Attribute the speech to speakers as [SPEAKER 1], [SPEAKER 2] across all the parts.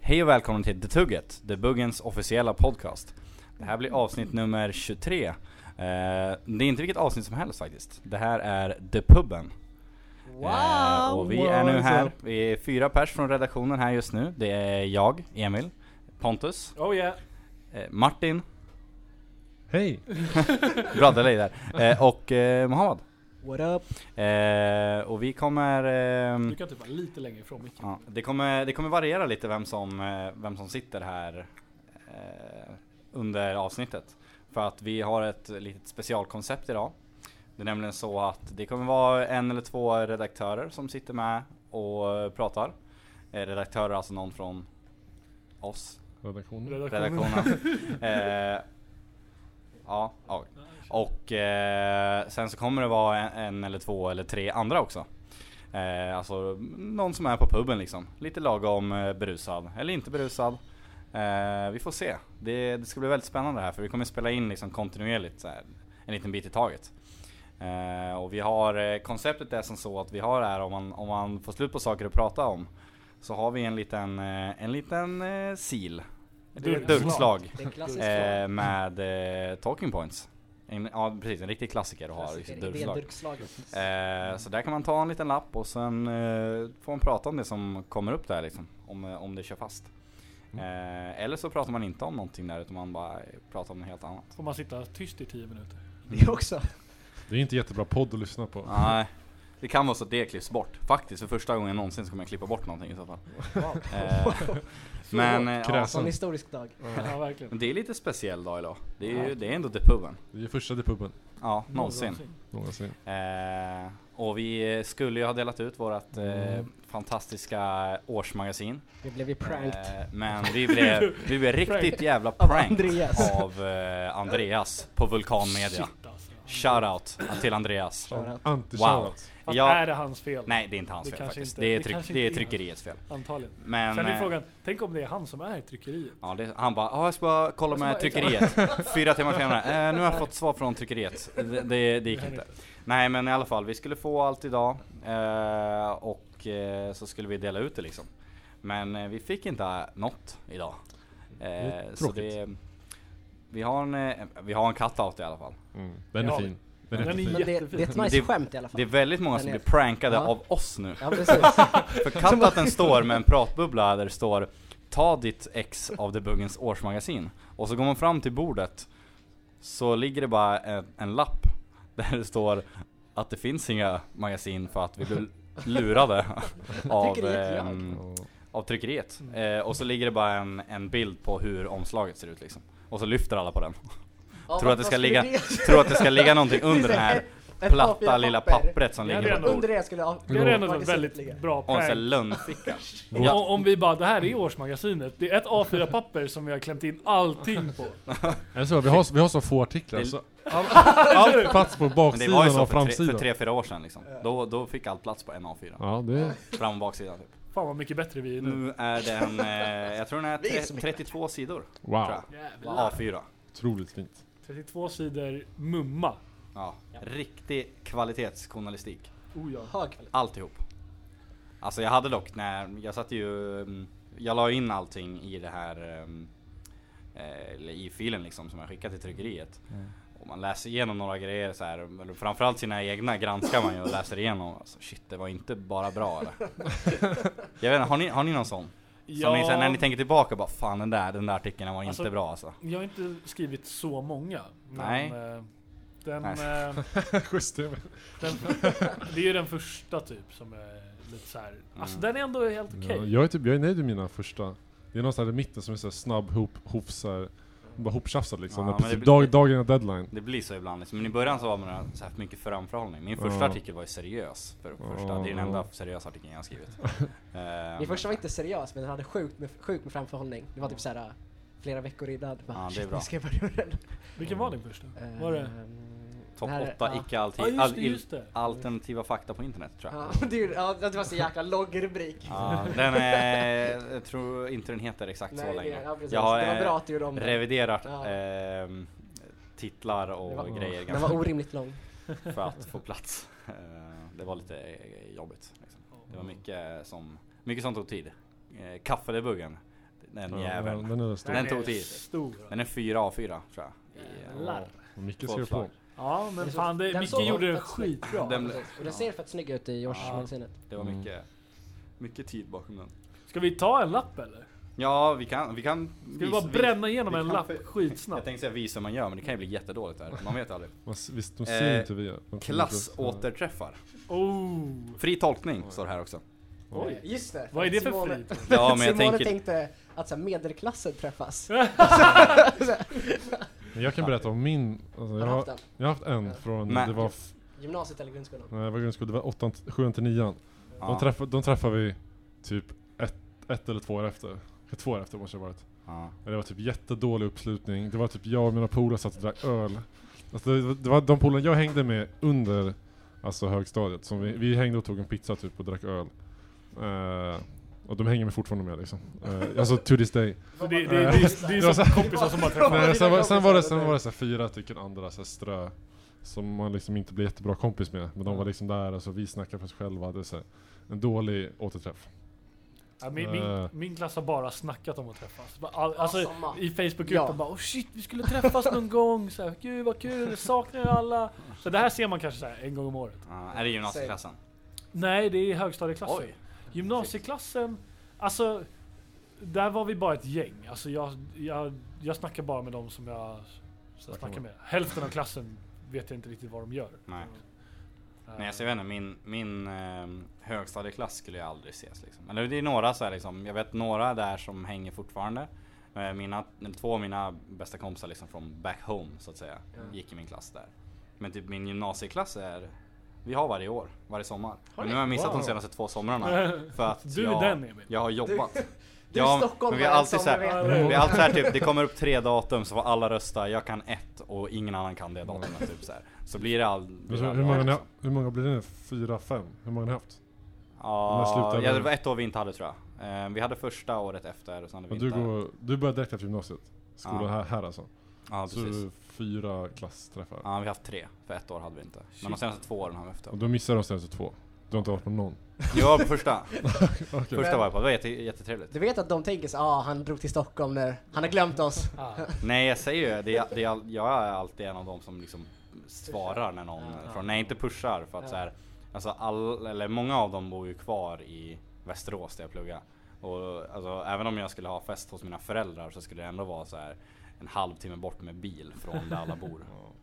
[SPEAKER 1] Hej och välkommen till The Tugget, The Buggens officiella podcast. Det här blir avsnitt nummer 23. Eh, det är inte vilket avsnitt som helst faktiskt. Det här är The Puben.
[SPEAKER 2] Wow!
[SPEAKER 1] Eh, och vi är nu
[SPEAKER 2] Wow,
[SPEAKER 1] här,
[SPEAKER 2] så.
[SPEAKER 1] vi är fyra pers från redaktionen här just nu. Det är jag, Emil, Pontus,
[SPEAKER 3] Oh yeah.
[SPEAKER 1] eh, Martin,
[SPEAKER 4] Hej!
[SPEAKER 1] bra delay där, eh, och eh, Mohammed.
[SPEAKER 2] What up?
[SPEAKER 1] Eh, och vi kommer... ehm,
[SPEAKER 3] Du kan typ vara lite längre ifrån micken.
[SPEAKER 1] Ja, det, kommer, det kommer variera lite vem som, eh, vem som sitter här eh, under avsnittet. För att vi har ett litet specialkoncept idag. Det är nämligen så att det kommer vara en eller två redaktörer som sitter med och pratar. Eh, Redaktörer alltså någon från oss,
[SPEAKER 4] Redaktionen.
[SPEAKER 3] Redaktionen.
[SPEAKER 1] redaktionen. eh, ja, ja. Och eh, sen så kommer det vara en, en eller två eller tre andra också. Eh, alltså någon som är på puben liksom. Lite lagom eh, berusad, eller inte berusad. Eh, vi får se. Det, det ska bli väldigt spännande det här för vi kommer spela in liksom kontinuerligt så här, en liten bit i taget. Eh, och vi har, eh, konceptet är som så att vi har det här om man, om man får slut på saker att prata om. Så har vi en liten, eh, en liten eh, sil.
[SPEAKER 3] Durkslag.
[SPEAKER 1] Durkslag.
[SPEAKER 2] Det är klassiskt
[SPEAKER 1] Eh, med eh, talking points. En, ja precis, en riktig klassiker att ha. Liksom, durkslag.
[SPEAKER 2] durkslaget.
[SPEAKER 1] Eh, så där kan man ta en liten lapp och sen eh, får man prata om det som kommer upp där liksom. Om, eh, om det kör fast.
[SPEAKER 2] Mm.
[SPEAKER 1] Eh, eller så pratar man inte om någonting där utan man bara eh, pratar om något helt annat.
[SPEAKER 3] Får man sitta tyst i tio minuter?
[SPEAKER 2] Det också.
[SPEAKER 4] Det är inte jättebra podd att lyssna på.
[SPEAKER 1] Nej. Det kan vara så att det klipps bort. Faktiskt, för första gången någonsin så kommer jag klippa bort någonting i så fall. Eh, men, eh, ja,
[SPEAKER 4] Kräsen.
[SPEAKER 2] Som historisk dag.
[SPEAKER 3] Ja, verkligen.
[SPEAKER 1] men det är lite speciell dag idag. Det är, ju, det är ändå The Puben.
[SPEAKER 4] Det är första till puben
[SPEAKER 1] Ja, någonsin.
[SPEAKER 4] någonsin.
[SPEAKER 1] Eh, och vi eh, skulle ju ha delat ut vårt eh,
[SPEAKER 4] Mm.
[SPEAKER 1] fantastiska årsmagasin.
[SPEAKER 2] Vi blev ju pranked.
[SPEAKER 1] Eh, men vi blev, vi blev riktigt jävla
[SPEAKER 2] Av
[SPEAKER 1] pranked
[SPEAKER 2] Andreas.
[SPEAKER 1] av eh, Andreas på Vulkan Media.
[SPEAKER 3] Shit alltså.
[SPEAKER 1] Shoutout till Andreas.
[SPEAKER 2] Shoutout.
[SPEAKER 4] anti
[SPEAKER 1] Wow.
[SPEAKER 3] Fast
[SPEAKER 1] Ja.
[SPEAKER 3] är det hans fel?
[SPEAKER 1] Nej, det är inte hans
[SPEAKER 3] Det
[SPEAKER 1] fel
[SPEAKER 3] kanske
[SPEAKER 1] faktiskt.
[SPEAKER 3] inte-
[SPEAKER 1] det, är
[SPEAKER 3] det
[SPEAKER 1] tryck,
[SPEAKER 3] kanske
[SPEAKER 1] det är
[SPEAKER 3] inte är
[SPEAKER 1] tryckeriets fel.
[SPEAKER 3] Antagligen.
[SPEAKER 1] Men,
[SPEAKER 3] Sen är
[SPEAKER 1] eh,
[SPEAKER 3] frågan, tänk om det är han som är i tryckeriet?
[SPEAKER 1] Ja, det, han bara, "Ja, jag ska bara kolla med tryckeriet. Fyra timmar senare, eh, nu har jag fått svar från tryckeriet. Det, det, det gick
[SPEAKER 3] Det här är
[SPEAKER 1] inte. Nej men i alla fall, vi skulle få allt idag eh, och eh, så skulle vi dela ut det liksom. Men eh, vi fick inte något idag. Eh,
[SPEAKER 4] är
[SPEAKER 1] så
[SPEAKER 4] tråkigt.
[SPEAKER 1] det, vi har en, eh, vi har en cut-out i alla fall.
[SPEAKER 4] Mm. Den
[SPEAKER 3] Ja.
[SPEAKER 4] är fin. Den är
[SPEAKER 3] Den är
[SPEAKER 4] fin.
[SPEAKER 2] Men det, det är ett
[SPEAKER 1] Men
[SPEAKER 2] nice
[SPEAKER 1] det-
[SPEAKER 2] skämt i alla fall.
[SPEAKER 1] Det är väldigt många som
[SPEAKER 2] Den är-
[SPEAKER 1] blir prankade
[SPEAKER 2] Ja.
[SPEAKER 1] av oss nu.
[SPEAKER 2] Ja precis.
[SPEAKER 1] För cut-outen står med en pratbubbla där det står Ta ditt ex av The Buggens årsmagasin. Och så går man fram till bordet så ligger det bara en, en lapp där det står att det finns inga magasin för att vi blev lurade av,
[SPEAKER 2] Tryckeriet, ja.
[SPEAKER 1] ehm,
[SPEAKER 4] Ja.
[SPEAKER 1] av tryckeriet. Eh, och så ligger det bara en, en bild på hur omslaget ser ut liksom. Och så lyfter alla på den.
[SPEAKER 2] Ja,
[SPEAKER 1] Tror att det
[SPEAKER 2] vad
[SPEAKER 1] ska
[SPEAKER 2] skulle
[SPEAKER 1] ligga-
[SPEAKER 2] det-
[SPEAKER 1] tror att det ska ligga någonting
[SPEAKER 2] Det
[SPEAKER 1] under den
[SPEAKER 2] är
[SPEAKER 1] här
[SPEAKER 2] ett
[SPEAKER 1] platta
[SPEAKER 2] A4-papper.
[SPEAKER 1] lilla pappret som
[SPEAKER 3] Ja, det
[SPEAKER 1] ligger
[SPEAKER 3] är
[SPEAKER 1] på
[SPEAKER 3] ändå-
[SPEAKER 2] Under det skulle ja,
[SPEAKER 3] Det är ändå ett
[SPEAKER 2] magasinet
[SPEAKER 3] väldigt
[SPEAKER 2] ligga.
[SPEAKER 3] bra
[SPEAKER 1] och en sån här
[SPEAKER 3] prank.
[SPEAKER 1] lönnficka.
[SPEAKER 3] Om,
[SPEAKER 1] Ja.
[SPEAKER 3] om vi bara, det här är årsmagasinet. Det är ett A4-papper som vi har klämt in allting på.
[SPEAKER 4] Är det så? Vi har, vi har så få artiklar
[SPEAKER 1] Det-
[SPEAKER 4] så allt plats på
[SPEAKER 1] Men det var ju
[SPEAKER 4] baksidan
[SPEAKER 1] så
[SPEAKER 4] och
[SPEAKER 1] för tre,
[SPEAKER 4] framsidan.
[SPEAKER 1] för tre, fyra år sedan liksom. Då, då fick allt plats på en A4.
[SPEAKER 4] Ja, det är
[SPEAKER 1] Fram och baksidan typ.
[SPEAKER 3] Fan vad mycket bättre vi är nu.
[SPEAKER 1] Nu är den, eh, jag tror den är,
[SPEAKER 2] Vi är
[SPEAKER 1] tre,
[SPEAKER 2] så mycket
[SPEAKER 1] 32 sidor. Tror
[SPEAKER 4] wow.
[SPEAKER 1] jag.
[SPEAKER 3] Jävlar.
[SPEAKER 1] A4.
[SPEAKER 4] Otroligt fint.
[SPEAKER 3] 32 sidor mumma.
[SPEAKER 1] Ja. Riktig kvalitetsjournalistik.
[SPEAKER 3] Oh ja.
[SPEAKER 2] Hög kvalitet.
[SPEAKER 1] Alltihop. Alltså jag hade dock när, jag satte ju, mm, jag la in allting i det här, mm, eh, eller i filen liksom som jag skickade till tryckeriet. Och man läser igenom några grejer så här, mm, eller framförallt sina egna granskar man ju och läser igenom. Alltså, shit, det var inte bara bra eller? jag vet inte, har ni, har ni någon sån? Som ni, sen när ni tänker tillbaka bara fan den där, den där artikeln var inte
[SPEAKER 3] Alltså,
[SPEAKER 1] bra alltså.
[SPEAKER 3] Jag har inte skrivit så många. Men,
[SPEAKER 1] Nej.
[SPEAKER 3] eh, Den,
[SPEAKER 1] Nej.
[SPEAKER 3] eh,
[SPEAKER 4] Schysst. det är-
[SPEAKER 3] den, det är ju den första typ som är lite så här.
[SPEAKER 1] Mm.
[SPEAKER 3] Alltså den är ändå helt okej.
[SPEAKER 4] Ja, jag, är typ, jag är nöjd med mina första. Det är någon sån här i mitten som är så här snabb hop, hofsar. Bara hoptjafsad liksom.
[SPEAKER 1] Ja,
[SPEAKER 4] Ja,
[SPEAKER 1] men det
[SPEAKER 4] precis,
[SPEAKER 1] blir-
[SPEAKER 4] dag, dagen är deadline.
[SPEAKER 1] Det blir så ibland liksom. Men i början så var man så här för mycket framförhållning. Min första
[SPEAKER 4] Ja.
[SPEAKER 1] artikel var ju seriös. För det första. Det är den enda seriösa artikeln jag har skrivit. Ehm,
[SPEAKER 2] Min första var inte seriös men den hade sjukt med, sjukt med framförhållning. Det var typ såhär äh, flera veckor innan. Bara,
[SPEAKER 1] Ja, det är
[SPEAKER 2] shit, Nu ska
[SPEAKER 1] bra.
[SPEAKER 2] jag börja med den.
[SPEAKER 3] Vilken var din första?
[SPEAKER 2] Eh,
[SPEAKER 3] Var det?
[SPEAKER 2] mm,
[SPEAKER 1] Topp
[SPEAKER 2] den här-
[SPEAKER 1] 8
[SPEAKER 2] ja.
[SPEAKER 1] icke alltid,
[SPEAKER 3] Ja just
[SPEAKER 1] all,
[SPEAKER 3] det,
[SPEAKER 1] il-
[SPEAKER 3] just det.
[SPEAKER 1] alternativa fakta på internet tror jag.
[SPEAKER 2] Ja, det, är ju- ja, det var så jäkla lång rubrik.
[SPEAKER 1] Ja, den är, jag tror inte den heter exakt så
[SPEAKER 2] Nej, det,
[SPEAKER 1] länge.
[SPEAKER 2] ja, precis.
[SPEAKER 1] jag har
[SPEAKER 2] det var
[SPEAKER 1] eh,
[SPEAKER 2] bra att du gjorde om den.
[SPEAKER 1] reviderat
[SPEAKER 2] Ja.
[SPEAKER 1] ehm, titlar
[SPEAKER 2] Det var-
[SPEAKER 1] och grejer
[SPEAKER 2] Den
[SPEAKER 1] ganska
[SPEAKER 2] var orimligt lång.
[SPEAKER 1] mycket för att få plats. Eh, det var lite eh, jobbigt. Liksom. Det var mycket som, mycket som tog tid. Eh, Kaffedebuggen. den
[SPEAKER 4] Ja,
[SPEAKER 1] jäveln.
[SPEAKER 4] Den är rätt stor.
[SPEAKER 1] Den tog tid.
[SPEAKER 3] stor.
[SPEAKER 1] Den är 4 A4 tror jag. eh,
[SPEAKER 3] Jävlar.
[SPEAKER 4] Och Micke
[SPEAKER 1] Två
[SPEAKER 4] skrev på.
[SPEAKER 1] slag.
[SPEAKER 3] Ja men
[SPEAKER 2] Den
[SPEAKER 3] fan, det,
[SPEAKER 2] såg-
[SPEAKER 3] Micke
[SPEAKER 2] den såg
[SPEAKER 3] gjorde den
[SPEAKER 2] fett snygg.
[SPEAKER 3] skitbra.
[SPEAKER 1] Den-
[SPEAKER 2] Precis. Och den ser fett snygg ut i årsmagasinet.
[SPEAKER 1] Det var
[SPEAKER 4] Mm.
[SPEAKER 1] mycket, mycket tid bakom den.
[SPEAKER 3] Ska vi ta en lapp eller?
[SPEAKER 1] Ja, vi kan... Vi kan
[SPEAKER 3] Ska vi bara bränna igenom
[SPEAKER 1] vi
[SPEAKER 3] en
[SPEAKER 1] kan
[SPEAKER 3] lapp
[SPEAKER 1] för- Jag
[SPEAKER 3] skitsnabbt?
[SPEAKER 1] tänkte säga visa hur man gör, men det kan ju bli jättedåligt där. Man vet aldrig.
[SPEAKER 4] Man s- Visst, de ser
[SPEAKER 1] Eh,
[SPEAKER 4] inte vi. De kommer inte upp.
[SPEAKER 1] Klassåterträffar.
[SPEAKER 3] Oh!
[SPEAKER 1] Fri tolkning står det här också.
[SPEAKER 3] Oj.
[SPEAKER 2] Just det!
[SPEAKER 3] Vad är det för
[SPEAKER 2] Simone-
[SPEAKER 3] frit?
[SPEAKER 1] Ja, men jag
[SPEAKER 2] Simone
[SPEAKER 1] tänker...
[SPEAKER 2] tänkte att så här, medelklassen träffas.
[SPEAKER 4] Men jag kan berätta om min. Alltså,
[SPEAKER 2] Har du
[SPEAKER 4] jag,
[SPEAKER 2] haft
[SPEAKER 4] har,
[SPEAKER 2] den?
[SPEAKER 4] jag har haft en från,
[SPEAKER 1] Nej.
[SPEAKER 4] det var, f-
[SPEAKER 2] Gymnasiet eller grundskolan?
[SPEAKER 4] nej, det var grundskolan, det var åttan, t- sjuan till nian. De,
[SPEAKER 1] Ja,
[SPEAKER 4] träffa, de träffade vi typ ett, ett eller två år efter. Två år efter måste det ha varit.
[SPEAKER 1] ja.
[SPEAKER 4] Men det var typ jättedålig uppslutning. Det var typ jag och mina polare satt och drack öl. Alltså det, var- det var de polarna jag hängde med under alltså högstadiet. Som vi, vi hängde och tog en pizza typ och drack öl. Eh, och de hänger mig fortfarande med liksom. Eh, alltså to this day.
[SPEAKER 3] Så det, det, det, det,
[SPEAKER 4] Det
[SPEAKER 3] det
[SPEAKER 4] var
[SPEAKER 3] är
[SPEAKER 4] så
[SPEAKER 3] som
[SPEAKER 4] här-
[SPEAKER 3] kompisar som bara träffas.
[SPEAKER 4] Nej,
[SPEAKER 2] dina
[SPEAKER 4] sen, var, sen var det,
[SPEAKER 2] kompisar,
[SPEAKER 4] sen
[SPEAKER 2] eller?
[SPEAKER 4] var det så här fyra stycken andra så här strö som man liksom inte blev jättebra kompis med. Men de var liksom där, alltså vi snackade för oss själva. Det är så här, en dålig återträff.
[SPEAKER 3] Ja, min, min,
[SPEAKER 4] Eh.
[SPEAKER 3] min klass har bara snackat om att träffas. Bara, all- Alltså,
[SPEAKER 2] samma.
[SPEAKER 3] I Facebookgruppen
[SPEAKER 2] Ja.
[SPEAKER 3] bara oh shit vi skulle träffas någon gång, så här, gud vad kul, saknar er alla. Så det här ser man kanske så här, en gång om året.
[SPEAKER 1] Ja, är det gymnasieklassen?
[SPEAKER 3] Nej det är högstadieklassen.
[SPEAKER 1] Oj.
[SPEAKER 3] Gymnasieklassen, alltså där var vi bara ett gäng. Alltså jag, jag, jag snackar bara med dem som jag så jag snackar med. Hälften av klassen vet jag inte riktigt vad de gör.
[SPEAKER 1] Nej.
[SPEAKER 3] Eh,
[SPEAKER 1] Nej, alltså jag vet inte, min, min eh, högstadieklass skulle jag aldrig ses liksom. Eller det är några så här liksom, jag vet några där som hänger fortfarande. Eh, Mina, två av mina bästa kompisar liksom från back home så att säga, gick i min klass där. Men typ min gymnasieklass är, vi har varje år, varje sommar. Men nu har jag missat de senaste två somrarna. För att
[SPEAKER 3] Du är
[SPEAKER 1] jag,
[SPEAKER 3] den, Emil.
[SPEAKER 1] Jag har jobbat.
[SPEAKER 2] Du är Stockholm
[SPEAKER 1] men vi har
[SPEAKER 2] varje
[SPEAKER 1] alltid så
[SPEAKER 2] sommar,
[SPEAKER 1] här,
[SPEAKER 3] vet du.
[SPEAKER 1] vi har alltid så här typ, det kommer upp tre datum så får alla rösta, jag kan ett och ingen annan kan det datumet typ så här. Så blir det all...
[SPEAKER 4] Men
[SPEAKER 1] blir det
[SPEAKER 4] så, hur,
[SPEAKER 1] aldrig
[SPEAKER 4] många
[SPEAKER 1] av,
[SPEAKER 4] ni,
[SPEAKER 1] liksom.
[SPEAKER 4] hur många blir det nu? Fyra, fem? Hur många har ni haft? Men
[SPEAKER 1] Ja,
[SPEAKER 4] slutade-
[SPEAKER 1] ja, det var ett år vi inte hade tror jag. Eh, Vi hade första året efter och sen hade
[SPEAKER 4] Men
[SPEAKER 1] vi
[SPEAKER 4] du,
[SPEAKER 1] inte...
[SPEAKER 4] går, du började direkt efter gymnasiet? Skola
[SPEAKER 1] Ja.
[SPEAKER 4] här, här alltså?
[SPEAKER 1] Ja,
[SPEAKER 4] så
[SPEAKER 1] precis.
[SPEAKER 4] du fyra klassträffar?
[SPEAKER 1] Ja, vi har haft tre. För ett år hade vi inte. Men de
[SPEAKER 3] Shit.
[SPEAKER 1] senaste två åren har vi haft det.
[SPEAKER 4] Och du missade de senaste två? Du har inte varit på någon?
[SPEAKER 1] Jag var på första. Första
[SPEAKER 4] Okej.
[SPEAKER 1] var jag på. Det var jätte, jättetrevligt.
[SPEAKER 2] Du vet att de tänker så ah han drog till Stockholm nu, han har glömt oss.
[SPEAKER 3] Ah.
[SPEAKER 1] Nej, jag säger ju det. Är, det är, all- jag är alltid en av de som liksom svarar när någon...
[SPEAKER 2] Ja.
[SPEAKER 1] Från, nej, inte pushar. För att
[SPEAKER 2] Ja.
[SPEAKER 1] så här, alltså all, eller många av dem bor ju kvar i Västerås där jag pluggar. Och alltså, även om jag skulle ha fest hos mina föräldrar så skulle det ändå vara så här en halvtimme bort med bil från där alla bor.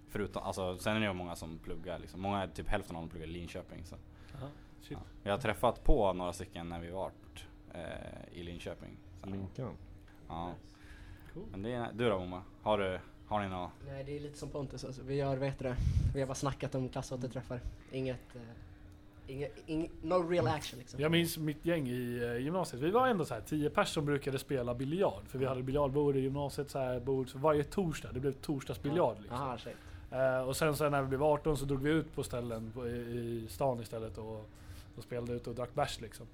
[SPEAKER 1] Förutom, alltså, sen är det ju många som pluggar liksom. Många, typ hälften av dem pluggar i Linköping. Så.
[SPEAKER 3] Aha, shit.
[SPEAKER 1] Ja. Jag har träffat på några stycken när vi varit eh, i Linköping. Så,
[SPEAKER 4] Linkan?
[SPEAKER 1] ja.
[SPEAKER 3] Cool.
[SPEAKER 1] Men det är, du då Oma? Har du, har ni något?
[SPEAKER 2] Nej det är lite som Pontus alltså. vi gör, vet det, vi har bara snackat om klassåterträffar. Inget, eh, inget, inget, no real action liksom.
[SPEAKER 3] Jag minns mitt gäng i eh, gymnasiet. Vi var ändå så här 10 pers som brukade spela biljard. För vi hade biljardbord i gymnasiet så här, bord för varje torsdag. Det blev torsdagsbiljard liksom.
[SPEAKER 2] Aha, shit.
[SPEAKER 3] Eh, och sen, sen när vi blev 18 så drog vi ut på ställen på, i, i stan istället och, och spelade ut och drack bärs liksom.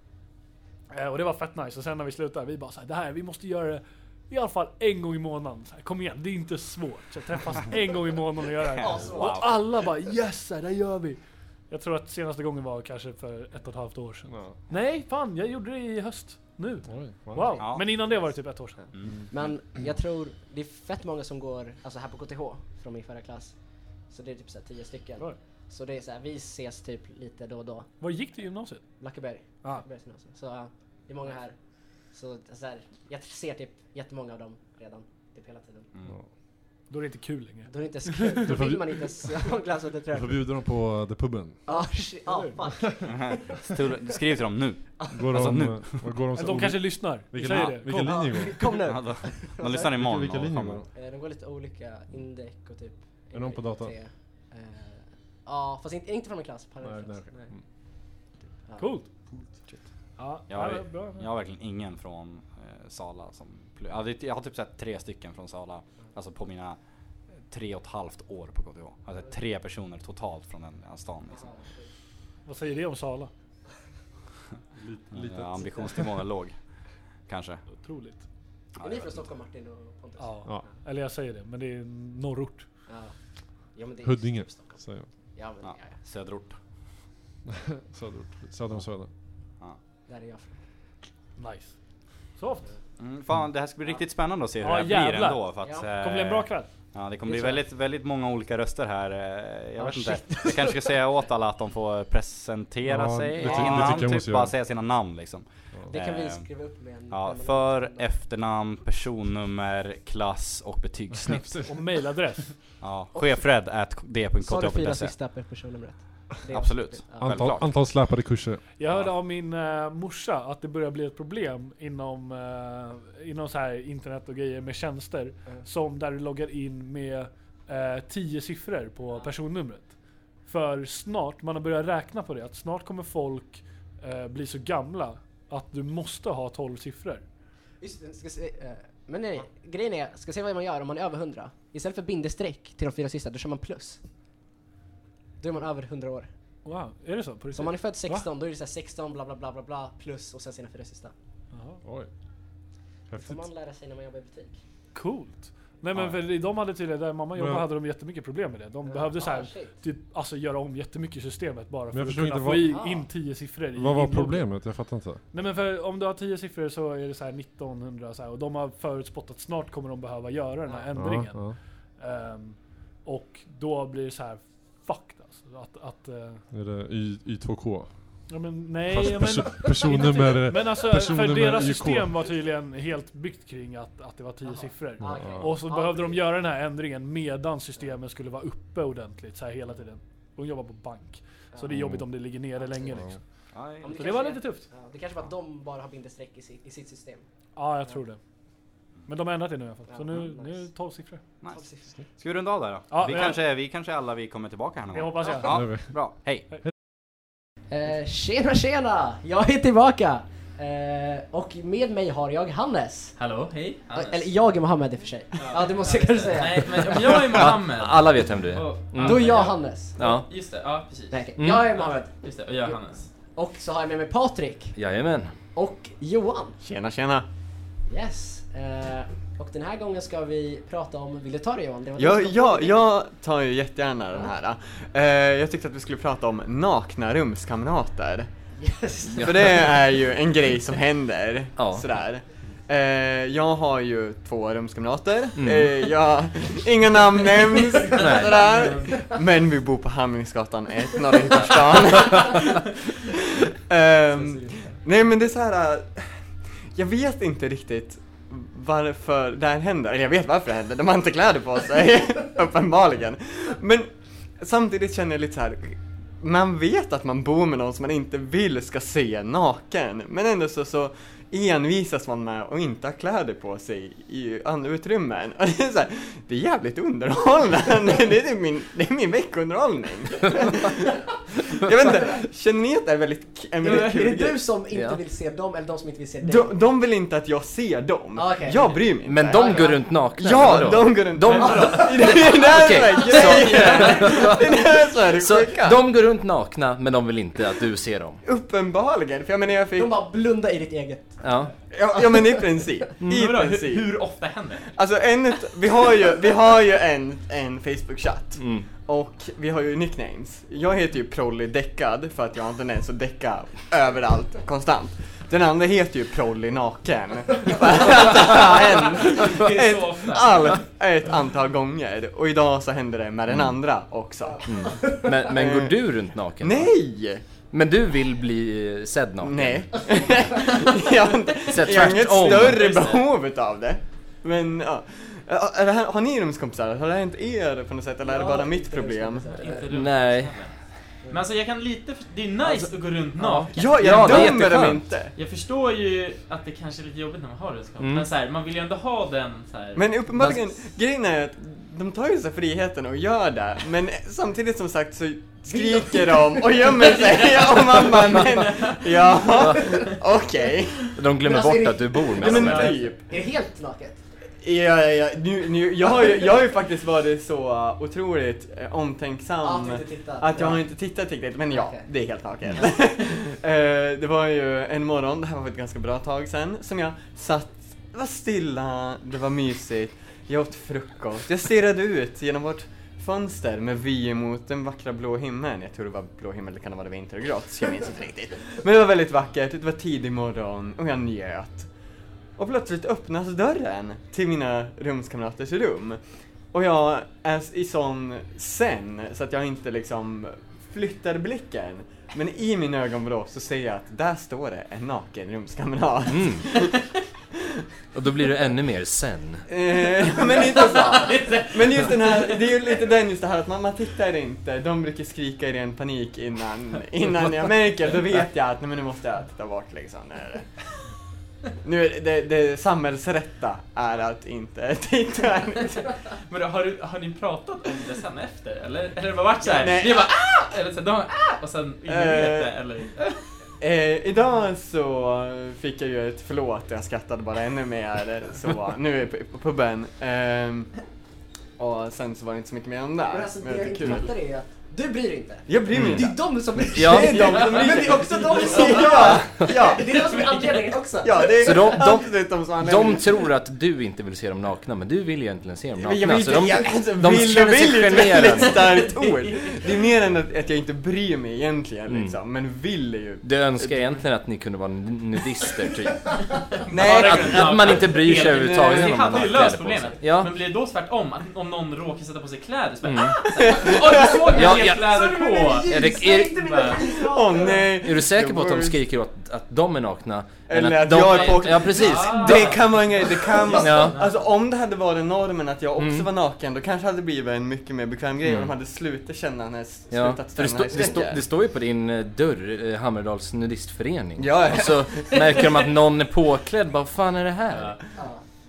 [SPEAKER 3] Eh, och det var fett nice. Och sen när vi slutade, vi bara så här, det här, vi måste göra det i alla fall en gång i månaden. Så här, kom igen, det är inte svårt. Så träffas en gång i månaden och göra det här.
[SPEAKER 1] Asbra.
[SPEAKER 3] Och alla bara yes, så här, det gör vi. Jag tror att senaste gången var kanske för ett och ett halvt år sedan.
[SPEAKER 4] Ja.
[SPEAKER 3] Nej, fan jag gjorde det i höst. Nu.
[SPEAKER 4] Oj, wow.
[SPEAKER 3] Wow.
[SPEAKER 1] Ja.
[SPEAKER 3] Men innan det var det typ ett år sedan.
[SPEAKER 2] Mm. Men jag tror, det är fett många som går, alltså här på KTH, från min förra klass. Så det är typ såhär tio stycken.
[SPEAKER 3] Var,
[SPEAKER 2] Så det är såhär, vi ses typ lite då och då.
[SPEAKER 3] var gick du i gymnasiet?
[SPEAKER 2] Blackeberg.
[SPEAKER 3] Ah.
[SPEAKER 2] Blackebergs gymnasium. Så ja, det är många här. Så, så här, jag ser typ jättemånga av dem redan. Typ hela tiden.
[SPEAKER 1] Mm.
[SPEAKER 3] Då är det inte kul längre.
[SPEAKER 2] Då är det inte så kul. Då
[SPEAKER 4] får
[SPEAKER 2] vill
[SPEAKER 4] vi-
[SPEAKER 2] man inte ens ha en glass åt ett
[SPEAKER 4] Du
[SPEAKER 2] träd.
[SPEAKER 4] får bjuda dem på eh, the puben.
[SPEAKER 2] Ja, shit. Ja, fuck.
[SPEAKER 1] Stul- Skriv till dem nu!
[SPEAKER 4] Går
[SPEAKER 1] Alltså,
[SPEAKER 4] de,
[SPEAKER 1] nu.
[SPEAKER 4] eh, vad går de,
[SPEAKER 3] Men
[SPEAKER 4] så
[SPEAKER 3] de
[SPEAKER 4] oli-
[SPEAKER 3] kanske lyssnar. Vi
[SPEAKER 4] vilken,
[SPEAKER 3] säger
[SPEAKER 1] ja,
[SPEAKER 3] det.
[SPEAKER 4] vilken
[SPEAKER 2] Ja,
[SPEAKER 4] linje går de?
[SPEAKER 2] Kom nu!
[SPEAKER 1] Ja, då- De lyssnar imorgon
[SPEAKER 4] Vilka
[SPEAKER 1] och
[SPEAKER 4] linjer går
[SPEAKER 1] kommer.
[SPEAKER 4] de?
[SPEAKER 2] Eh, De går lite olika. Indec och typ...
[SPEAKER 4] Är någon på datan?
[SPEAKER 2] Eh, Ja, fast inte, inte från min klass. Parallell
[SPEAKER 4] Nej, nej,
[SPEAKER 2] klass.
[SPEAKER 4] okej.
[SPEAKER 2] Nej.
[SPEAKER 4] Mm.
[SPEAKER 2] Ja.
[SPEAKER 3] Coolt. Ja,
[SPEAKER 1] Jag har,
[SPEAKER 3] ja, bra.
[SPEAKER 1] jag har verkligen ingen från eh, Sala som... pl- Ja, det, jag har typ sett tre stycken från Sala. Alltså på mina tre och ett halvt år på KTH. Alltså tre personer totalt från den här stan liksom.
[SPEAKER 3] Vad säger det om Sala?
[SPEAKER 1] Ja, ambitionsnivån är låg. Kanske.
[SPEAKER 3] Otroligt.
[SPEAKER 2] Är ni från Stockholm Martin och Pontus?
[SPEAKER 3] Ja.
[SPEAKER 4] Ja.
[SPEAKER 3] Eller jag säger det, men det är en norrort.
[SPEAKER 2] Ja. Ja, men det är
[SPEAKER 4] Huddinge.
[SPEAKER 2] typ Stockholm.
[SPEAKER 4] Säger jag.
[SPEAKER 2] Ja, men ja.
[SPEAKER 1] Ja,
[SPEAKER 2] Ja,
[SPEAKER 1] söderort.
[SPEAKER 4] Söderort. Söder om söder.
[SPEAKER 2] där är jag från.
[SPEAKER 3] Nice. Soft.
[SPEAKER 1] Mm, fan, det här ska bli riktigt spännande att se hur
[SPEAKER 3] Ja,
[SPEAKER 1] det här blir
[SPEAKER 3] jävlar.
[SPEAKER 1] ändå. För att,
[SPEAKER 2] Ja.
[SPEAKER 3] Det kommer bli en bra
[SPEAKER 1] eh,
[SPEAKER 3] kväll.
[SPEAKER 1] Ja, det kommer
[SPEAKER 2] Det
[SPEAKER 1] bli
[SPEAKER 2] tror jag.
[SPEAKER 1] väldigt, väldigt många olika röster här. eh, Jag
[SPEAKER 2] Ja,
[SPEAKER 1] vet
[SPEAKER 2] shit.
[SPEAKER 1] inte. Jag kanske ska säga åt alla att de får presentera
[SPEAKER 4] Ja,
[SPEAKER 1] sig
[SPEAKER 4] det
[SPEAKER 2] ty- det
[SPEAKER 1] innan.
[SPEAKER 4] tycker jag
[SPEAKER 1] Typ
[SPEAKER 4] måste
[SPEAKER 1] bara
[SPEAKER 4] göra.
[SPEAKER 1] säga sina namn liksom.
[SPEAKER 2] Det kan vi
[SPEAKER 1] Eh,
[SPEAKER 2] skriva upp med en
[SPEAKER 1] Ja,
[SPEAKER 2] penna.
[SPEAKER 1] för, efternamn, personnummer, klass och betygssnitt.
[SPEAKER 3] Och mailadress.
[SPEAKER 1] Ja, chefred at
[SPEAKER 2] Sa du fyra
[SPEAKER 1] d.kt.se.
[SPEAKER 2] sista per personnumret? Det är
[SPEAKER 1] e. Absolut.
[SPEAKER 2] avsnittet. Ja.
[SPEAKER 4] Antal,
[SPEAKER 1] Självklart.
[SPEAKER 4] antal släpade kurser.
[SPEAKER 3] Jag
[SPEAKER 1] Ja.
[SPEAKER 3] hörde av min eh, morsa att det börjar bli ett problem inom, eh, inom så här internet och grejer med tjänster.
[SPEAKER 2] Mm.
[SPEAKER 3] Som där du loggar in med eh, tio siffror på personnumret. För snart, man har börjat räkna på det, att snart kommer folk eh, bli så gamla att du måste ha 12 siffror.
[SPEAKER 2] Just det, ska se, eh, men nej, grejen är, ska se vad man gör om man är över 100. Istället för bindestreck till de fyra sista, då kör man plus. Då är man över 100 år.
[SPEAKER 3] Wow, är det så? På
[SPEAKER 2] Så
[SPEAKER 3] riktigt?
[SPEAKER 2] om man är född 16, då är det så här 16 bla bla bla bla bla plus och sen sina fyra sista.
[SPEAKER 3] Jaha.
[SPEAKER 4] Oj.
[SPEAKER 2] Det får
[SPEAKER 4] Häftigt.
[SPEAKER 2] man lära sig när man jobbar i butik.
[SPEAKER 3] Coolt. Nej men
[SPEAKER 1] Ja.
[SPEAKER 3] för i- de hade tydligen, där mamma jobbade
[SPEAKER 4] Men-
[SPEAKER 3] hade de jättemycket problem med det. De behövde så
[SPEAKER 2] Ah,
[SPEAKER 3] här,
[SPEAKER 2] shit.
[SPEAKER 3] typ, alltså göra om jättemycket i systemet bara för
[SPEAKER 4] jag
[SPEAKER 3] att
[SPEAKER 4] förstår
[SPEAKER 3] kunna
[SPEAKER 4] inte
[SPEAKER 3] få
[SPEAKER 4] vad-
[SPEAKER 2] Ah.
[SPEAKER 3] i, in 10 siffror. i
[SPEAKER 4] Vad var
[SPEAKER 3] inloggen.
[SPEAKER 4] problemet? Jag fattar inte.
[SPEAKER 3] Nej men för om du har 10 siffror så är det så här 1900 så här, och de har förutspått att snart kommer de behöva göra den här
[SPEAKER 2] Ja.
[SPEAKER 3] ändringen.
[SPEAKER 4] Ja,
[SPEAKER 3] Ehm, och då blir det så här fucked alltså. Att, att, eh,
[SPEAKER 4] ja. Är det Y, Y2K?
[SPEAKER 3] ja, men nej.
[SPEAKER 4] Fast
[SPEAKER 3] ja,
[SPEAKER 4] perso
[SPEAKER 3] men,
[SPEAKER 4] personnummer...
[SPEAKER 3] men alltså
[SPEAKER 4] personnummer
[SPEAKER 3] för deras
[SPEAKER 4] IK.
[SPEAKER 3] system var tydligen helt byggt kring att, att det var 10
[SPEAKER 2] Jaha.
[SPEAKER 3] siffror.
[SPEAKER 2] Ah, okej.
[SPEAKER 4] Ja.
[SPEAKER 3] Och så
[SPEAKER 2] Ah,
[SPEAKER 3] behövde de
[SPEAKER 2] okej.
[SPEAKER 3] göra den här ändringen medan systemen skulle vara uppe ordentligt så här hela tiden. Hon jobbar på bank. Så det är
[SPEAKER 4] Ja.
[SPEAKER 3] jobbigt om det ligger nere länge
[SPEAKER 4] Ja.
[SPEAKER 3] liksom.
[SPEAKER 1] Ja,
[SPEAKER 2] Om
[SPEAKER 3] Så
[SPEAKER 2] kanske
[SPEAKER 3] det var
[SPEAKER 2] är-
[SPEAKER 3] lite tufft.
[SPEAKER 2] Ja, det kanske var att de bara har bindestreck i, si, i sitt system.
[SPEAKER 3] Ja, jag tror det. Men de har ändrat det nu i alla fall. Så
[SPEAKER 2] Ja,
[SPEAKER 3] nu,
[SPEAKER 2] nice.
[SPEAKER 3] nu är det 12 siffror.
[SPEAKER 1] nice. Ska vi runda av där då?
[SPEAKER 3] Ja,
[SPEAKER 1] vi,
[SPEAKER 3] ja.
[SPEAKER 1] kanske, vi kanske alla vi kommer tillbaka här någon
[SPEAKER 3] Det
[SPEAKER 1] gång.
[SPEAKER 3] hoppas jag.
[SPEAKER 4] Ja.
[SPEAKER 1] Ja, bra. Hej!
[SPEAKER 2] Eh, tjena tjena! Jag är tillbaka! Eh, och med mig har jag Hannes.
[SPEAKER 5] Hallå, hej. Hannes.
[SPEAKER 2] Eller jag är Mohammed i och för sig. Ja, det måste jag kanske säga.
[SPEAKER 5] Nej, men men jag är Mohammed.
[SPEAKER 6] Alla vet vem du är. Mm.
[SPEAKER 5] Och-
[SPEAKER 2] Då är jag Hannes.
[SPEAKER 6] Ja.
[SPEAKER 5] Just det, ja precis.
[SPEAKER 2] Nej, okej. Jag är Mohammed.
[SPEAKER 5] Just det, och jag är Hannes.
[SPEAKER 2] Och så har jag med mig Patrik
[SPEAKER 6] Jajamän.
[SPEAKER 2] och Johan.
[SPEAKER 6] Tjena tjena.
[SPEAKER 2] Yes. Eh, och den här gången ska vi prata om, vill du ta det Johan? Det var
[SPEAKER 6] Ja,
[SPEAKER 2] du som-
[SPEAKER 6] ja, jag tar ju jättegärna den här. Eh, jag tyckte att vi skulle prata om nakna rumskamrater.
[SPEAKER 2] Yes.
[SPEAKER 6] För det är ju en grej som händer. Sådär. Eh, jag har ju två rumskamrater.
[SPEAKER 1] Mm.
[SPEAKER 6] Eh, jag, inga namn nämns. sådär. Men vi bor på Hamringsgatan 1, norra ytterstan. Ehm, nej men det är så här. eh, Jag vet inte riktigt varför det här händer. Eller jag vet varför det händer. De har inte kläder på sig. uppenbarligen. Men samtidigt känner jag lite så här. Man vet att man bor med någon som man inte vill ska se naken. Men ändå så, så envisas man med att inte ha kläder på sig i andra utrymmen. Och det, är så här, det är jävligt underhållande. Det är typ min, det är min veckounderhållning. jag vet inte, känner ni att det är väldigt, k- en väldigt
[SPEAKER 2] Är
[SPEAKER 6] kul
[SPEAKER 2] det
[SPEAKER 6] grej?
[SPEAKER 2] du som inte
[SPEAKER 7] Ja.
[SPEAKER 2] vill se dem eller de som inte vill se dig?
[SPEAKER 6] De, de vill inte att jag ser dem.
[SPEAKER 2] Ah, okej.
[SPEAKER 6] Jag bryr mig inte.
[SPEAKER 7] Men de går runt nakna?
[SPEAKER 6] Ja,
[SPEAKER 7] vadå?
[SPEAKER 6] de går runt
[SPEAKER 7] De-
[SPEAKER 6] Det är det här som är grejen! Det är det här som är det
[SPEAKER 7] Så
[SPEAKER 6] sjuka.
[SPEAKER 7] de går runt nakna, men de vill inte att du ser dem?
[SPEAKER 6] Uppenbarligen, för jag menar jag fick...
[SPEAKER 2] De bara blunda i ditt eget.
[SPEAKER 7] Ja.
[SPEAKER 6] Ja, ja men i princip. I
[SPEAKER 5] Men vadå,
[SPEAKER 6] princip.
[SPEAKER 5] hur, hur ofta händer det?
[SPEAKER 6] Alltså en ut- vi har ju, vi har ju en, en Facebook-chatt.
[SPEAKER 7] Mm.
[SPEAKER 6] Och vi har ju nicknames. Jag heter ju Prolly Däckad för att jag har en tendens att däcka överallt konstant. Den andra heter ju Prolly Naken. För att det har hänt
[SPEAKER 5] Det är
[SPEAKER 6] ett,
[SPEAKER 5] så ofta.
[SPEAKER 6] all, ett antal gånger. Och idag så hände det med den andra också.
[SPEAKER 7] Men, men går du runt naken?
[SPEAKER 6] Nej!
[SPEAKER 7] Men du vill bli eh, sedd naken?
[SPEAKER 6] Nej. jag har inte,
[SPEAKER 7] Så
[SPEAKER 6] jag har inget
[SPEAKER 7] tvärtom.
[SPEAKER 6] större
[SPEAKER 5] Just det.
[SPEAKER 6] behov av det. Men ja. Ä- Är det här, har ni rumskompisar? Har det hänt er på något sätt eller är det
[SPEAKER 2] Ja,
[SPEAKER 6] bara
[SPEAKER 2] inte
[SPEAKER 6] mitt
[SPEAKER 2] det
[SPEAKER 6] problem?
[SPEAKER 2] som är så här.
[SPEAKER 5] Inte runt.
[SPEAKER 7] Nej.
[SPEAKER 5] Men alltså jag kan lite, för- det är nice att gå runt naken.
[SPEAKER 6] Ja,
[SPEAKER 7] Ja,
[SPEAKER 6] jag
[SPEAKER 7] det är
[SPEAKER 6] dömer dem
[SPEAKER 7] jätteskönt.
[SPEAKER 6] inte.
[SPEAKER 5] Jag förstår ju att det kanske är lite jobbigt när man har det
[SPEAKER 7] Mm.
[SPEAKER 5] men så här, man vill ju ändå ha den så här.
[SPEAKER 6] Men uppenbarligen, grejen är att de tar ju sig friheten och gör det. Men samtidigt som sagt så skriker de och gömmer sig och man bara men ja, okej.
[SPEAKER 7] De
[SPEAKER 2] Men
[SPEAKER 7] glömmer
[SPEAKER 2] alltså,
[SPEAKER 7] bort
[SPEAKER 2] är
[SPEAKER 7] att du bor
[SPEAKER 6] Ja,
[SPEAKER 7] med dem?
[SPEAKER 6] men typ.
[SPEAKER 2] Är det helt naket?
[SPEAKER 6] Ja, ja, ja. Nu, nu, jag, har ju, jag har ju faktiskt varit så uh, otroligt eh, omtänksam
[SPEAKER 2] Ah, att inte titta.
[SPEAKER 6] att jag har inte tittat riktigt, men ja,
[SPEAKER 2] Okej.
[SPEAKER 6] det är helt naket. Eh, det var ju en morgon, det här var ett ganska bra tag sen, som jag satt, det var stilla, det var mysigt, jag åt frukost, jag stirrade ut genom vårt fönster med vy mot den vackra blå himlen. Jag tror det var blå himmel, det kan ha varit vintergrått, så jag minns inte riktigt. Men det var väldigt vackert, det var tidig morgon och jag njöt. Och plötsligt öppnas dörren till mina rumskamraters rum. Och jag är i sån sen så att jag inte liksom flyttar blicken. Men i min ögonvrå så ser jag att där står det en naken rumskamrat.
[SPEAKER 7] Mm. Och då blir det ännu mer sen.
[SPEAKER 6] Eh, men inte så. Men just den här, det är ju lite den just det här att man, man tittar inte, de brukar skrika i ren panik innan, innan jag märker, då vet jag att nej, men nu måste jag titta bort liksom. Nu är det, nu är det, det, det samhällsrätta är att inte titta.
[SPEAKER 5] Men då, har, du, har ni pratat om det sen efter? Eller, eller har det bara varit såhär,
[SPEAKER 6] Nej.
[SPEAKER 5] ni bara ah! Eller så, de bara, ah! Och sen ignorerat det, eller?
[SPEAKER 6] Eh, idag så fick jag ju ett förlåt, jag skrattade bara ännu mer. Så nu är jag på- på puben. Ehm, och sen så var det inte så mycket mer om det.
[SPEAKER 2] Men alltså
[SPEAKER 6] men
[SPEAKER 2] det
[SPEAKER 6] jag
[SPEAKER 2] jag inte
[SPEAKER 6] tycker kul.
[SPEAKER 2] fattar är att du bryr dig inte.
[SPEAKER 6] Jag bryr mig
[SPEAKER 2] Det
[SPEAKER 6] inte.
[SPEAKER 2] är de som bryr sig.
[SPEAKER 7] Ja.
[SPEAKER 6] Det är de som bryr
[SPEAKER 2] men det
[SPEAKER 6] sig.
[SPEAKER 2] är också de som...
[SPEAKER 6] Ja, ja.
[SPEAKER 2] Det är de som är anledningen också.
[SPEAKER 6] Ja, det är
[SPEAKER 7] Så de- de-
[SPEAKER 6] absolut de som använder
[SPEAKER 7] De
[SPEAKER 6] det.
[SPEAKER 7] tror att du inte vill se dem nakna, men du vill egentligen se dem
[SPEAKER 6] Men jag
[SPEAKER 7] nakna.
[SPEAKER 6] vill
[SPEAKER 7] Så
[SPEAKER 6] inte,
[SPEAKER 7] de,
[SPEAKER 6] jag, alltså,
[SPEAKER 7] de
[SPEAKER 6] vill och
[SPEAKER 7] känner sig
[SPEAKER 6] vill är ett
[SPEAKER 7] generade.
[SPEAKER 6] väldigt starkt ord. Det är mer än att, att jag inte bryr mig egentligen
[SPEAKER 7] Mm.
[SPEAKER 6] liksom, men vill är ju...
[SPEAKER 7] du önskar egentligen att ni kunde vara nudister typ.
[SPEAKER 6] Nej,
[SPEAKER 7] Att, att man inte bryr sig överhuvudtaget
[SPEAKER 6] Nej,
[SPEAKER 7] om
[SPEAKER 5] Vi
[SPEAKER 7] de har
[SPEAKER 5] eh, hade ju
[SPEAKER 7] kläder
[SPEAKER 5] löst
[SPEAKER 7] på
[SPEAKER 5] problemet.
[SPEAKER 7] sig. Ja.
[SPEAKER 5] Men blir det då tvärtom? Att om någon råkar sätta på sig kläder så bara
[SPEAKER 7] Mm.
[SPEAKER 5] ah! Åh, du såg
[SPEAKER 7] Ja,
[SPEAKER 5] jag
[SPEAKER 7] Mm. ja.
[SPEAKER 5] har kläder på!
[SPEAKER 7] Är, det, är,
[SPEAKER 5] Bara,
[SPEAKER 6] åh nej.
[SPEAKER 7] är du säker på att de
[SPEAKER 6] Det-
[SPEAKER 7] skriker åt att de är nakna? än
[SPEAKER 6] Eller att jag är på-
[SPEAKER 7] Ja precis.
[SPEAKER 5] Ah.
[SPEAKER 6] Det kan vara en grej, det kan vara...
[SPEAKER 7] Ja.
[SPEAKER 6] Alltså om det hade varit normen att jag också
[SPEAKER 7] Mm.
[SPEAKER 6] var naken, då kanske det hade blivit en mycket mer bekväm grej och
[SPEAKER 7] Mm.
[SPEAKER 6] de hade slutat känna den här, s-
[SPEAKER 7] Ja,
[SPEAKER 6] slutat
[SPEAKER 7] för det,
[SPEAKER 6] ställa den
[SPEAKER 7] stå, det,
[SPEAKER 6] här
[SPEAKER 7] stå,
[SPEAKER 6] skräcken.
[SPEAKER 7] det står ju på din eh, dörr, eh, Hammerdals nudistförening.
[SPEAKER 6] Ja, ja.
[SPEAKER 7] Och så märker de att någon är påklädd, vad fan är det här?
[SPEAKER 2] Ja.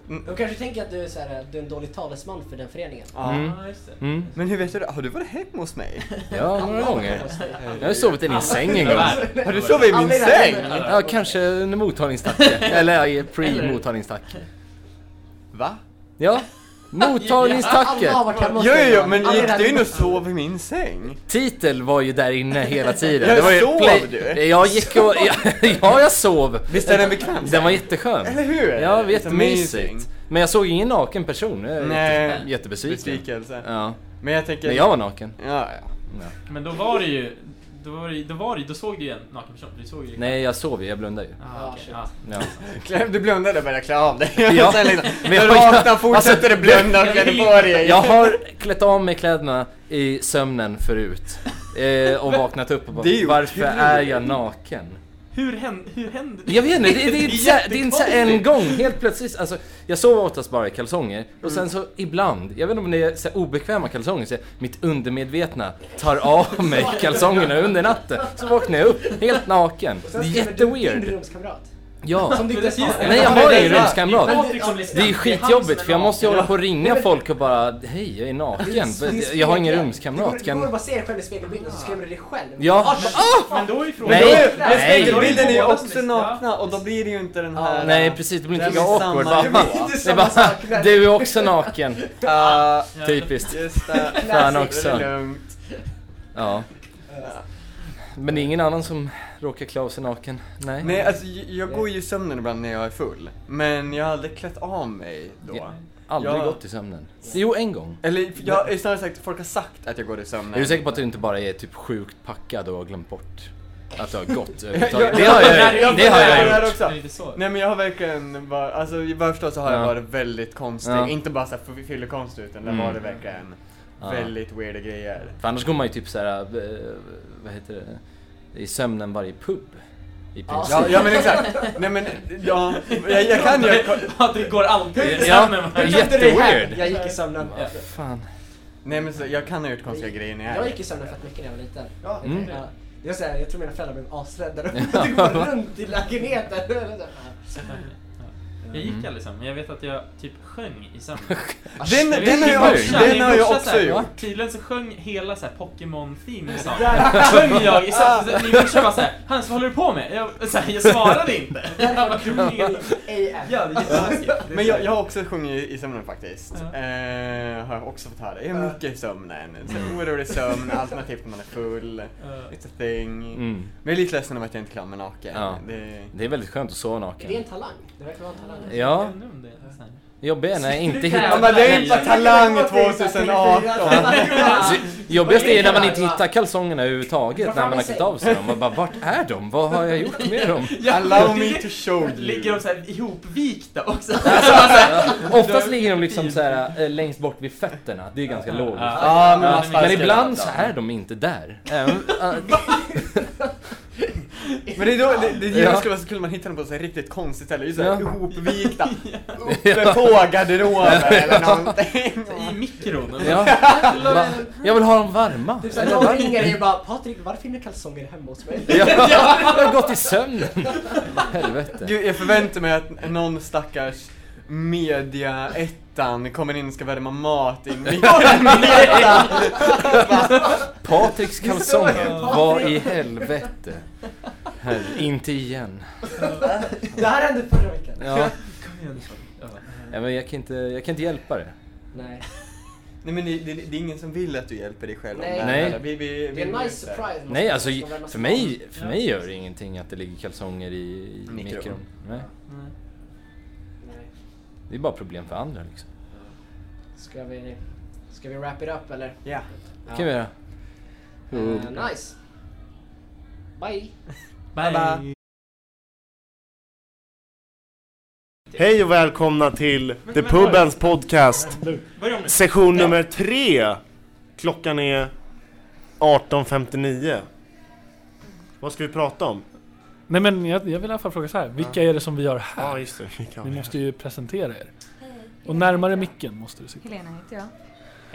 [SPEAKER 6] Mm.
[SPEAKER 2] De kanske tänker att du är, så här, du är en dålig talesman för den föreningen.
[SPEAKER 6] Ja.
[SPEAKER 7] Mm.
[SPEAKER 5] Ah, just det.
[SPEAKER 7] Mm.
[SPEAKER 6] Men hur vet du det? Har du varit hemma hos mig?
[SPEAKER 7] Ja, några gånger. Jag har ju sovit i din säng en gång.
[SPEAKER 6] Har du sovit i min
[SPEAKER 2] Alla i det
[SPEAKER 6] säng?
[SPEAKER 2] här rummet.
[SPEAKER 7] Ja, kanske under mottagningstacke. Eller ja, pre-mottagningstacke.
[SPEAKER 6] Va?
[SPEAKER 7] Ja, mottagningstacke.
[SPEAKER 2] Alla har varit hemma hos
[SPEAKER 6] Jo, jo,
[SPEAKER 2] dig.
[SPEAKER 6] jo, men
[SPEAKER 2] Alla i det
[SPEAKER 6] gick
[SPEAKER 2] här
[SPEAKER 6] du in och
[SPEAKER 2] rummet.
[SPEAKER 6] sov i min säng?
[SPEAKER 7] Titel var ju där inne hela tiden.
[SPEAKER 6] Jag
[SPEAKER 7] var ju
[SPEAKER 6] sov
[SPEAKER 7] play-
[SPEAKER 6] du?
[SPEAKER 7] Jag gick och... Ja, jag sov.
[SPEAKER 6] Visst är den bekväm?
[SPEAKER 7] Den var jätteskön.
[SPEAKER 6] Eller hur?
[SPEAKER 7] Ja, det var
[SPEAKER 6] It's amazing.
[SPEAKER 7] jättemysigt. Men jag såg ingen naken person. Jag är
[SPEAKER 6] Nej.
[SPEAKER 7] jätte- Jättebesviken.
[SPEAKER 6] Besvikelse.
[SPEAKER 7] Ja.
[SPEAKER 6] Men jag tänker...
[SPEAKER 7] Men jag var naken.
[SPEAKER 6] Ja, ja.
[SPEAKER 7] Ja.
[SPEAKER 5] Men då var det ju, då var det, ju- då var det ju- då såg du ju en naken person, för du såg ju
[SPEAKER 7] Nej, jag sov ju. Jag blundade ju.
[SPEAKER 5] Ah, okej. ah.
[SPEAKER 7] Ja.
[SPEAKER 6] Klä- Du blundade och började klä av dig.
[SPEAKER 7] Ja.
[SPEAKER 6] Sen liksom,
[SPEAKER 7] Men
[SPEAKER 6] du
[SPEAKER 7] jag-
[SPEAKER 6] vaknade, fortsätter
[SPEAKER 7] alltså,
[SPEAKER 6] du blunda och
[SPEAKER 5] jag-
[SPEAKER 6] klädde på dig.
[SPEAKER 7] Jag har klätt av mig kläderna i sömnen förut. Eh, och vaknat upp och bara,
[SPEAKER 6] Det är ju
[SPEAKER 7] varför
[SPEAKER 6] otroligt.
[SPEAKER 7] är jag naken?
[SPEAKER 5] Hur hände, hur hände
[SPEAKER 7] Jag vet inte, det, det, är inte så här- det är inte så här en
[SPEAKER 5] jättekonstigt.
[SPEAKER 7] gång, helt plötsligt. Alltså, jag sover oftast bara i kalsonger och sen så ibland, jag vet inte om det är så här obekväma kalsonger, så här, mitt undermedvetna tar av mig kalsongerna under natten. Så vaknar jag upp helt naken. Det är
[SPEAKER 2] Sen skriver du Din
[SPEAKER 7] jätteweird.
[SPEAKER 2] rumskamrat.
[SPEAKER 7] Ja.
[SPEAKER 2] Som du inte ens har.
[SPEAKER 7] Nej jag har ingen
[SPEAKER 5] Det är
[SPEAKER 7] rumskamrat.
[SPEAKER 5] Patrik som lyssnar.
[SPEAKER 7] Det är ju
[SPEAKER 5] han som
[SPEAKER 7] skitjobbigt för jag
[SPEAKER 5] naken.
[SPEAKER 7] måste ju hålla på och ringa folk och bara, hej jag
[SPEAKER 2] Det
[SPEAKER 7] är
[SPEAKER 2] är
[SPEAKER 7] naken.
[SPEAKER 2] s- det är spegeln.
[SPEAKER 7] Jag har ingen
[SPEAKER 2] Du
[SPEAKER 7] rumskamrat.
[SPEAKER 2] går- Du går och
[SPEAKER 7] Kan...
[SPEAKER 2] bara ser dig själv i spegelbilden så skrämmer du dig själv. Ah!
[SPEAKER 7] Ja.
[SPEAKER 5] Ah! Men då är ju frågan...
[SPEAKER 7] Nej,
[SPEAKER 6] Nej, men
[SPEAKER 7] nej.
[SPEAKER 6] spegelbilden är ju
[SPEAKER 5] Båda som
[SPEAKER 6] också
[SPEAKER 5] lyssnar.
[SPEAKER 6] nakna och då blir det ju inte den här...
[SPEAKER 7] Nej precis, det blir inte lika
[SPEAKER 6] Det är samma
[SPEAKER 7] awkward. Bara,
[SPEAKER 6] nivå.
[SPEAKER 7] det är bara, du är också naken.
[SPEAKER 6] Ah,
[SPEAKER 5] Ja.
[SPEAKER 7] Typiskt.
[SPEAKER 6] just det.
[SPEAKER 7] Fan
[SPEAKER 6] Det
[SPEAKER 7] också.
[SPEAKER 6] är lugnt.
[SPEAKER 7] Ja. Men det är ingen annan som råkar klä av sig naken? Nej.
[SPEAKER 6] Nej, alltså j- jag går ju i sömnen ibland när jag är full. Men jag har aldrig klätt av mig då.
[SPEAKER 7] Ja. Aldrig
[SPEAKER 6] Ja.
[SPEAKER 7] gått i sömnen? Jo, en gång.
[SPEAKER 6] Eller jag är snarare sagt, folk har sagt att jag går i sömnen.
[SPEAKER 7] Är du säker på att du inte bara är typ sjukt packad och har glömt bort att du har gått
[SPEAKER 6] jag-
[SPEAKER 7] överhuvudtaget? Det har jag gjort. Det har jag gjort.
[SPEAKER 6] gjort. också.
[SPEAKER 5] Det är inte så.
[SPEAKER 6] Nej men jag har verkligen varit, alltså vad jag förstår så har
[SPEAKER 7] Ja.
[SPEAKER 6] jag varit väldigt konstig.
[SPEAKER 7] Ja.
[SPEAKER 6] Inte bara såhär fyllekonstig utan det
[SPEAKER 7] Mm.
[SPEAKER 6] var det verkligen
[SPEAKER 7] Ja.
[SPEAKER 6] väldigt weirda grejer.
[SPEAKER 7] För annars går man ju typ såhär, eh, vad heter det, i sömnen varje pub. I princip.
[SPEAKER 6] Ja, ja men exakt. Nej men, ja, jag, jag kan ju.
[SPEAKER 5] Patrik går alltid i
[SPEAKER 7] Ja,
[SPEAKER 5] sömnen.
[SPEAKER 7] ja.
[SPEAKER 2] Jag köpte dig hem.
[SPEAKER 7] Jätteweird.
[SPEAKER 2] Jag gick i sömnen.
[SPEAKER 7] Fan.
[SPEAKER 6] Nej men så, jag kan ha gjort konstiga grejer när jag är
[SPEAKER 2] Jag gick i sömnen fett mycket när jag var liten.
[SPEAKER 6] Ja.
[SPEAKER 7] Mm.
[SPEAKER 2] Ja. Jag, så här, jag tror mina föräldrar blev asrädda. De de går runt i lägenheten.
[SPEAKER 5] Jag
[SPEAKER 7] Mm.
[SPEAKER 5] gick aldrig i sömnen, men jag vet att jag typ sjöng i sömnen.
[SPEAKER 6] Den,
[SPEAKER 5] Jag vet
[SPEAKER 6] den har
[SPEAKER 5] min
[SPEAKER 6] jag
[SPEAKER 5] morsa-
[SPEAKER 6] också, den
[SPEAKER 5] min
[SPEAKER 6] har jag
[SPEAKER 5] morsa så
[SPEAKER 6] också
[SPEAKER 5] här,
[SPEAKER 6] gjort.
[SPEAKER 5] Tydligen så sjöng hela så här Pokémon-theme så sjöng jag i
[SPEAKER 6] Ah.
[SPEAKER 5] sömnen. Min morsa bara såhär, Hans vad håller du på med? Jag, så här, jag svarade inte. Jag bara,
[SPEAKER 2] AF.
[SPEAKER 5] Ja, det är jätteläskigt. Det är
[SPEAKER 6] Men jag,
[SPEAKER 5] så-
[SPEAKER 6] jag har också sjungit i sömnen faktiskt.
[SPEAKER 5] Ja.
[SPEAKER 6] Eh, har jag också fått höra. Jag är mycket i sömnen. Så orolig sömn, alternativt när man är full.
[SPEAKER 5] Eh,
[SPEAKER 6] It's a thing.
[SPEAKER 7] Mm.
[SPEAKER 6] Men jag är lite ledsen över att jag inte klarar mig naken.
[SPEAKER 7] Ja.
[SPEAKER 6] Det...
[SPEAKER 7] Det är väldigt skönt att sova
[SPEAKER 2] Är det en
[SPEAKER 7] naken.
[SPEAKER 2] talang? Det verkar vara en talang.
[SPEAKER 7] Ja,
[SPEAKER 5] jag undrar om det är så här.
[SPEAKER 7] jobbiga när jag inte
[SPEAKER 5] Ja,
[SPEAKER 6] Ja, men
[SPEAKER 7] hittar...
[SPEAKER 6] det är inte bara talang
[SPEAKER 2] Jag kan inte gå till
[SPEAKER 6] 2018.
[SPEAKER 2] så här,
[SPEAKER 5] Alltså,
[SPEAKER 7] Jobbigast är när man inte hittar kalsongerna överhuvudtaget när man har klätt av sig dem. Man bara, vart är de? Vad har jag gjort med dem?
[SPEAKER 6] Allow me to show
[SPEAKER 5] Ligger
[SPEAKER 6] you.
[SPEAKER 5] de såhär ihopvikta också?
[SPEAKER 6] Alltså,
[SPEAKER 7] Alltså, Oftast ligger de liksom så här eh, längst bort vid fötterna. Det är ganska logiskt.
[SPEAKER 6] Ja, men
[SPEAKER 7] Ja,
[SPEAKER 6] man
[SPEAKER 7] men
[SPEAKER 6] sparkar
[SPEAKER 7] ibland
[SPEAKER 6] lite.
[SPEAKER 7] så är de inte där. Även, äh,
[SPEAKER 6] Ehm, Men det är då, det, det
[SPEAKER 7] Ja.
[SPEAKER 6] ja. skulle vara så kul om man hittar dem på så här riktigt konstigt ställe, just såhär
[SPEAKER 7] Ja.
[SPEAKER 6] ihopvikta, uppe på garderoben eller någonting.
[SPEAKER 5] I mikron? eller?
[SPEAKER 7] ja. Va? Jag vill ha dem varma.
[SPEAKER 2] Typ såhär, någon ringer dig och bara Patrik, varför är dina kalsonger hemma hos mig?
[SPEAKER 7] Ja, jag har gått i sömnen. Helvete.
[SPEAKER 6] Gud, jag förväntar mig att någon stackars media ettan kommer in och ska värma mat i mikrometern.
[SPEAKER 7] Patriks kalsonger,
[SPEAKER 2] Patrik.
[SPEAKER 7] vad i helvete? Herre, inte igen.
[SPEAKER 2] Det här hände förra veckan.
[SPEAKER 7] Ja.
[SPEAKER 5] Kom igen. Ja.
[SPEAKER 7] Ja, men jag kan inte, jag kan inte hjälpa det.
[SPEAKER 2] Nej.
[SPEAKER 6] Nej men det, det, det är ingen som vill att du hjälper dig själv. om
[SPEAKER 2] Nej.
[SPEAKER 6] det här.
[SPEAKER 7] Nej.
[SPEAKER 6] Vi, vi, vi,
[SPEAKER 2] Det är en nice surprise. måste
[SPEAKER 7] Nej,
[SPEAKER 2] jag
[SPEAKER 7] alltså
[SPEAKER 2] säga, som värmas
[SPEAKER 7] för
[SPEAKER 2] upp.
[SPEAKER 7] mig, för mig gör det ingenting att det ligger kalsonger i, i
[SPEAKER 6] Mikron.
[SPEAKER 7] mikron. Nej,
[SPEAKER 5] Nej.
[SPEAKER 2] Nej.
[SPEAKER 7] det är bara problem för andra liksom.
[SPEAKER 2] Ska vi, ska vi wrap it up eller?
[SPEAKER 6] Ja.
[SPEAKER 7] Det kan vi göra.
[SPEAKER 2] Eh, nice. Bye.
[SPEAKER 6] Bye-bye.
[SPEAKER 8] Hej och välkomna till The
[SPEAKER 5] men, oj.
[SPEAKER 8] Pubens podcast,
[SPEAKER 5] Börja om nu.
[SPEAKER 8] session nummer tre. Klockan är 18.59. Vad ska vi prata om?
[SPEAKER 3] Nej men jag, jag vill i alla fall fråga så här. vilka är det som vi gör
[SPEAKER 8] Ja,
[SPEAKER 3] här?
[SPEAKER 8] just det. Vi
[SPEAKER 3] Ni
[SPEAKER 8] kan.
[SPEAKER 3] måste ju presentera er. Och närmare micken måste du sitta.
[SPEAKER 9] Helena heter jag.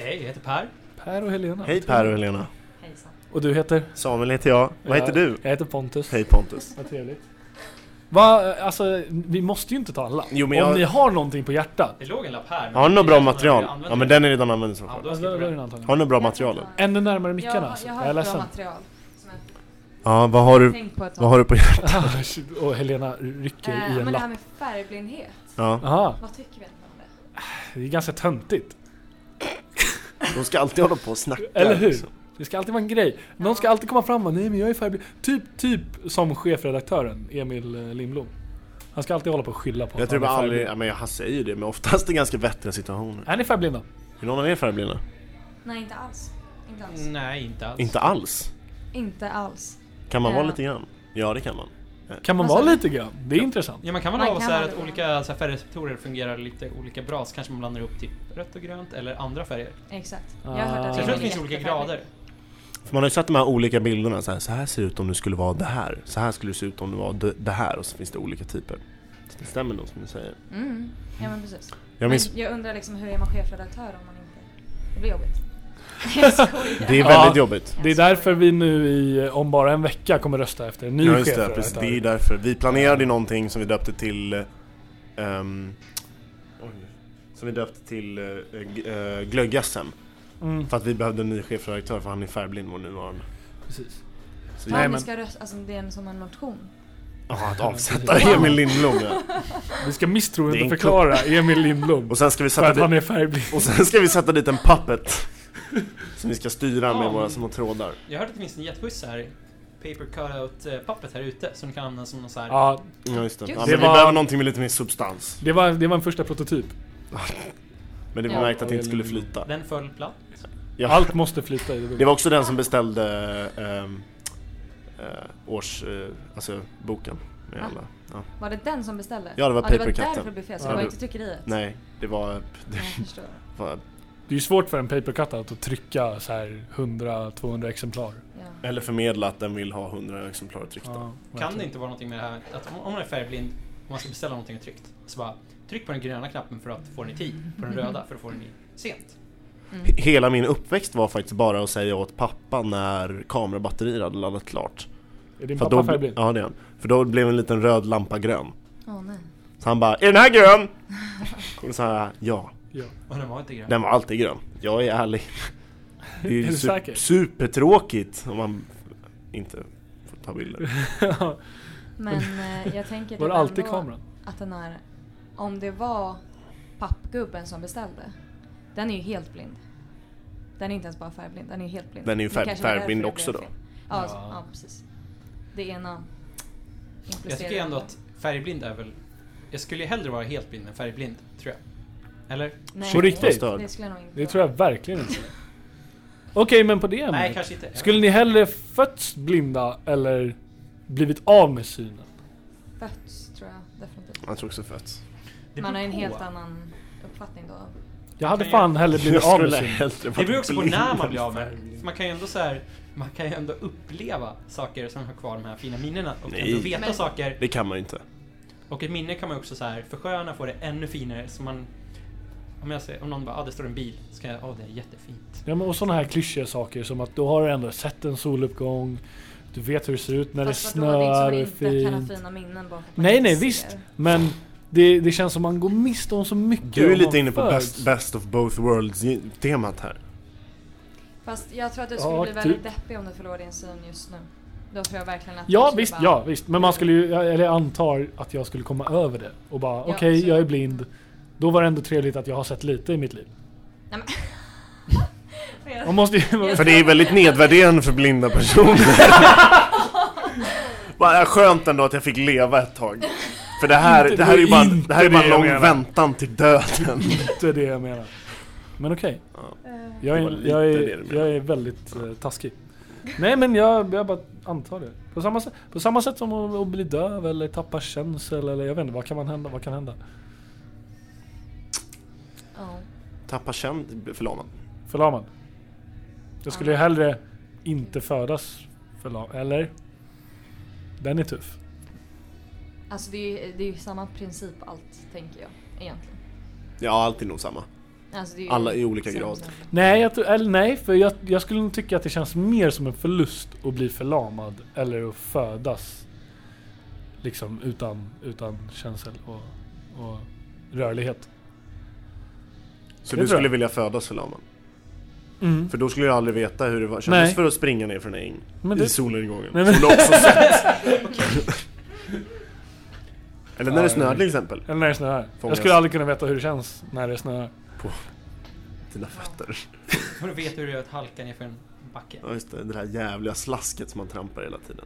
[SPEAKER 5] Hej, jag heter Per.
[SPEAKER 3] Per och Helena.
[SPEAKER 8] Hej Per och Helena.
[SPEAKER 9] Hejsan.
[SPEAKER 3] Och du heter?
[SPEAKER 8] Samuel heter jag. Vad heter
[SPEAKER 3] Ja,
[SPEAKER 8] du?
[SPEAKER 3] Jag heter Pontus.
[SPEAKER 8] Hej Pontus.
[SPEAKER 3] Vad trevligt. Va, alltså, vi måste ju inte ta alla.
[SPEAKER 8] Jo, men
[SPEAKER 3] Om
[SPEAKER 8] jag-
[SPEAKER 3] ni har någonting på hjärtat.
[SPEAKER 5] Det låg en lapp här. men
[SPEAKER 8] Har ni något bra
[SPEAKER 5] jag
[SPEAKER 8] material?
[SPEAKER 5] använder
[SPEAKER 8] Ja men den är redan använd i så
[SPEAKER 5] Ja,
[SPEAKER 8] fall.
[SPEAKER 5] då
[SPEAKER 3] Då
[SPEAKER 5] ska
[SPEAKER 3] då är
[SPEAKER 5] jag
[SPEAKER 3] det
[SPEAKER 5] bra.
[SPEAKER 3] antagligen.
[SPEAKER 8] Har ni något bra material?
[SPEAKER 3] Ännu närmare mickarna
[SPEAKER 9] Jag,
[SPEAKER 3] alltså.
[SPEAKER 9] jag
[SPEAKER 3] Jag,
[SPEAKER 9] har
[SPEAKER 3] är
[SPEAKER 9] ett bra
[SPEAKER 3] ledsen.
[SPEAKER 9] material. Som jag
[SPEAKER 8] Ja, vad har du,
[SPEAKER 9] tänkt på ett tag.
[SPEAKER 8] vad har du på hjärtat?
[SPEAKER 3] Shit, och Helena rycker
[SPEAKER 9] Eh,
[SPEAKER 3] i en
[SPEAKER 9] men det här
[SPEAKER 3] lapp.
[SPEAKER 9] med färgblindhet.
[SPEAKER 8] Ja,
[SPEAKER 3] Aha,
[SPEAKER 9] Vad tycker vi egentligen om det?
[SPEAKER 3] det är ganska töntigt.
[SPEAKER 8] de ska alltid hålla på och snacka.
[SPEAKER 3] Eller hur?
[SPEAKER 8] liksom.
[SPEAKER 3] Det ska alltid vara en grej. Någon ska alltid komma fram och nej men jag är färgblind. Typ, typ som chefredaktören Emil eh, Lindblom. Han ska alltid hålla på och skylla på
[SPEAKER 8] Jag
[SPEAKER 3] att
[SPEAKER 8] tror
[SPEAKER 3] han
[SPEAKER 8] bara
[SPEAKER 3] är
[SPEAKER 8] aldrig,
[SPEAKER 3] färgblind.
[SPEAKER 8] ja, men jag säger ju det, men oftast är ganska vettiga situationer.
[SPEAKER 3] Är ni färblinda?
[SPEAKER 8] Är någon av er färgblinda?
[SPEAKER 9] Nej, inte alls. Inte alls.
[SPEAKER 10] Mm.
[SPEAKER 5] Nej, inte alls.
[SPEAKER 3] Alltså.
[SPEAKER 8] Inte alls.
[SPEAKER 9] Inte alls. Eh,
[SPEAKER 8] Kan man vara
[SPEAKER 9] Ja.
[SPEAKER 8] lite grann? Ja, det kan man.
[SPEAKER 3] Kan man
[SPEAKER 9] Alltså-
[SPEAKER 3] vara lite grann? Det är intressant.
[SPEAKER 5] Ja, man kan väl
[SPEAKER 9] Man
[SPEAKER 5] ha
[SPEAKER 9] kan
[SPEAKER 5] så här
[SPEAKER 9] ha
[SPEAKER 5] att
[SPEAKER 9] det.
[SPEAKER 5] olika så här, färgreceptorer fungerar lite olika bra, så kanske man blandar upp typ rött och grönt eller andra färger.
[SPEAKER 9] Exakt. Jag har hört
[SPEAKER 3] Ah.
[SPEAKER 9] att
[SPEAKER 5] Så
[SPEAKER 9] det
[SPEAKER 5] jag tror att det
[SPEAKER 9] är
[SPEAKER 5] finns olika
[SPEAKER 9] jättefärgblind.
[SPEAKER 5] grader.
[SPEAKER 8] För man har ju sett de här olika bilderna, så här, så här ser det ut om du skulle vara det här. Så här skulle det se ut om du var det, det här. Och så finns det olika typer. Så det stämmer nog som du säger.
[SPEAKER 9] Mm. Ja, men precis.
[SPEAKER 8] Jag minns,
[SPEAKER 9] Men jag undrar liksom hur är man chefredaktör om man inte... Det blir jobbigt.
[SPEAKER 8] det är
[SPEAKER 3] Ja.
[SPEAKER 8] väldigt jobbigt.
[SPEAKER 3] Det är därför vi nu i, eh, om bara en vecka kommer rösta efter en ny
[SPEAKER 8] Ja, just det,
[SPEAKER 3] chefredaktör.
[SPEAKER 8] precis. Det är därför. Vi planerade ju någonting som vi döpte till... eh, ehm, oj, som vi döpte till uh, Glögg-SM.
[SPEAKER 3] Mm,
[SPEAKER 8] För att vi behövde en ny chefredaktör för han är färgblind, vår nuvarande.
[SPEAKER 3] precis.
[SPEAKER 8] Så vi,
[SPEAKER 9] Nej,
[SPEAKER 3] Nej,
[SPEAKER 9] men...
[SPEAKER 3] men-
[SPEAKER 9] ska rösta, alltså, det är en, som en motion.
[SPEAKER 8] Ja, att avsätta Emil Lindblom ja.
[SPEAKER 3] Vi ska
[SPEAKER 8] Det är en
[SPEAKER 3] misstroendeförklara Emil Lindblom.
[SPEAKER 8] Och sen ska vi
[SPEAKER 3] För
[SPEAKER 8] sätta
[SPEAKER 3] att
[SPEAKER 8] dit
[SPEAKER 3] han är färgblind.
[SPEAKER 8] Och sen ska vi sätta dit en puppet Som vi ska styra med våra små trådar
[SPEAKER 5] Jag hörde att det finns en jätteskyss så här paper cutout-pappret här ute som du kan använda som någon så här...
[SPEAKER 3] Ja,
[SPEAKER 8] Ja just det, ja,
[SPEAKER 9] Just
[SPEAKER 8] men
[SPEAKER 3] det.
[SPEAKER 8] vi
[SPEAKER 3] Det var-
[SPEAKER 8] behöver någonting med lite mer substans
[SPEAKER 3] det var, det var en första prototyp.
[SPEAKER 8] Men det var
[SPEAKER 9] Ja.
[SPEAKER 8] märkt att det inte skulle flyta
[SPEAKER 5] Den föll platt.
[SPEAKER 8] ja.
[SPEAKER 3] Allt måste flyta i
[SPEAKER 8] Det
[SPEAKER 3] det.
[SPEAKER 8] var också den som beställde ehm, eh, års... eh, alltså boken med
[SPEAKER 9] Ah.
[SPEAKER 8] alla. Ja.
[SPEAKER 9] Var det den som beställde?
[SPEAKER 8] Ja, det var
[SPEAKER 9] Ja, det
[SPEAKER 8] papercutten.
[SPEAKER 9] var därför buffé, så
[SPEAKER 8] Ja,
[SPEAKER 9] det var
[SPEAKER 8] du-
[SPEAKER 9] inte tryckeriet.
[SPEAKER 8] Nej, det var... Det
[SPEAKER 9] Jag förstår.
[SPEAKER 8] var
[SPEAKER 3] Det är ju svårt för en paper cutout att trycka så här 100-200 exemplar.
[SPEAKER 9] Ja.
[SPEAKER 8] eller förmedla att den vill ha 100 exemplar tryckta
[SPEAKER 5] Kan det inte vara någonting med det här att om- om man är färgblind och man ska beställa någonting och tryckt så bara tryck på den gröna knappen för att få den i tid, på den röda för att få den i sent.
[SPEAKER 8] He- Hela min uppväxt var faktiskt bara att säga åt pappa när kamerabatterier hade laddat klart
[SPEAKER 3] Är din
[SPEAKER 8] För
[SPEAKER 3] pappa
[SPEAKER 8] då,
[SPEAKER 3] färgblind?
[SPEAKER 8] ja, det är han. För då blev en liten röd lampa grön
[SPEAKER 9] Åh nej.
[SPEAKER 8] Så han bara, är den här grön? Och så här, ja,
[SPEAKER 3] Ja.
[SPEAKER 5] Och den var inte grön.
[SPEAKER 8] den var alltid grön. Jag är ärlig. Det är
[SPEAKER 3] Är
[SPEAKER 8] ju
[SPEAKER 3] du
[SPEAKER 8] su-
[SPEAKER 3] säker?
[SPEAKER 8] supertråkigt om man inte får ta bilder.
[SPEAKER 9] Men eh, jag tänker
[SPEAKER 3] Var det
[SPEAKER 9] typ
[SPEAKER 3] alltid
[SPEAKER 9] ändå
[SPEAKER 3] kameran?
[SPEAKER 9] att den här, om det var pappgubben som beställde, den är ju helt blind. Den är inte ens bara färgblind, den är ju helt blind.
[SPEAKER 8] Den är ju
[SPEAKER 9] Det
[SPEAKER 8] färg-
[SPEAKER 9] kanske var därför
[SPEAKER 8] färgblind
[SPEAKER 9] det blev
[SPEAKER 8] också då.
[SPEAKER 9] fel. Ja, alltså,
[SPEAKER 3] Ja.
[SPEAKER 9] ja. precis. Det ena
[SPEAKER 5] Jag
[SPEAKER 9] implicerar
[SPEAKER 5] tycker ändå
[SPEAKER 9] det.
[SPEAKER 5] att färgblind är väl... Jag skulle ju hellre vara helt blind än färgblind, tror jag. Eller?
[SPEAKER 9] Nej,
[SPEAKER 3] På riktigt?
[SPEAKER 9] Det skulle jag nog inte
[SPEAKER 3] Det tror jag verkligen inte. Okej, men på det
[SPEAKER 10] Nej,
[SPEAKER 3] ämnet.
[SPEAKER 10] kanske inte.
[SPEAKER 3] Skulle ni hellre fötts blinda eller blivit av med synen?
[SPEAKER 9] Fötts tror jag definitivt.
[SPEAKER 8] Jag tror också fett.
[SPEAKER 10] Det
[SPEAKER 9] Man
[SPEAKER 10] beror
[SPEAKER 9] har en
[SPEAKER 10] på.
[SPEAKER 9] helt annan uppfattning då.
[SPEAKER 3] Jag hade
[SPEAKER 10] Kan
[SPEAKER 3] fan hellre blivit av med synen.
[SPEAKER 8] hellre
[SPEAKER 10] Det beror också på
[SPEAKER 8] blind
[SPEAKER 10] när man blir
[SPEAKER 8] än
[SPEAKER 10] av med det. Man kan ju ändå så här, man kan ju ändå uppleva saker som har kvar de här fina minnena och
[SPEAKER 8] Nej.
[SPEAKER 10] ändå veta
[SPEAKER 9] Men-
[SPEAKER 10] saker.
[SPEAKER 8] Det kan man ju inte.
[SPEAKER 10] Och ett minne kan man ju också så här försköna, få det ännu finare. Så man, om jag säger, om någon bara, ah, det står en bil, så kan jag, ah, det är jättefint.
[SPEAKER 3] Ja, men och sådana här klyschiga saker som att du har ändå sett en soluppgång, du vet hur det ser ut när
[SPEAKER 9] Fast
[SPEAKER 3] det
[SPEAKER 9] vadå, det är inte som
[SPEAKER 3] snöar
[SPEAKER 9] att
[SPEAKER 3] och är
[SPEAKER 9] inte kan ha
[SPEAKER 3] fint.
[SPEAKER 9] fina minnen bara för att man
[SPEAKER 3] Nej,
[SPEAKER 9] inte
[SPEAKER 3] nej
[SPEAKER 9] ser.
[SPEAKER 3] visst. Men det, det känns som man går miste om så mycket.
[SPEAKER 8] Du är
[SPEAKER 3] om man
[SPEAKER 8] lite inne på
[SPEAKER 3] föds.
[SPEAKER 8] best, best of both worlds-temat här.
[SPEAKER 9] Fast jag tror att du skulle
[SPEAKER 3] Ja,
[SPEAKER 9] bli väldigt
[SPEAKER 3] typ.
[SPEAKER 9] deppig om du förlorar din syn just nu. Då tror jag verkligen att du
[SPEAKER 3] Ja
[SPEAKER 9] skulle
[SPEAKER 3] visst,
[SPEAKER 9] bara-
[SPEAKER 3] ja visst. Men man skulle ju, eller jag antar att jag skulle komma över det och bara okej,
[SPEAKER 9] så-
[SPEAKER 3] jag är blind. Då var det ändå trevligt att jag har sett lite i mitt liv. Man måste ju...
[SPEAKER 8] För det är väldigt nedvärderande för blinda personer. Bara skönt ändå att jag fick leva ett tag. För det här,
[SPEAKER 3] Inte
[SPEAKER 8] det här är ju bara,
[SPEAKER 3] det,
[SPEAKER 8] det här är
[SPEAKER 3] inte
[SPEAKER 8] bara en
[SPEAKER 3] det jag
[SPEAKER 8] lång
[SPEAKER 3] menar.
[SPEAKER 8] väntan till döden.
[SPEAKER 3] Det är det jag menar. Men okej.
[SPEAKER 9] Eh,
[SPEAKER 3] Jag,
[SPEAKER 8] Det
[SPEAKER 3] är,
[SPEAKER 8] var lite
[SPEAKER 3] jag,
[SPEAKER 8] det du
[SPEAKER 3] är,
[SPEAKER 8] menade.
[SPEAKER 3] jag är väldigt eh, taskig. Nej men jag, jag bara antar det. På samma, sätt- på samma sätt som att, att bli döv eller tappa känsel eller jag vet inte, vad kan man hända? Vad kan hända?
[SPEAKER 9] ja.
[SPEAKER 8] Tappa känd, förlamad.
[SPEAKER 3] Förlamad. Jag skulle ju hellre inte födas förlamad, eller? Den är tuff.
[SPEAKER 9] Alltså det är, ju, det är ju samma princip allt, tänker jag. Egentligen.
[SPEAKER 8] Ja, allt är nog samma.
[SPEAKER 9] Alltså det är ju
[SPEAKER 8] Alla i olika
[SPEAKER 9] samma
[SPEAKER 8] grad.
[SPEAKER 9] sak.
[SPEAKER 3] Nej, jag, tror- eller nej för jag, jag skulle nog tycka att det känns mer som en förlust att bli förlamad eller att födas liksom utan, utan känsel och, och rörlighet.
[SPEAKER 8] Så
[SPEAKER 3] Det tror
[SPEAKER 8] du skulle
[SPEAKER 3] jag.
[SPEAKER 8] vilja födas förlamad?
[SPEAKER 3] Mm.
[SPEAKER 8] För då skulle jag aldrig veta hur det var. kändes
[SPEAKER 3] Nej.
[SPEAKER 8] för att springa ner från en äng
[SPEAKER 3] Men
[SPEAKER 8] i
[SPEAKER 3] det-
[SPEAKER 8] solnedgången.
[SPEAKER 3] Nej, men-
[SPEAKER 8] Som du också sett. Eller när det snöar till exempel.
[SPEAKER 3] Eller när det snöar.
[SPEAKER 8] Fångas.
[SPEAKER 3] Jag skulle aldrig kunna veta hur det känns när det snöar.
[SPEAKER 8] Dina fötter.
[SPEAKER 10] Och du vet hur det är att halka ner för en backe.
[SPEAKER 8] Ja just det, det där jävliga slasket som man trampar hela tiden.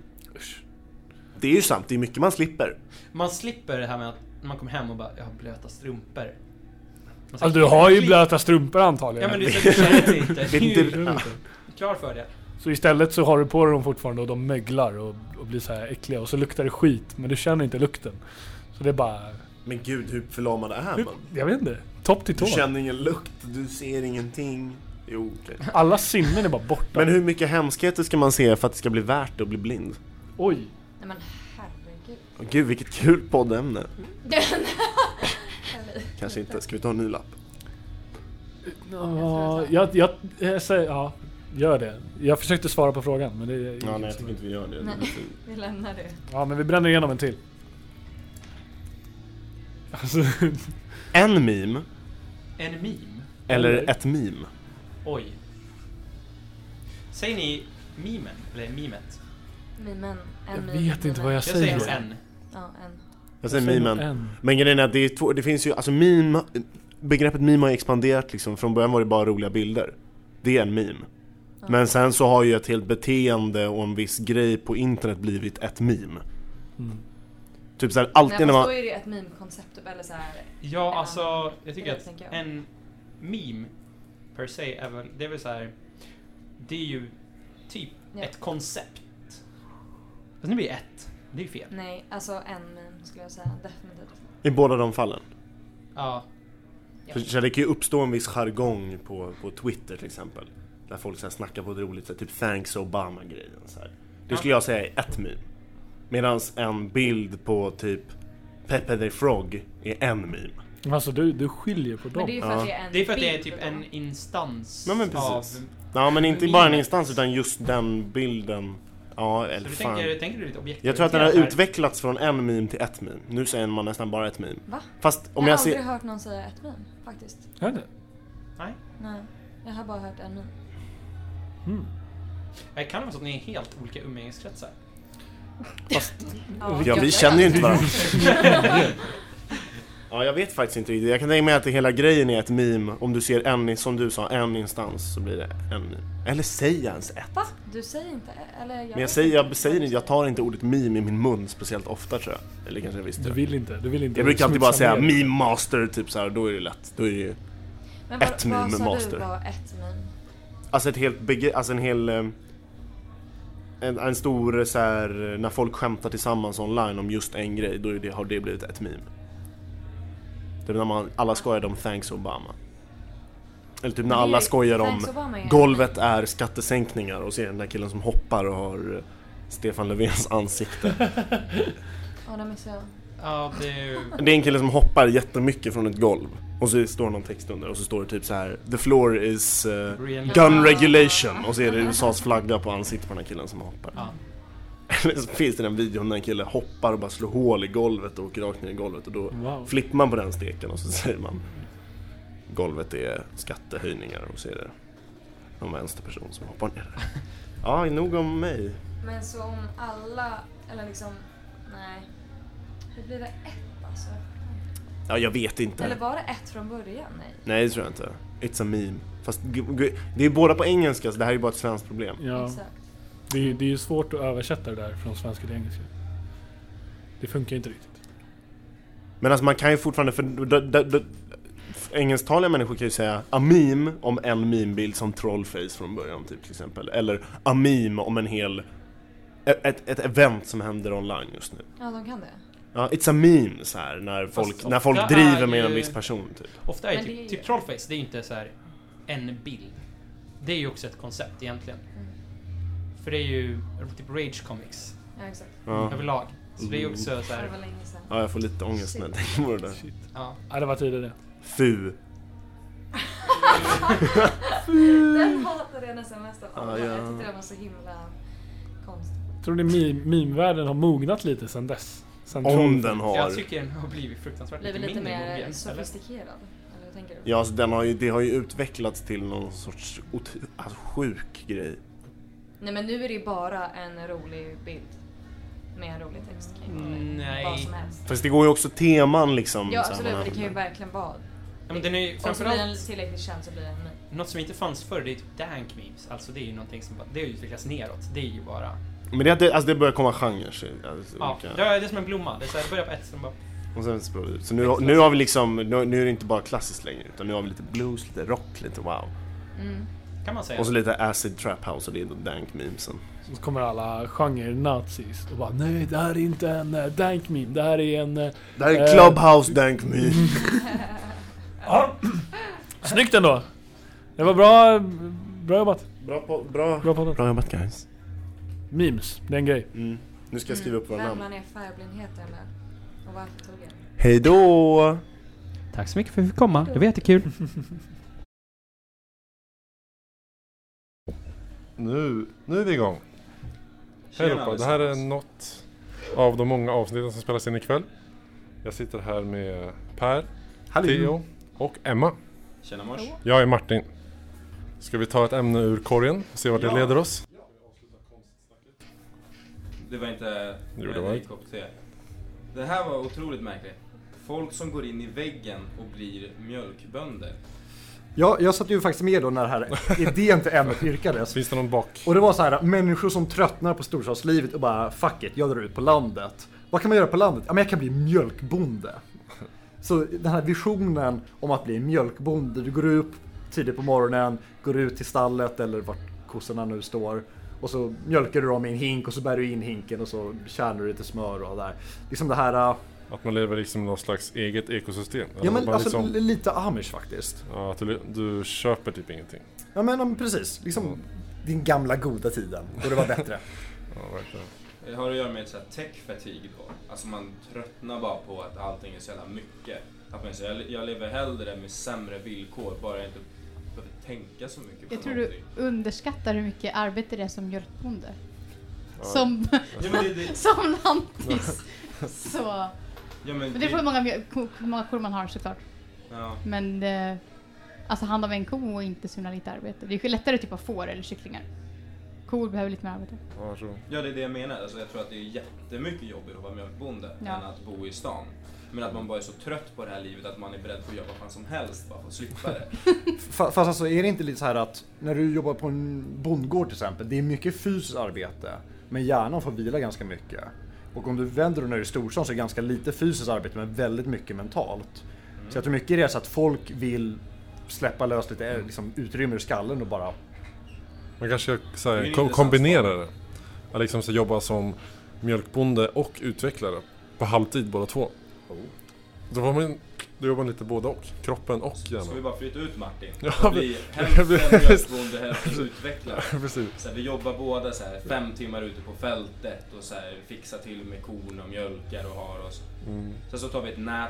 [SPEAKER 8] Det är ju sant, det är mycket man slipper.
[SPEAKER 10] Man slipper det här med att man kommer hem och bara, jag har blöta strumpor. Man säger,
[SPEAKER 3] Alltså du har ju
[SPEAKER 10] "Klipp."
[SPEAKER 3] blöta strumpor antagligen.
[SPEAKER 10] Ja men det är så att du känner det inte.
[SPEAKER 8] Det är
[SPEAKER 10] Du är
[SPEAKER 8] inte- ja.
[SPEAKER 10] ju klar för det.
[SPEAKER 3] Så istället så har du på dig dem fortfarande och de möglar och, och blir så här äckliga och så luktar det skit men du känner inte lukten. Så det är bara...
[SPEAKER 8] Men gud, hur förlamad är man?
[SPEAKER 3] Jag vet inte. Topp till tå.
[SPEAKER 8] Du känner ingen lukt, du ser ingenting. Jo, okej.
[SPEAKER 3] Alla sinnen är bara borta.
[SPEAKER 8] Men hur mycket hemskheter ska man se för att det ska bli värt att bli blind?
[SPEAKER 3] Oj.
[SPEAKER 9] Nej men herregud.
[SPEAKER 8] Åh, gud, vilket kul poddämne. Kanske inte. Ska vi ta en ny lapp?
[SPEAKER 3] Ja, jag, jag, jag säger, ja, gör det. Jag försökte svara på frågan men det är
[SPEAKER 8] Ja, nej, jag tycker inte vi gör det.
[SPEAKER 9] Nej. Vi lämnar det.
[SPEAKER 3] Ja, men vi bränner igenom en till. Alltså,
[SPEAKER 8] En meme,
[SPEAKER 10] En meme?
[SPEAKER 8] eller ett meme?
[SPEAKER 10] Oj. Säger ni memen? Eller memet?
[SPEAKER 9] Mimen. En
[SPEAKER 3] jag
[SPEAKER 9] meme,
[SPEAKER 3] vet inte vad jag
[SPEAKER 10] Jag säger nog
[SPEAKER 3] säger.
[SPEAKER 10] en.
[SPEAKER 9] Ja, en.
[SPEAKER 8] Jag säger
[SPEAKER 3] Jag säger
[SPEAKER 8] memen.
[SPEAKER 3] en.
[SPEAKER 8] Men grejen är att det, är två, det finns ju, alltså meme, begreppet meme har ju expanderat liksom, från början var det bara roliga bilder. Det är en meme.
[SPEAKER 9] Ja.
[SPEAKER 8] Men sen så har ju ett helt beteende och en viss grej på internet blivit ett meme.
[SPEAKER 3] Mm.
[SPEAKER 8] Typ såhär,
[SPEAKER 9] Nej,
[SPEAKER 8] alltid
[SPEAKER 9] fast
[SPEAKER 8] när
[SPEAKER 9] då
[SPEAKER 8] man...
[SPEAKER 9] är det ett meme-koncept eller så här.
[SPEAKER 10] Ja,
[SPEAKER 9] En
[SPEAKER 10] alltså jag tycker
[SPEAKER 9] Det
[SPEAKER 10] att
[SPEAKER 9] tänker jag.
[SPEAKER 10] en meme per se är väl, det är väl så här. Det är ju typ
[SPEAKER 9] Ja.
[SPEAKER 10] ett koncept. Fast nu blir det ett. Det är ju fel.
[SPEAKER 9] Nej, alltså en meme skulle jag säga. Definitivt.
[SPEAKER 8] I båda de fallen.
[SPEAKER 10] Ja.
[SPEAKER 9] Ja.
[SPEAKER 8] För så här, det kan ju uppstå en viss jargong på, på Twitter till exempel. Där folk så här, snackar på ett roligt sätt, typ thanks Obama-grejen. Så här. Det skulle jag säga är ett meme. Medan en bild på typ Pepe the Frog är en meme.
[SPEAKER 3] Alltså du, du skiljer på
[SPEAKER 9] Men det är ju för
[SPEAKER 3] dem.
[SPEAKER 8] Ja.
[SPEAKER 9] att det är en
[SPEAKER 10] Det är för att det är typ
[SPEAKER 9] bild
[SPEAKER 10] en
[SPEAKER 9] då.
[SPEAKER 10] instans
[SPEAKER 8] Ja, men
[SPEAKER 10] av...
[SPEAKER 8] precis.
[SPEAKER 10] Så
[SPEAKER 8] Ja men inte
[SPEAKER 10] Meme.
[SPEAKER 8] bara en instans utan just den bilden. Ja eller
[SPEAKER 10] du
[SPEAKER 8] fan.
[SPEAKER 10] tänker, tänker du lite objektivt?
[SPEAKER 8] Jag tror att den har utvecklats från en meme till ett meme. Nu säger man nästan bara ett meme.
[SPEAKER 9] Va?
[SPEAKER 8] Fast om
[SPEAKER 9] jag har
[SPEAKER 8] jag,
[SPEAKER 9] aldrig
[SPEAKER 8] ser...
[SPEAKER 9] hört någon säga ett meme faktiskt.
[SPEAKER 3] Är det?
[SPEAKER 10] Nej.
[SPEAKER 9] Nej. Jag har bara hört en meme.
[SPEAKER 3] Mm.
[SPEAKER 10] Det kan vara så att ni är helt olika umgängeskretsar.
[SPEAKER 8] Ja vi känner ju inte varandra. ja jag vet faktiskt inte riktigt. Jag kan tänka mig att hela grejen är ett meme. Om du ser en, som du sa, en instans så blir det en meme. Eller säger jag ens ett?
[SPEAKER 9] Va? Du säger inte? Eller jag
[SPEAKER 8] Men jag
[SPEAKER 9] vet
[SPEAKER 8] säger,
[SPEAKER 9] inte.
[SPEAKER 8] jag säger inte, jag tar inte ordet meme i min mun speciellt ofta tror jag. Eller kanske jag visste
[SPEAKER 3] Du
[SPEAKER 8] det.
[SPEAKER 3] vill inte. Du vill inte.
[SPEAKER 8] Jag brukar alltid bara
[SPEAKER 3] smutsa
[SPEAKER 8] säga
[SPEAKER 3] ner.
[SPEAKER 8] meme master typ så här. då är det lätt. Då är det ju
[SPEAKER 9] Men vad-
[SPEAKER 8] ett meme
[SPEAKER 9] Vad sa
[SPEAKER 8] master.
[SPEAKER 9] du var ett meme?
[SPEAKER 8] Alltså, ett helt bege- alltså en hel... eh, En, en stor eh, så här, när folk skämtar tillsammans online om just en grej, då är det, har det blivit ett meme. Typ när man, alla skojar om Thanks Obama. Eller typ när
[SPEAKER 9] Men det
[SPEAKER 8] alla
[SPEAKER 9] är-
[SPEAKER 8] skojar om
[SPEAKER 9] Thanks Obama är-
[SPEAKER 8] golvet är skattesänkningar och ser den där killen som hoppar och har eh, Stefan Löfvens ansikte.
[SPEAKER 9] Ja, den missade jag.
[SPEAKER 10] Ja, det är ju...
[SPEAKER 8] Det är en kille som hoppar jättemycket från ett golv och så står någon text under och så står det typ så här The floor is eh,
[SPEAKER 10] Real-
[SPEAKER 8] gun regulation och så är det USAs flagga på ansiktet på den här killen som hoppar.
[SPEAKER 10] Ja.
[SPEAKER 8] Eller så finns det den videon när en kille hoppar och bara slår hål i golvet och åker rakt ner i golvet och då
[SPEAKER 3] Wow.
[SPEAKER 8] flippar man på den steken och så säger man Golvet är skattehöjningar och så är det någon vänsterperson som hoppar ner där. Ja, nog om mig.
[SPEAKER 9] Men så om alla, eller liksom, nej. Hur blir det ett alltså?
[SPEAKER 8] Ja, jag vet inte.
[SPEAKER 9] Eller var det ett från början? Nej.
[SPEAKER 8] Nej, det tror jag inte. It's a meme. Fast g- g- det är båda på engelska så det här är ju bara ett svenskt problem.
[SPEAKER 3] Ja,
[SPEAKER 9] Exakt.
[SPEAKER 3] det, är, ju- det är ju svårt att översätta det där från svenska till engelska. Det funkar ju inte riktigt.
[SPEAKER 8] Men alltså man kan ju fortfarande, för d- d- d- engelsktalande människor kan ju säga a meme om en memebild som trollface från början typ till exempel. Eller a meme om en hel, ett, ett- ett event som händer online just nu.
[SPEAKER 9] Ja, de kan det.
[SPEAKER 8] Ja, it's a meme så här när folk,
[SPEAKER 10] Fast
[SPEAKER 8] när folk
[SPEAKER 10] ofta
[SPEAKER 8] driver
[SPEAKER 10] är
[SPEAKER 8] med
[SPEAKER 10] ju-
[SPEAKER 8] en viss person typ.
[SPEAKER 10] Ofta är
[SPEAKER 9] Men
[SPEAKER 10] typ,
[SPEAKER 9] det är ju-
[SPEAKER 10] typ trollface, det är ju inte så här en bild. Det är ju också ett koncept egentligen.
[SPEAKER 9] Mm.
[SPEAKER 10] För det är ju typ rage comics
[SPEAKER 9] Ja, exakt.
[SPEAKER 8] Ja,
[SPEAKER 10] överlag. Så det är ju också så
[SPEAKER 9] Det
[SPEAKER 10] här,
[SPEAKER 9] var länge sedan.
[SPEAKER 8] ja jag får lite ångest när jag tänker på det där.
[SPEAKER 10] ja.
[SPEAKER 3] Ja, det var tidigare.
[SPEAKER 8] Fu.
[SPEAKER 9] Den hatade jag nästan mest av alla.
[SPEAKER 8] Ja, ja.
[SPEAKER 9] Jag tyckte den var så himla konstig.
[SPEAKER 3] Tror ni meme- meme-världen har mognat lite sen dess? Sen
[SPEAKER 8] Om
[SPEAKER 3] troll-
[SPEAKER 8] den har.
[SPEAKER 10] Jag tycker den har blivit fruktansvärt
[SPEAKER 9] Blev
[SPEAKER 10] mycket
[SPEAKER 9] lite
[SPEAKER 10] mindre
[SPEAKER 9] mer
[SPEAKER 10] mogen. eller?
[SPEAKER 9] sofistikerad? Eller vad tänker du?
[SPEAKER 8] Ja, alltså den har ju, det har ju utvecklats till någon sorts ot- alltså, sjuk grej.
[SPEAKER 9] Nej, men nu är det ju bara en rolig bild. Med en rolig text kring
[SPEAKER 10] Mm,
[SPEAKER 9] det.
[SPEAKER 10] nej.
[SPEAKER 9] Vad som helst.
[SPEAKER 8] Fast det går ju också teman liksom.
[SPEAKER 9] Ja,
[SPEAKER 8] så här,
[SPEAKER 9] absolut.
[SPEAKER 8] man
[SPEAKER 9] men Det kan ju
[SPEAKER 8] använder.
[SPEAKER 9] verkligen vara.
[SPEAKER 10] Ja, men den är ju
[SPEAKER 9] Om så blir den
[SPEAKER 10] framförallt
[SPEAKER 9] tillräckligt känd så blir den ny.
[SPEAKER 10] något som inte fanns förr, det är typ dank memes. Alltså det är ju någonting som bara, det har ju utvecklats neråt. Det är ju bara,
[SPEAKER 8] Men det, är att det- alltså, det börjar komma genrer. så- Alltså,
[SPEAKER 10] ja,
[SPEAKER 8] olika-
[SPEAKER 10] det är det är som en blomma. Det är så här, det börjar på ett, sen bara
[SPEAKER 8] Och sen så, så nu, nu har vi liksom, nu, nu är det inte bara klassiskt längre. Utan nu har vi lite blues, lite rock, lite wow.
[SPEAKER 9] Mm.
[SPEAKER 10] kan man säga.
[SPEAKER 8] Och så lite acid trap house och det är då dank memesen.
[SPEAKER 3] Så kommer alla genre-nazis och bara nej, det här är inte en eh, dank meme, det här är en... eh,
[SPEAKER 8] Det här är
[SPEAKER 3] Eh.
[SPEAKER 8] clubhouse dank meme.
[SPEAKER 3] Snyggt ändå! Det var bra, bra jobbat.
[SPEAKER 8] Bra, på, bra.
[SPEAKER 3] Bra poddat.
[SPEAKER 8] bra jobbat guys.
[SPEAKER 3] Memes, det är en grej.
[SPEAKER 8] Mm. Nu ska jag skriva upp våra
[SPEAKER 2] Mm.
[SPEAKER 9] Vem
[SPEAKER 8] namn.
[SPEAKER 9] man är färgblindhet eller? Och varför tog jag?
[SPEAKER 8] Hej då!
[SPEAKER 10] Tack så mycket för att vi fick komma. Det var jättekul.
[SPEAKER 4] Nu, nu är vi igång. Hej allihopa, det här är något av de många avsnitten som spelas in ikväll. Jag sitter här med Per, Theo och Emma.
[SPEAKER 11] Tjena mors.
[SPEAKER 4] Jag är Martin. Ska vi ta ett ämne ur korgen och se vart det leder oss?
[SPEAKER 11] Det var inte...
[SPEAKER 4] Jo, det var
[SPEAKER 11] en kopp te. Det här var otroligt märkligt. Folk som går in i väggen och blir mjölkbönder.
[SPEAKER 12] Jag, jag satt ju faktiskt med då när det här idén till ämnet yrkades.
[SPEAKER 4] Finns det någon bak?
[SPEAKER 12] Och det var så här, människor som tröttnar på storstadslivet och bara fuck it, jag drar ut på landet. Vad kan man göra på landet? Ja, men jag kan bli mjölkbonde. Så den här visionen om att bli mjölkbonde, du går upp tidigt på morgonen, går ut till stallet eller vart kossorna nu står och så mjölkar du dem i en hink och så bär du in hinken och så kärnar du lite smör och där. Liksom det här, äh,
[SPEAKER 4] Att man lever liksom någon slags eget ekosystem?
[SPEAKER 12] ja
[SPEAKER 4] Eller
[SPEAKER 12] men
[SPEAKER 4] bara
[SPEAKER 12] alltså
[SPEAKER 4] liksom-
[SPEAKER 12] li- lite amish faktiskt.
[SPEAKER 4] ja, att du, du köper typ ingenting.
[SPEAKER 12] Ja men, ja, men precis, liksom
[SPEAKER 4] Mm.
[SPEAKER 12] din gamla goda tiden då det var bättre.
[SPEAKER 4] Ja, verkligen.
[SPEAKER 11] Det eh, har att göra med ett så här tech fatigue då. Alltså man tröttnar bara på att allting är så jävla mycket. Att man säger jag, jag lever hellre med sämre villkor bara jag inte behöver tänka så mycket på
[SPEAKER 13] Jag tror
[SPEAKER 11] någonting.
[SPEAKER 13] du underskattar hur mycket arbete det är som mjölkbonde.
[SPEAKER 4] Ja.
[SPEAKER 13] Som,
[SPEAKER 11] Ja, men det, det,
[SPEAKER 13] som lantis. Så.
[SPEAKER 11] ja, men
[SPEAKER 13] Men det beror på hur många, mjölk- ko- hur många kor man har såklart.
[SPEAKER 11] ja.
[SPEAKER 13] Men eh, alltså hand om en ko och inte så himla lite arbete. Det är ju lättare typ av får eller kycklingar. Kor behöver lite mer arbete.
[SPEAKER 4] Ja, jag tror-
[SPEAKER 11] ja, det är det jag menar. Alltså, jag tror att det är jättemycket jobbigare att vara mjölkbonde
[SPEAKER 13] Ja.
[SPEAKER 11] än att bo i stan. Men att man bara är så trött på det här livet att man är beredd på att göra vad fan som helst bara för att slippa det.
[SPEAKER 12] Fa- Fast alltså är det inte lite så här att när du jobbar på en bondgård till exempel, det är mycket fysiskt arbete. Men hjärnan får vila ganska mycket. Och om du vänder dig när du är i storstan så är det ganska lite fysiskt arbete men väldigt mycket mentalt. Så jag tror mycket är det så att folk vill släppa lös lite eh, liksom, utrymme ur skallen och bara
[SPEAKER 4] Man kanske ska så
[SPEAKER 14] Det är ju
[SPEAKER 4] här,
[SPEAKER 14] en
[SPEAKER 4] kom-
[SPEAKER 14] intressant
[SPEAKER 4] kombinera det. Att liksom så jobba som mjölkbonde och utvecklare på halvtid båda två. Då, får man, då jobbar man lite både och, kroppen och hjärnan.
[SPEAKER 11] Ska vi bara flytta ut Martin?
[SPEAKER 4] Ja,
[SPEAKER 11] och
[SPEAKER 4] men-
[SPEAKER 11] bli
[SPEAKER 4] jag
[SPEAKER 11] hälften
[SPEAKER 4] blir-
[SPEAKER 11] mjölkbonde, hälften utvecklare.
[SPEAKER 4] Precis.
[SPEAKER 11] Så här, vi jobbar båda så här, fem timmar ute på fältet och så här, fixar till med korn och mjölkar och har oss.
[SPEAKER 4] Mm.
[SPEAKER 11] Sen så tar vi ett nap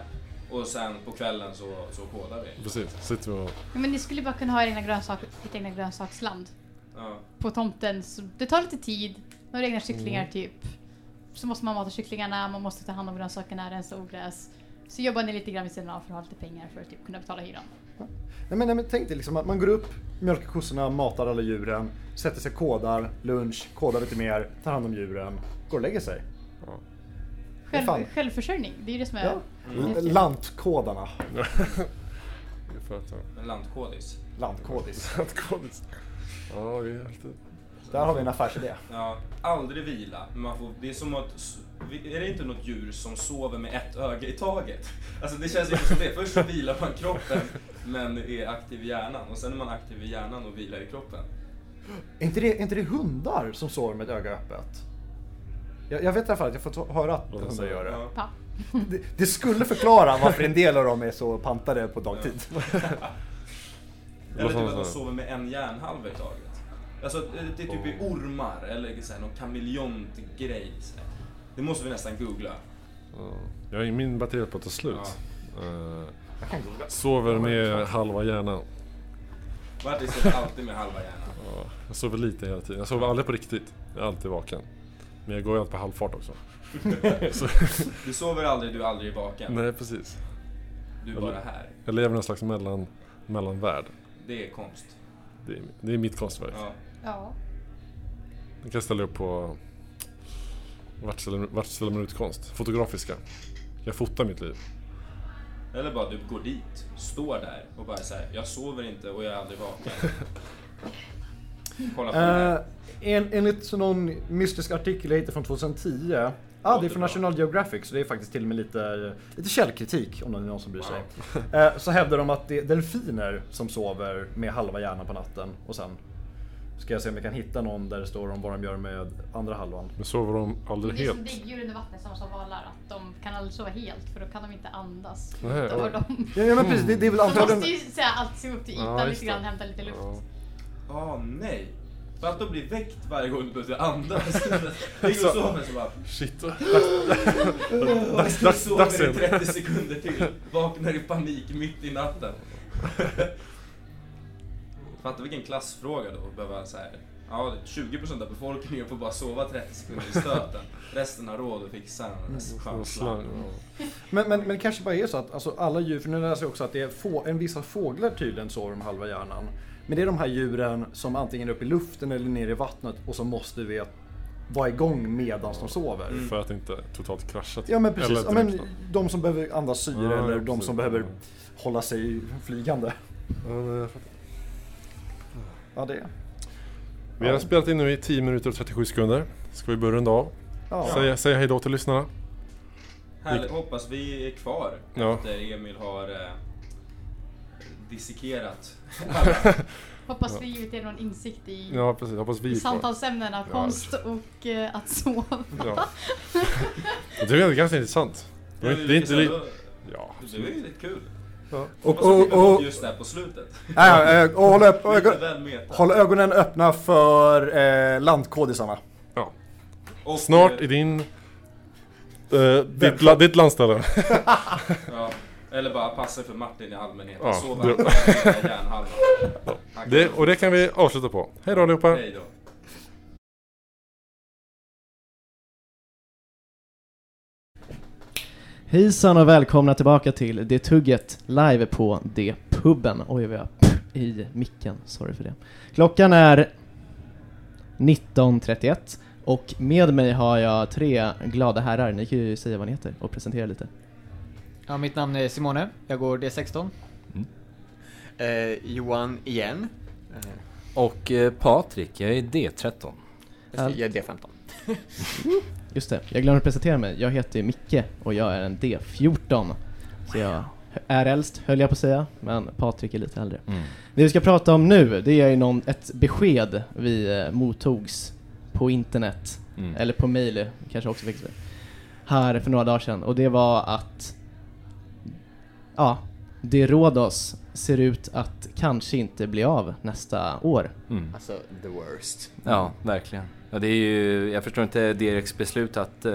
[SPEAKER 11] och sen på kvällen så, så kodar vi.
[SPEAKER 4] Precis, sitter vi och...
[SPEAKER 13] Ja, men ni skulle bara kunna ha era egna grönsak, ett egna grönsaksland
[SPEAKER 11] Ja.
[SPEAKER 13] på tomten. Så det tar lite tid, några egna kycklingar
[SPEAKER 12] Mm.
[SPEAKER 13] typ. Så måste man mata kycklingarna, man måste ta hand om grönsakerna, rensa ogräs. Så jobbar ni lite grann vid sidan av för att ha lite pengar för att typ kunna betala hyran.
[SPEAKER 12] Nej, men, nej, men tänk dig liksom att man går upp, mjölkar kossorna, matar alla djuren, sätter sig, kodar, lunch, kodar lite mer, tar hand om djuren, går och lägger sig. Det är
[SPEAKER 13] Själv,
[SPEAKER 12] fan-
[SPEAKER 13] självförsörjning, det är ju det som är...
[SPEAKER 12] Ja.
[SPEAKER 13] Mm.
[SPEAKER 12] L- Lantkodarna.
[SPEAKER 11] En lantkodis.
[SPEAKER 12] Lantkodis.
[SPEAKER 4] Lantkodis. Ja, det är alltid...
[SPEAKER 12] Där har vi en affärsidé.
[SPEAKER 11] Ja, aldrig vila. men Man får, det är som att, s- är det inte något djur som sover med ett öga i taget? Alltså det känns inte som det. Först så vilar man kroppen men är aktiv i hjärnan och sen är man aktiv i hjärnan och vilar i kroppen.
[SPEAKER 12] Är inte det, är inte det hundar som sover med ett öga öppet? Jag, jag vet i alla fall att jag får ta- höra att hundar gör det.
[SPEAKER 13] Ja.
[SPEAKER 12] det. Det skulle förklara varför en del av dem är så pantade på dagtid.
[SPEAKER 11] Eller typ att man sover med en hjärnhalva i taget. Alltså det- det är typ i ormar eller så här, någon kameleontgrej. så här. Det måste vi nästan googla.
[SPEAKER 4] Ja, min batteri är på att ta slut. Eh,
[SPEAKER 12] Jag kan googla.
[SPEAKER 4] sover med halva hjärnan.
[SPEAKER 11] Martin sover alltid med halva hjärnan.
[SPEAKER 4] Ja, jag sover lite hela tiden. Jag sover aldrig på riktigt. Jag är alltid vaken. Men jag går ju alltid på halvfart också. Så-
[SPEAKER 11] Du sover aldrig, du är aldrig vaken.
[SPEAKER 4] Nej, precis.
[SPEAKER 11] Du är
[SPEAKER 4] Jag-
[SPEAKER 11] bara här.
[SPEAKER 4] Jag lever i någon slags mellan, mellanvärld.
[SPEAKER 11] Det är konst.
[SPEAKER 4] Det är, det är mitt konstverk.
[SPEAKER 11] Ja.
[SPEAKER 13] Ja.
[SPEAKER 4] Jag kan ställa upp på vart ställer, vart ställer man ut konst? Fotografiska. Jag fotar mitt liv.
[SPEAKER 11] Eller bara du går dit, står där och bara säger jag sover inte och jag är aldrig vaken. Kolla på det här.
[SPEAKER 12] Eh, en, enligt så någon mystisk artikel jag hittade från 2010. Ja, ah, det är från National Geographic så det är faktiskt till och med lite, lite källkritik om det är någon som bryr sig. Eh, så hävdar de att det är delfiner som sover med halva hjärnan på natten och sen ska jag se om jag kan hitta någon där det står om vad de gör med andra halvan.
[SPEAKER 4] Men sover de
[SPEAKER 13] Det
[SPEAKER 4] aldrig
[SPEAKER 13] är som
[SPEAKER 4] helt?
[SPEAKER 13] däggdjur under vattnet som som valar, att de kan aldrig sova helt för då kan de inte andas.
[SPEAKER 4] Nej,
[SPEAKER 13] då har
[SPEAKER 4] oj.
[SPEAKER 13] de...
[SPEAKER 12] Ja, ja men precis, det, det är väl
[SPEAKER 13] De
[SPEAKER 12] antagligen...
[SPEAKER 13] måste ju så här, alltid gå upp till ytan
[SPEAKER 4] Ja, just
[SPEAKER 13] lite grann,
[SPEAKER 4] det.
[SPEAKER 13] hämta lite luft.
[SPEAKER 4] Ja.
[SPEAKER 11] Åh Ah, nej! För att de blir väckt varje gång du behöver andas. Ligger och
[SPEAKER 4] Så-
[SPEAKER 11] sover så bara...
[SPEAKER 4] Shit.
[SPEAKER 11] Dags,
[SPEAKER 4] dags- dags
[SPEAKER 11] sover i
[SPEAKER 4] igen.
[SPEAKER 11] 30 sekunder till. Vaknar i panik mitt i natten. Fattar vilken klassfråga då att behöva så här. Ja, 20% av befolkningen får bara sova 30 sekunder i stöten. Resten har råd att fixa en
[SPEAKER 4] Slang,
[SPEAKER 11] chanslang.
[SPEAKER 4] ja.
[SPEAKER 12] Men, men, men det kanske bara är så att alltså, alla djur, för nu läser jag också att det är få, en vissa fåglar tydligen sover med halva hjärnan. Men det är de här djuren som antingen är uppe i luften eller ner i vattnet och som måste veta vara igång medan de sover.
[SPEAKER 11] Mm.
[SPEAKER 4] För att inte totalt krascha. typ.
[SPEAKER 12] Ja men precis,
[SPEAKER 4] Eller
[SPEAKER 12] ja, men,
[SPEAKER 4] drunkna.
[SPEAKER 12] de som behöver andas syre
[SPEAKER 4] Ja,
[SPEAKER 12] eller
[SPEAKER 4] ja,
[SPEAKER 12] de
[SPEAKER 4] precis.
[SPEAKER 12] som behöver hålla sig flygande.
[SPEAKER 4] Ja, men jag fattar.
[SPEAKER 12] Ja det är.
[SPEAKER 4] Vi har spelat in nu i 10 minuter och 37 sekunder. Ska vi börja runda av?
[SPEAKER 12] Ja.
[SPEAKER 4] Säg, säg hej då till lyssnarna.
[SPEAKER 11] Härligt, hoppas vi är kvar
[SPEAKER 4] Ja.
[SPEAKER 11] efter Emil har eh, dissekerat alla.
[SPEAKER 13] Hoppas vi givit er någon insikt i,
[SPEAKER 4] Ja, precis. Hoppas vi
[SPEAKER 13] i
[SPEAKER 4] är kvar.
[SPEAKER 13] samtalsämnena
[SPEAKER 4] Ja.
[SPEAKER 13] konst och eh, att sova.
[SPEAKER 4] Ja. Jag tycker det är ganska intressant. Det är, det är inte... li- Ja.
[SPEAKER 11] Det var ju rätt kul.
[SPEAKER 12] Och,
[SPEAKER 11] Hoppas att vi
[SPEAKER 12] och,
[SPEAKER 11] kom
[SPEAKER 12] och,
[SPEAKER 11] just där på slutet.
[SPEAKER 12] ja, ja, och håll, upp,
[SPEAKER 11] Lite
[SPEAKER 12] ögon,
[SPEAKER 11] väl meta.
[SPEAKER 12] håll ögonen öppna för eh, landkodisarna.
[SPEAKER 11] Och,
[SPEAKER 4] Snart
[SPEAKER 11] eh,
[SPEAKER 4] i din... eh, ditt, la, ditt landställe.
[SPEAKER 11] Ja, eller bara passa för Martin i allmänhet.
[SPEAKER 4] Ja,
[SPEAKER 11] Sova
[SPEAKER 4] du-
[SPEAKER 11] på järnhalvan. Han
[SPEAKER 4] Det,
[SPEAKER 11] kan-
[SPEAKER 4] och det kan vi avsluta på. Hej då allihopa!
[SPEAKER 11] Hej då.
[SPEAKER 15] Hejsan och välkomna tillbaka till Det Tugget live på Det Puben. Oj, vad jag pff i micken. Sorry för det. Klockan är 19.31 och med mig har jag tre glada herrar. Ni kan ju säga vad ni heter och presentera lite.
[SPEAKER 16] Ja, mitt namn är Simone. Jag går D16.
[SPEAKER 15] Mm.
[SPEAKER 17] Eh, Johan igen. Eh,
[SPEAKER 7] Och eh, Patrik, jag är D13.
[SPEAKER 17] jag är D15.
[SPEAKER 15] Just det, jag glömde presentera mig. Jag heter Micke och jag är en D14. Så jag är äldst, höll jag på att säga, men Patrik är lite äldre. Det vi ska prata om nu, det är ju någon, ett besked vi eh, mottogs på internet,
[SPEAKER 7] Mm.
[SPEAKER 15] eller på mail kanske också fick det, här för några dagar sedan. Och det var att, ja, det Rhodos ser ut att kanske inte bli av nästa år.
[SPEAKER 7] Mm.
[SPEAKER 11] Alltså, the worst.
[SPEAKER 7] Ja, verkligen. Ja, det är ju, jag förstår inte Dereks beslut att eh,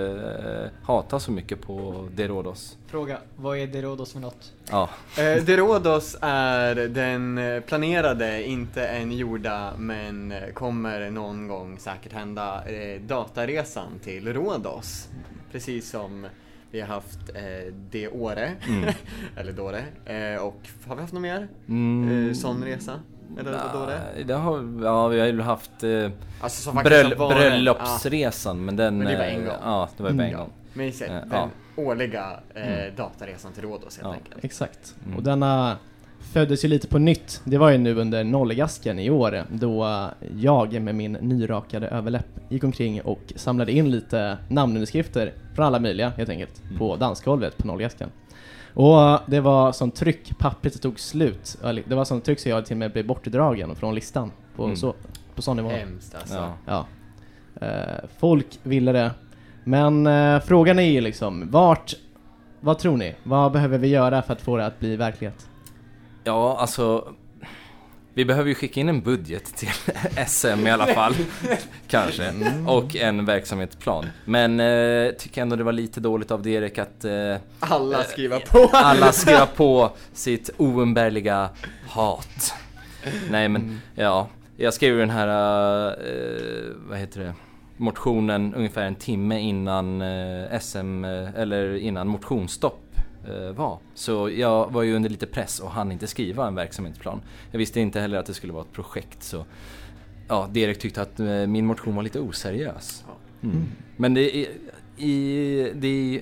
[SPEAKER 7] hata så mycket på Derodos.
[SPEAKER 16] Fråga, vad är Derodos för något?
[SPEAKER 7] Ja.
[SPEAKER 6] Eh, Derodos är den eh, planerade, inte än gjorda, men eh, kommer någon gång säkert hända, eh, dataresan till Rhodos. Precis som vi har haft eh, det åre,
[SPEAKER 7] Mm.
[SPEAKER 6] eller Dore, eh, och har vi haft något mer?
[SPEAKER 7] Mm.
[SPEAKER 6] Eh, sån resa? Eller
[SPEAKER 7] Nej,
[SPEAKER 6] Dore?
[SPEAKER 7] Det har, ja, vi har ju haft eh,
[SPEAKER 6] Alltså, som faktiskt
[SPEAKER 7] bröll,
[SPEAKER 6] har varit-
[SPEAKER 7] bröllopsresan,
[SPEAKER 6] ja.
[SPEAKER 7] men den...
[SPEAKER 6] Men det var en
[SPEAKER 7] eh,
[SPEAKER 6] gång. Mm.
[SPEAKER 7] Ja, det var ju bara en gång.
[SPEAKER 6] Men just det,
[SPEAKER 7] Eh,
[SPEAKER 6] den
[SPEAKER 7] ja.
[SPEAKER 6] årliga eh,
[SPEAKER 7] Mm.
[SPEAKER 6] dataresan till Rhodos helt enkelt.
[SPEAKER 15] Exakt. Och denna föddes ju lite på nytt. Det var ju nu under nollgasken i år då jag med min nyrakade överläpp gick omkring och samlade in lite namnunderskrifter från alla möjliga helt enkelt på dansgolvet på nollgasken. Och det var som tryck, pappret tog slut. Eller, Det var som tryck så jag till och med blev bortdragen från listan på,
[SPEAKER 7] Mm.
[SPEAKER 15] så, på sån nivå.
[SPEAKER 6] Hemskt, alltså. Ja.
[SPEAKER 15] Ja. Eh, folk ville det. Men eh, frågan är ju liksom, vart, vad tror ni? Vad behöver vi göra för att få det att bli verklighet?
[SPEAKER 7] Ja, alltså... Vi behöver ju skicka in en budget till SM i alla fall. Kanske.
[SPEAKER 6] Mm.
[SPEAKER 7] Och en verksamhetsplan. Men eh, tycker ändå det var lite dåligt av Derek att... Eh,
[SPEAKER 6] Alla skriva på.
[SPEAKER 7] alla skriva på sitt oumbärliga hat. Nej men,
[SPEAKER 6] Mm.
[SPEAKER 7] ja. Jag skrev ju den här, eh, vad heter det, motionen ungefär en timme innan eh, SM, eh, eller innan motionsstopp eh, var. Så jag var ju under lite press och hann inte skriva en verksamhetsplan. Jag visste inte heller att det skulle vara ett projekt så Ja, Derek tyckte att eh, min motion var lite oseriös. Mm. Men det är, i, det är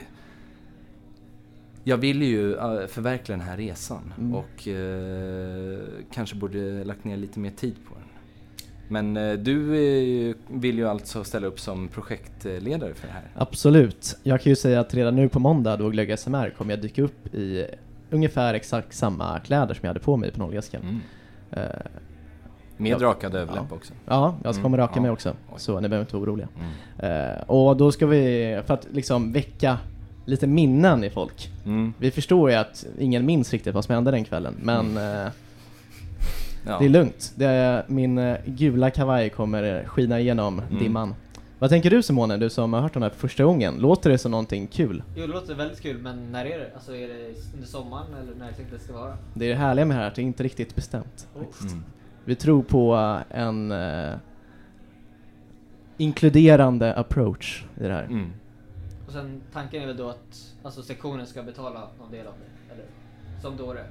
[SPEAKER 7] jag vill ju eh, förverkliga den här resan
[SPEAKER 15] Mm.
[SPEAKER 7] och eh, kanske borde lagt ner lite mer tid på den. Men eh, du är ju, vill ju alltså ställa upp som projektledare för det här.
[SPEAKER 15] Absolut. Jag kan ju säga att redan nu på måndag då glögg SMR kommer jag dyka upp i ungefär exakt samma kläder som jag hade på mig på nollgasken. Eh,
[SPEAKER 7] Med
[SPEAKER 15] jag-
[SPEAKER 7] rakad överläpp också.
[SPEAKER 15] Ja, jag ska
[SPEAKER 7] Mm,
[SPEAKER 15] raka
[SPEAKER 7] ja. Mm.
[SPEAKER 15] mig också. Så ni behöver inte vara oroliga. Eh, och då ska vi, för att liksom väcka lite minnen i folk.
[SPEAKER 7] Mm.
[SPEAKER 15] Vi förstår ju att ingen minns riktigt vad som hände den kvällen, men eh,
[SPEAKER 7] Mm. Ja.
[SPEAKER 15] det är lugnt. Det är, min eh, gula kavaj kommer eh, skina igenom
[SPEAKER 7] Mm.
[SPEAKER 15] dimman. Vad tänker du Simone, du som har hört den här för första gången? Låter det som någonting kul?
[SPEAKER 16] Jo, det låter väldigt kul, men när är det? Alltså är det under sommaren eller när tänkte det ska vara?
[SPEAKER 15] Det är det härliga med det här att det är inte riktigt bestämt.
[SPEAKER 16] Oh.
[SPEAKER 15] faktiskt.
[SPEAKER 16] Mm.
[SPEAKER 15] Vi tror på eh, en eh, inkluderande approach i det här.
[SPEAKER 7] Mm.
[SPEAKER 16] Och sen tanken är väl då att alltså, sektionen ska betala någon del av det, eller? Som dåre.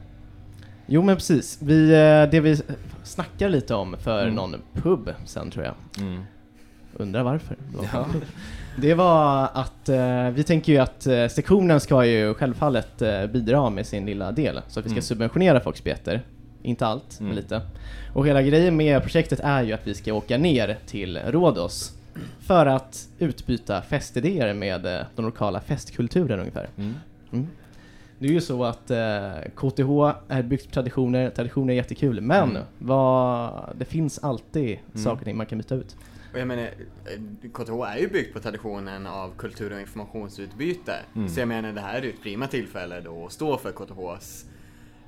[SPEAKER 15] Jo men precis, vi, eh, det vi snackar lite om för
[SPEAKER 7] Mm.
[SPEAKER 15] någon pub sen tror jag.
[SPEAKER 7] Mm.
[SPEAKER 15] Undrar varför. Det var
[SPEAKER 7] Ja.
[SPEAKER 15] en pub. Det var att eh, vi tänker ju att eh, sektionen ska ju självfallet eh, bidra med sin lilla del. Så att vi ska
[SPEAKER 7] Mm.
[SPEAKER 15] subventionera folks biljetter. Inte allt, men lite. Och hela grejen med projektet är ju att vi ska åka ner till Rhodos för att utbyta festidéer med eh, den lokala festkulturen ungefär.
[SPEAKER 7] Mm.
[SPEAKER 15] Det är ju så att eh, KTH är byggt på traditioner, traditioner är jättekul, men
[SPEAKER 6] Mm.
[SPEAKER 15] vad, det finns alltid saker och ting man kan byta ut.
[SPEAKER 6] Och jag menar, eh, KTH är ju byggt på traditionen av kultur och informationsutbyte.
[SPEAKER 15] Mm.
[SPEAKER 6] Så jag menar, det här är ju ett prima tillfälle då att stå för KTHs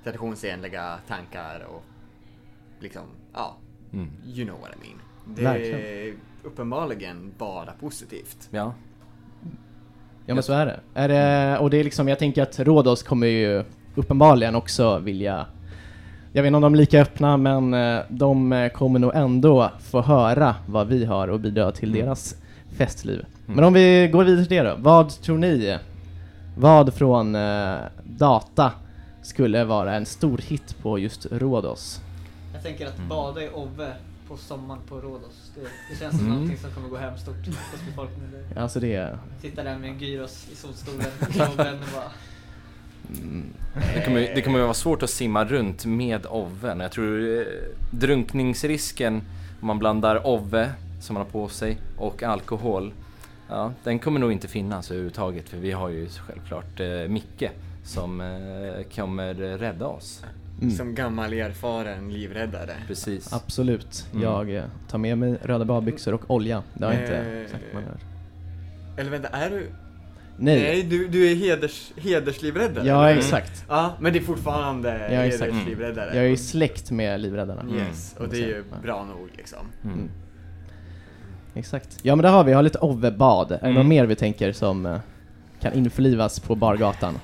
[SPEAKER 6] traditionsenliga tankar och liksom, ja,
[SPEAKER 7] Mm.
[SPEAKER 6] you know what I mean. Det är
[SPEAKER 15] Verkligen.
[SPEAKER 6] uppenbarligen bara positivt.
[SPEAKER 7] Ja.
[SPEAKER 15] Ja men så är det. Är det och det är liksom, jag tänker att Rhodos kommer ju uppenbarligen också vilja jag vet inte om de är lika öppna, men eh, de eh, kommer nog ändå få höra vad vi har och bidra till deras festliv. Men om vi går vidare till det då. Vad tror ni? Vad från eh, data skulle vara en stor hit på just Rhodos?
[SPEAKER 16] Jag tänker att
[SPEAKER 15] Mm.
[SPEAKER 16] bada i Ove på sommaren på Rhodos, det, det känns som
[SPEAKER 15] Mm.
[SPEAKER 16] någonting som kommer gå hem stort hos befolkningen. där.
[SPEAKER 15] Alltså det är...
[SPEAKER 16] Sitta där med en gyros i solstolen i Oven och bara...
[SPEAKER 7] Det kommer, det kommer att vara svårt att simma runt med oven. Jag tror eh, drunkningsrisken om man blandar ove som man har på sig och alkohol. Ja, den kommer nog inte finnas överhuvudtaget för vi har ju självklart eh, Micke som eh, kommer rädda oss.
[SPEAKER 15] Mm.
[SPEAKER 6] Som gammal erfaren livräddare.
[SPEAKER 7] Precis.
[SPEAKER 15] Absolut.
[SPEAKER 7] Mm.
[SPEAKER 15] Jag eh, tar med mig röda badbyxor och olja. Det har jag inte
[SPEAKER 6] Eh,
[SPEAKER 15] sagt man gör.
[SPEAKER 6] Eller vänta, är du...
[SPEAKER 15] Nej.
[SPEAKER 6] du, du är heders, hederslivräddare?
[SPEAKER 15] Ja,
[SPEAKER 6] eller?
[SPEAKER 15] exakt.
[SPEAKER 6] Ja, men det Eh, är fortfarande
[SPEAKER 15] Ja, exakt. Mm.
[SPEAKER 6] hederslivräddare. Mm.
[SPEAKER 15] Jag är ju släkt med livräddarna.
[SPEAKER 6] Yes, och det är ju
[SPEAKER 15] Ja.
[SPEAKER 6] bra nog liksom.
[SPEAKER 15] Mm. Exakt. Ja men det har vi, jag har lite ovebad. Är det något
[SPEAKER 7] Mm.
[SPEAKER 15] mer vi tänker som eh, kan införlivas på bargatan?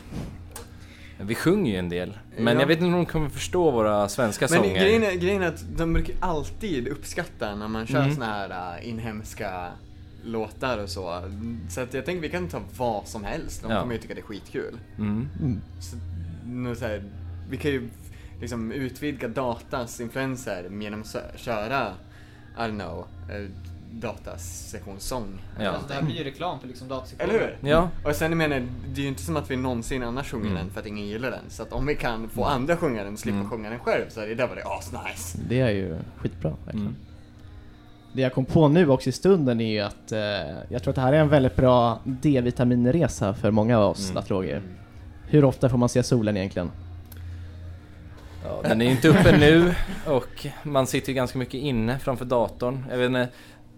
[SPEAKER 7] Vi sjunger ju en del, men
[SPEAKER 6] Ja.
[SPEAKER 7] jag vet inte om de kommer förstå våra svenska
[SPEAKER 6] Men
[SPEAKER 7] sånger.
[SPEAKER 6] grejen är, grejen är att de brukar alltid uppskatta när man kör
[SPEAKER 7] Mm.
[SPEAKER 6] såna här äh, inhemska låtar och så. Så att jag tänker vi kan ta vad som helst, de
[SPEAKER 7] Ja.
[SPEAKER 6] kommer ju tycka det är skitkul.
[SPEAKER 7] Mm.
[SPEAKER 15] Mm.
[SPEAKER 6] Så, nu så här, vi kan ju liksom utvidga datas influenser genom att köra, I don't know, eh, datas sektionssång.
[SPEAKER 16] Alltså, det här blir ju reklam för liksom datasektionen.
[SPEAKER 6] Eller hur?
[SPEAKER 7] Ja. Mm.
[SPEAKER 6] Och sen jag menar, det är ju inte som att vi någonsin annars sjunger den för att ingen gillar den. Så att om vi kan få andra sjunga den och slippa sjunga den själv så är det där var det asnice.
[SPEAKER 15] Det är ju skitbra verkligen.
[SPEAKER 7] Mm.
[SPEAKER 15] Det jag kom på nu också i stunden är ju att eh, jag tror att det här är en väldigt bra D-vitaminresa för många av oss
[SPEAKER 7] Mm.
[SPEAKER 15] latroger. Hur ofta får man se solen egentligen?
[SPEAKER 7] Ja, den är ju inte uppe nu och man sitter ju ganska mycket inne framför datorn. Jag vet inte,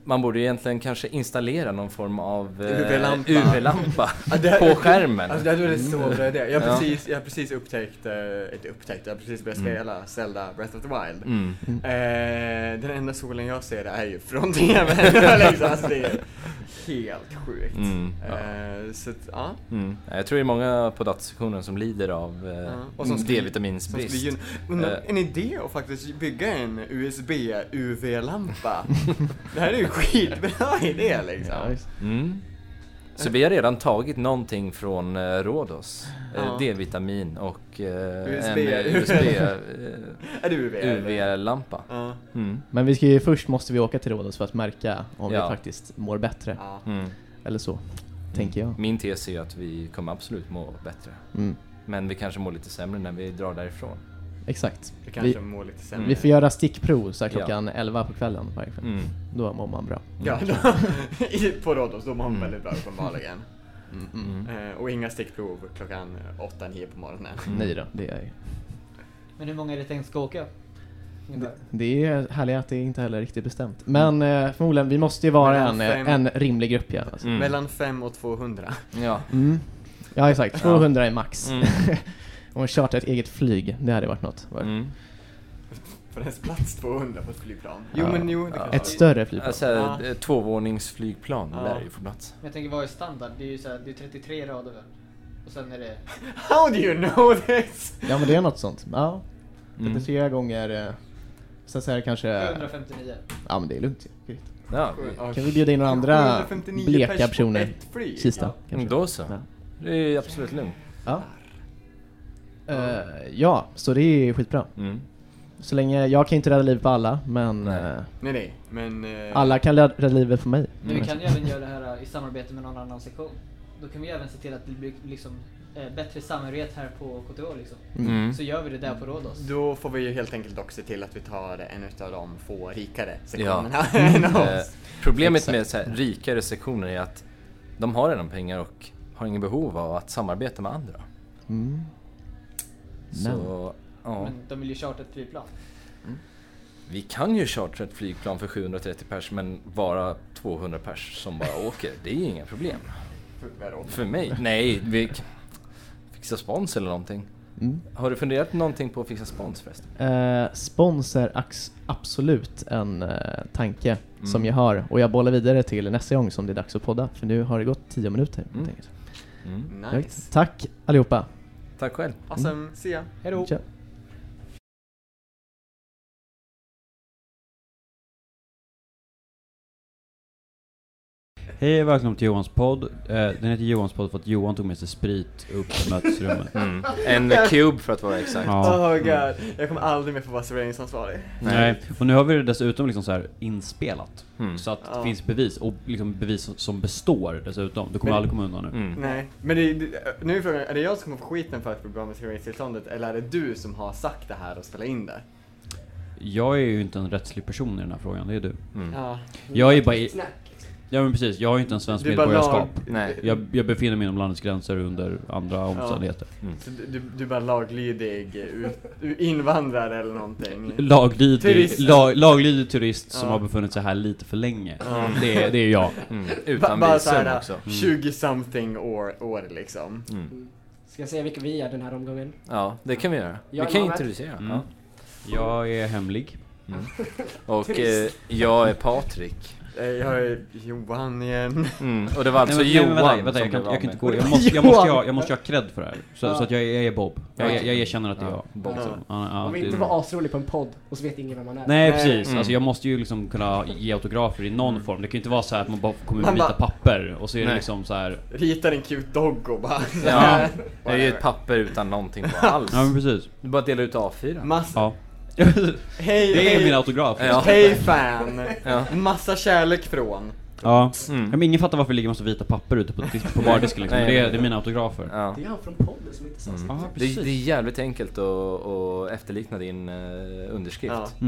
[SPEAKER 7] man borde ju egentligen kanske installera någon form av eh,
[SPEAKER 6] UV-lampa.
[SPEAKER 7] UV-lampa
[SPEAKER 6] Ja, det här-
[SPEAKER 7] på skärmen. Mm.
[SPEAKER 6] Alltså, det hade varit så bra idé. Jag har
[SPEAKER 7] Ja.
[SPEAKER 6] precis, jag har precis upptäckt, eh, inte upptäckt, jag har precis börjat
[SPEAKER 7] Mm.
[SPEAKER 6] spela Zelda Breath of the Wild.
[SPEAKER 7] Mm.
[SPEAKER 6] Eh, den enda solen jag ser är ju från TVn. liksom. alltså, det är helt sjukt.
[SPEAKER 7] Mm,
[SPEAKER 6] eh, så att, ja.
[SPEAKER 7] Mm. Jag tror det är många på datasektionen som lider av eh,
[SPEAKER 6] Ja, och som skulle- som skulle
[SPEAKER 7] D-vitaminsbrist.
[SPEAKER 6] gynna- Undra,
[SPEAKER 7] Eh,
[SPEAKER 6] en idé att faktiskt bygga en USB-UV-lampa. det här är ju en skitbra idé liksom.
[SPEAKER 7] Mm. Så vi har redan tagit någonting från eh, Rhodos. Eh,
[SPEAKER 6] Ja.
[SPEAKER 7] D-vitamin och eh,
[SPEAKER 6] USB.
[SPEAKER 7] en eh, USB, eh,
[SPEAKER 6] Är det UV, eller?
[SPEAKER 7] UV-lampa.
[SPEAKER 6] Ja.
[SPEAKER 7] Mm.
[SPEAKER 15] Men vi ska ju, först måste vi åka till Rhodos för att märka om
[SPEAKER 7] Ja.
[SPEAKER 15] vi faktiskt mår bättre.
[SPEAKER 7] Mm.
[SPEAKER 15] Eller så, tänker jag.
[SPEAKER 7] Min tes är ju att vi kommer absolut må bättre.
[SPEAKER 15] Mm.
[SPEAKER 7] Men vi kanske mår lite sämre när vi drar därifrån.
[SPEAKER 15] Exakt.
[SPEAKER 6] Vi kanske mår lite sämre.
[SPEAKER 15] Vi får göra stickprov så här
[SPEAKER 7] Ja.
[SPEAKER 15] klockan 11 på kvällen varje kväll.
[SPEAKER 7] Mm.
[SPEAKER 15] Då mår man bra.
[SPEAKER 6] Ja, då, i, på Rhodos, då mår man väldigt bra uppenbarligen. Eh, och inga stickprov klockan 8-9 på morgonen.
[SPEAKER 15] Mm. Nej då, det är
[SPEAKER 16] Men hur många är det tänkt ska åka? Ungefär.
[SPEAKER 15] Det är härligt att det inte heller är riktigt bestämt. Men eh, förmodligen, vi måste ju vara en,
[SPEAKER 6] Mm. Mellan fem-
[SPEAKER 15] en rimlig grupp ja. Alltså.
[SPEAKER 7] Mm.
[SPEAKER 6] Mellan 5 och 200.
[SPEAKER 7] Ja.
[SPEAKER 15] Mm. Ja exakt, 200 är max.
[SPEAKER 6] Mm.
[SPEAKER 15] Om man chartrar ett eget flyg, det hade varit något. Var?
[SPEAKER 7] Mm.
[SPEAKER 6] För det är plats 200 på ett flygplan. Jo men jo, det
[SPEAKER 15] Ja.
[SPEAKER 6] kanske
[SPEAKER 15] Ett större flygplan.
[SPEAKER 7] Alltså,
[SPEAKER 6] Ja.
[SPEAKER 7] eh, Tvåvåningsflygplan, det
[SPEAKER 6] Ja.
[SPEAKER 7] där är ju för plats.
[SPEAKER 16] Men jag tänker, vad är standard? Det är ju såhär, det är 33 rader väl? Och sen är det...
[SPEAKER 6] How do you know this?
[SPEAKER 15] Ja men det är något sånt. Ja.
[SPEAKER 7] Mm.
[SPEAKER 15] 33 gånger, eh, så att säga kanske...
[SPEAKER 16] 759.
[SPEAKER 15] Ja men det är lugnt ju. Skit.
[SPEAKER 7] Ja.
[SPEAKER 15] Kan vi bjuda in några andra
[SPEAKER 6] 759 pers
[SPEAKER 15] bleka
[SPEAKER 6] på
[SPEAKER 15] personer?
[SPEAKER 6] ett flyg.
[SPEAKER 15] Kista
[SPEAKER 6] Ja.
[SPEAKER 15] kanske?
[SPEAKER 7] Mm, Då så. Det är ju absolut lugnt.
[SPEAKER 15] Ja. Eh, ja, så det är skitbra.
[SPEAKER 7] Mm.
[SPEAKER 15] Så länge, jag kan inte rädda livet på alla, men... eh,
[SPEAKER 6] Nej nej, men... eh,
[SPEAKER 15] Alla kan lä- rädda livet för mig.
[SPEAKER 16] Men
[SPEAKER 7] Mm.
[SPEAKER 16] vi kan ju även göra det här eh, i samarbete med någon annan sektion. Då kan vi även se till att det blir liksom eh, bättre samhörighet här på KTH liksom.
[SPEAKER 7] Mm.
[SPEAKER 16] Så gör vi det där på Rhodos.
[SPEAKER 6] Då får vi ju helt enkelt också se till att vi tar en utav de få rikare
[SPEAKER 7] Ja.
[SPEAKER 6] sektionerna
[SPEAKER 18] Mm.
[SPEAKER 6] än
[SPEAKER 7] Eh,
[SPEAKER 6] oss.
[SPEAKER 7] Problemet med så här, rikare sektioner är att de har redan pengar och har ingen behov av att samarbeta med andra.
[SPEAKER 15] Mm.
[SPEAKER 7] Så, ja.
[SPEAKER 16] Men de vill ju charta ett flygplan.
[SPEAKER 7] Vi kan ju chartra ett flygplan för 730 pers men bara 200 pers som bara åker. Det är ju inga problem. För mig? Nej, vi k- fixa spons eller någonting.
[SPEAKER 15] Mm.
[SPEAKER 7] Har du funderat någonting på att fixa spons förresten?
[SPEAKER 15] Eh, spons är ax- absolut en eh, tanke som
[SPEAKER 7] Mm.
[SPEAKER 15] jag har och jag bollar vidare till nästa gång som det är dags att podda för nu har det gått 10 minuter. helt enkelt.
[SPEAKER 7] Mm.
[SPEAKER 15] Perfekt. Tack allihopa!
[SPEAKER 7] Tack själv.
[SPEAKER 6] Awesome, see ya. Hejdå.
[SPEAKER 15] Tja.
[SPEAKER 18] Hej och välkommen till Johans podd. Eh, Den heter Johans podd för att Johan tog med sig sprit upp till mötesrummet.
[SPEAKER 7] Mm. En cube för att vara exakt.
[SPEAKER 18] Ja. Mm.
[SPEAKER 6] Oh god, jag kommer aldrig mer få vara serveringsansvarig.
[SPEAKER 18] Nej, och nu har vi det dessutom liksom så här inspelat.
[SPEAKER 7] Mm.
[SPEAKER 18] Så att det
[SPEAKER 6] Ja.
[SPEAKER 18] finns bevis, och liksom bevis som- som består dessutom. Du kommer
[SPEAKER 6] Men-
[SPEAKER 18] aldrig komma undan
[SPEAKER 7] Mm.
[SPEAKER 18] nu.
[SPEAKER 6] Nej, men det, det, nu är frågan, är det jag som kommer få skiten för att bli bra med serveringstillståndet eller är det du som har sagt det här och spelat in det?
[SPEAKER 7] Mm.
[SPEAKER 18] Jag är ju inte en rättslig person i den här frågan, det är du.
[SPEAKER 6] Ja.
[SPEAKER 18] Jag är bara i,
[SPEAKER 6] Snack.
[SPEAKER 18] Ja men precis, jag har ju inte en svensk
[SPEAKER 6] Det är bara
[SPEAKER 18] medborgarskap.
[SPEAKER 6] lag- Nej.
[SPEAKER 18] Jag, jag befinner mig inom landets gränser under andra omständigheter. Mm.
[SPEAKER 6] Så du- Du, du är bara laglydig ut- du är invandrare eller någonting.
[SPEAKER 18] Laglydig,
[SPEAKER 6] Turist.
[SPEAKER 18] lag, laglydig turist som
[SPEAKER 6] Ja.
[SPEAKER 18] har befunnit sig här lite för länge.
[SPEAKER 6] Ja.
[SPEAKER 18] Det, är- det är jag.
[SPEAKER 7] Mm.
[SPEAKER 6] Mm. Ba- bara så här,
[SPEAKER 18] Mm.
[SPEAKER 6] 20 something år, år liksom.
[SPEAKER 7] Mm.
[SPEAKER 2] Ska jag säga vilka vi är den här omgången?
[SPEAKER 7] Ja, det kan vi göra.
[SPEAKER 2] Jag
[SPEAKER 7] vi kan
[SPEAKER 2] lovar.
[SPEAKER 7] introducera.
[SPEAKER 18] Mm.
[SPEAKER 7] Ja.
[SPEAKER 18] Jag är hemlig. Mm.
[SPEAKER 7] Och eh,
[SPEAKER 6] Trist.
[SPEAKER 7] jag är Patrik.
[SPEAKER 6] Eh, Jag är Johan igen.
[SPEAKER 7] Mm, och det var alltså
[SPEAKER 18] Nej, men- nej,
[SPEAKER 7] Johan
[SPEAKER 18] men vänta, vänta,
[SPEAKER 7] som
[SPEAKER 18] jag, kan,
[SPEAKER 7] blev
[SPEAKER 18] jag kan inte
[SPEAKER 7] av
[SPEAKER 18] gå.
[SPEAKER 7] med.
[SPEAKER 18] Jag måste, jag måste, jag, jag
[SPEAKER 7] Johan.
[SPEAKER 18] måste ju ha cred för det här. Så,
[SPEAKER 2] Ja.
[SPEAKER 18] så att jag, jag är Bob. Jag,
[SPEAKER 2] Ja.
[SPEAKER 18] jag, jag erkänner att det är jag.
[SPEAKER 2] Ja,
[SPEAKER 18] Bob.
[SPEAKER 2] Bob.
[SPEAKER 18] Så, ja, ja,
[SPEAKER 2] Om vi
[SPEAKER 18] det-
[SPEAKER 2] inte var asrolig på en podd och så vet ingen vem man är.
[SPEAKER 18] Nej precis,
[SPEAKER 7] Mm.
[SPEAKER 18] alltså jag måste ju liksom kunna ge autografer i någon form. Det kan ju inte vara så här att man bara kommer
[SPEAKER 6] Man
[SPEAKER 18] med vita
[SPEAKER 6] bara-
[SPEAKER 18] papper och så är det
[SPEAKER 7] Nej.
[SPEAKER 18] liksom så här.
[SPEAKER 6] Ritar en cute dogg och bara...
[SPEAKER 7] Ja, det är ju ett papper utan någonting på alls.
[SPEAKER 18] Ja men precis.
[SPEAKER 7] Du bara delar ut A4.
[SPEAKER 6] Mass-
[SPEAKER 18] Ja.
[SPEAKER 6] Hej,
[SPEAKER 18] det är
[SPEAKER 6] hej.
[SPEAKER 18] min autograf. liksom.
[SPEAKER 7] Ja.
[SPEAKER 6] Hej fan!
[SPEAKER 7] Ja.
[SPEAKER 6] Massa kärlek från.
[SPEAKER 18] Ja. ja men ingen fattar varför det ligger massa vita papper ute på, dis- på bardisken liksom.
[SPEAKER 7] Mm. Nej.
[SPEAKER 18] det, är, det är mina autografer. Mm. Ah,
[SPEAKER 7] Ja.
[SPEAKER 2] Det är han från podden som inte sa
[SPEAKER 7] Mm.
[SPEAKER 2] sitt.
[SPEAKER 7] Det, det är jävligt enkelt att, att efterlikna din eh, underskrift.
[SPEAKER 6] Ja.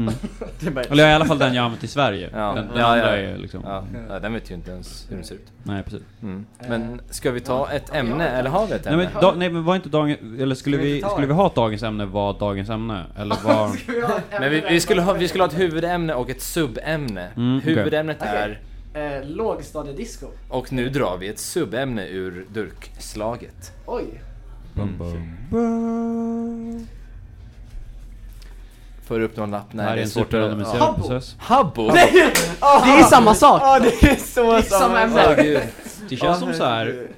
[SPEAKER 18] Mm. Eller i alla fall den jag använt i Sverige.
[SPEAKER 7] Ja.
[SPEAKER 18] Den, den
[SPEAKER 7] Ja,
[SPEAKER 18] andra
[SPEAKER 7] ja.
[SPEAKER 18] är liksom...
[SPEAKER 7] Ja. ja, den vet ju inte ens hur den ser ut.
[SPEAKER 18] Nej precis.
[SPEAKER 7] Mm. Men ska vi ta ett ämne, eller har vi ett
[SPEAKER 18] Nej
[SPEAKER 7] ämne?
[SPEAKER 18] men, da, nej men var inte dagen, eller skulle
[SPEAKER 7] Ska vi
[SPEAKER 18] vi,
[SPEAKER 7] inte ta
[SPEAKER 18] skulle
[SPEAKER 7] det?
[SPEAKER 18] vi ha ett dagens ämne var dagens ämne? Eller var...
[SPEAKER 7] Men vi, vi, skulle ha, vi skulle ha ett huvudämne och ett subämne.
[SPEAKER 18] Mm, okej.
[SPEAKER 7] Huvudämnet
[SPEAKER 2] Okej.
[SPEAKER 7] är,
[SPEAKER 2] Eh, lågstadiedisco.
[SPEAKER 7] och nu drar vi ett subämne ur durkslaget.
[SPEAKER 2] Oj.
[SPEAKER 7] Får upp någon lapp?
[SPEAKER 18] Det här är
[SPEAKER 7] det
[SPEAKER 18] en
[SPEAKER 7] svårt att-
[SPEAKER 18] superrandomiserad
[SPEAKER 7] Habbo.
[SPEAKER 18] process.
[SPEAKER 7] Habbo! Ah.
[SPEAKER 2] Nej! Det är samma sak!
[SPEAKER 6] Ah.
[SPEAKER 18] Ah,
[SPEAKER 6] Ja, det är så
[SPEAKER 2] Det är samma ämne.
[SPEAKER 6] sak.
[SPEAKER 18] Åh, gud. Det känns
[SPEAKER 6] Åh,
[SPEAKER 18] som så här.
[SPEAKER 6] herregud.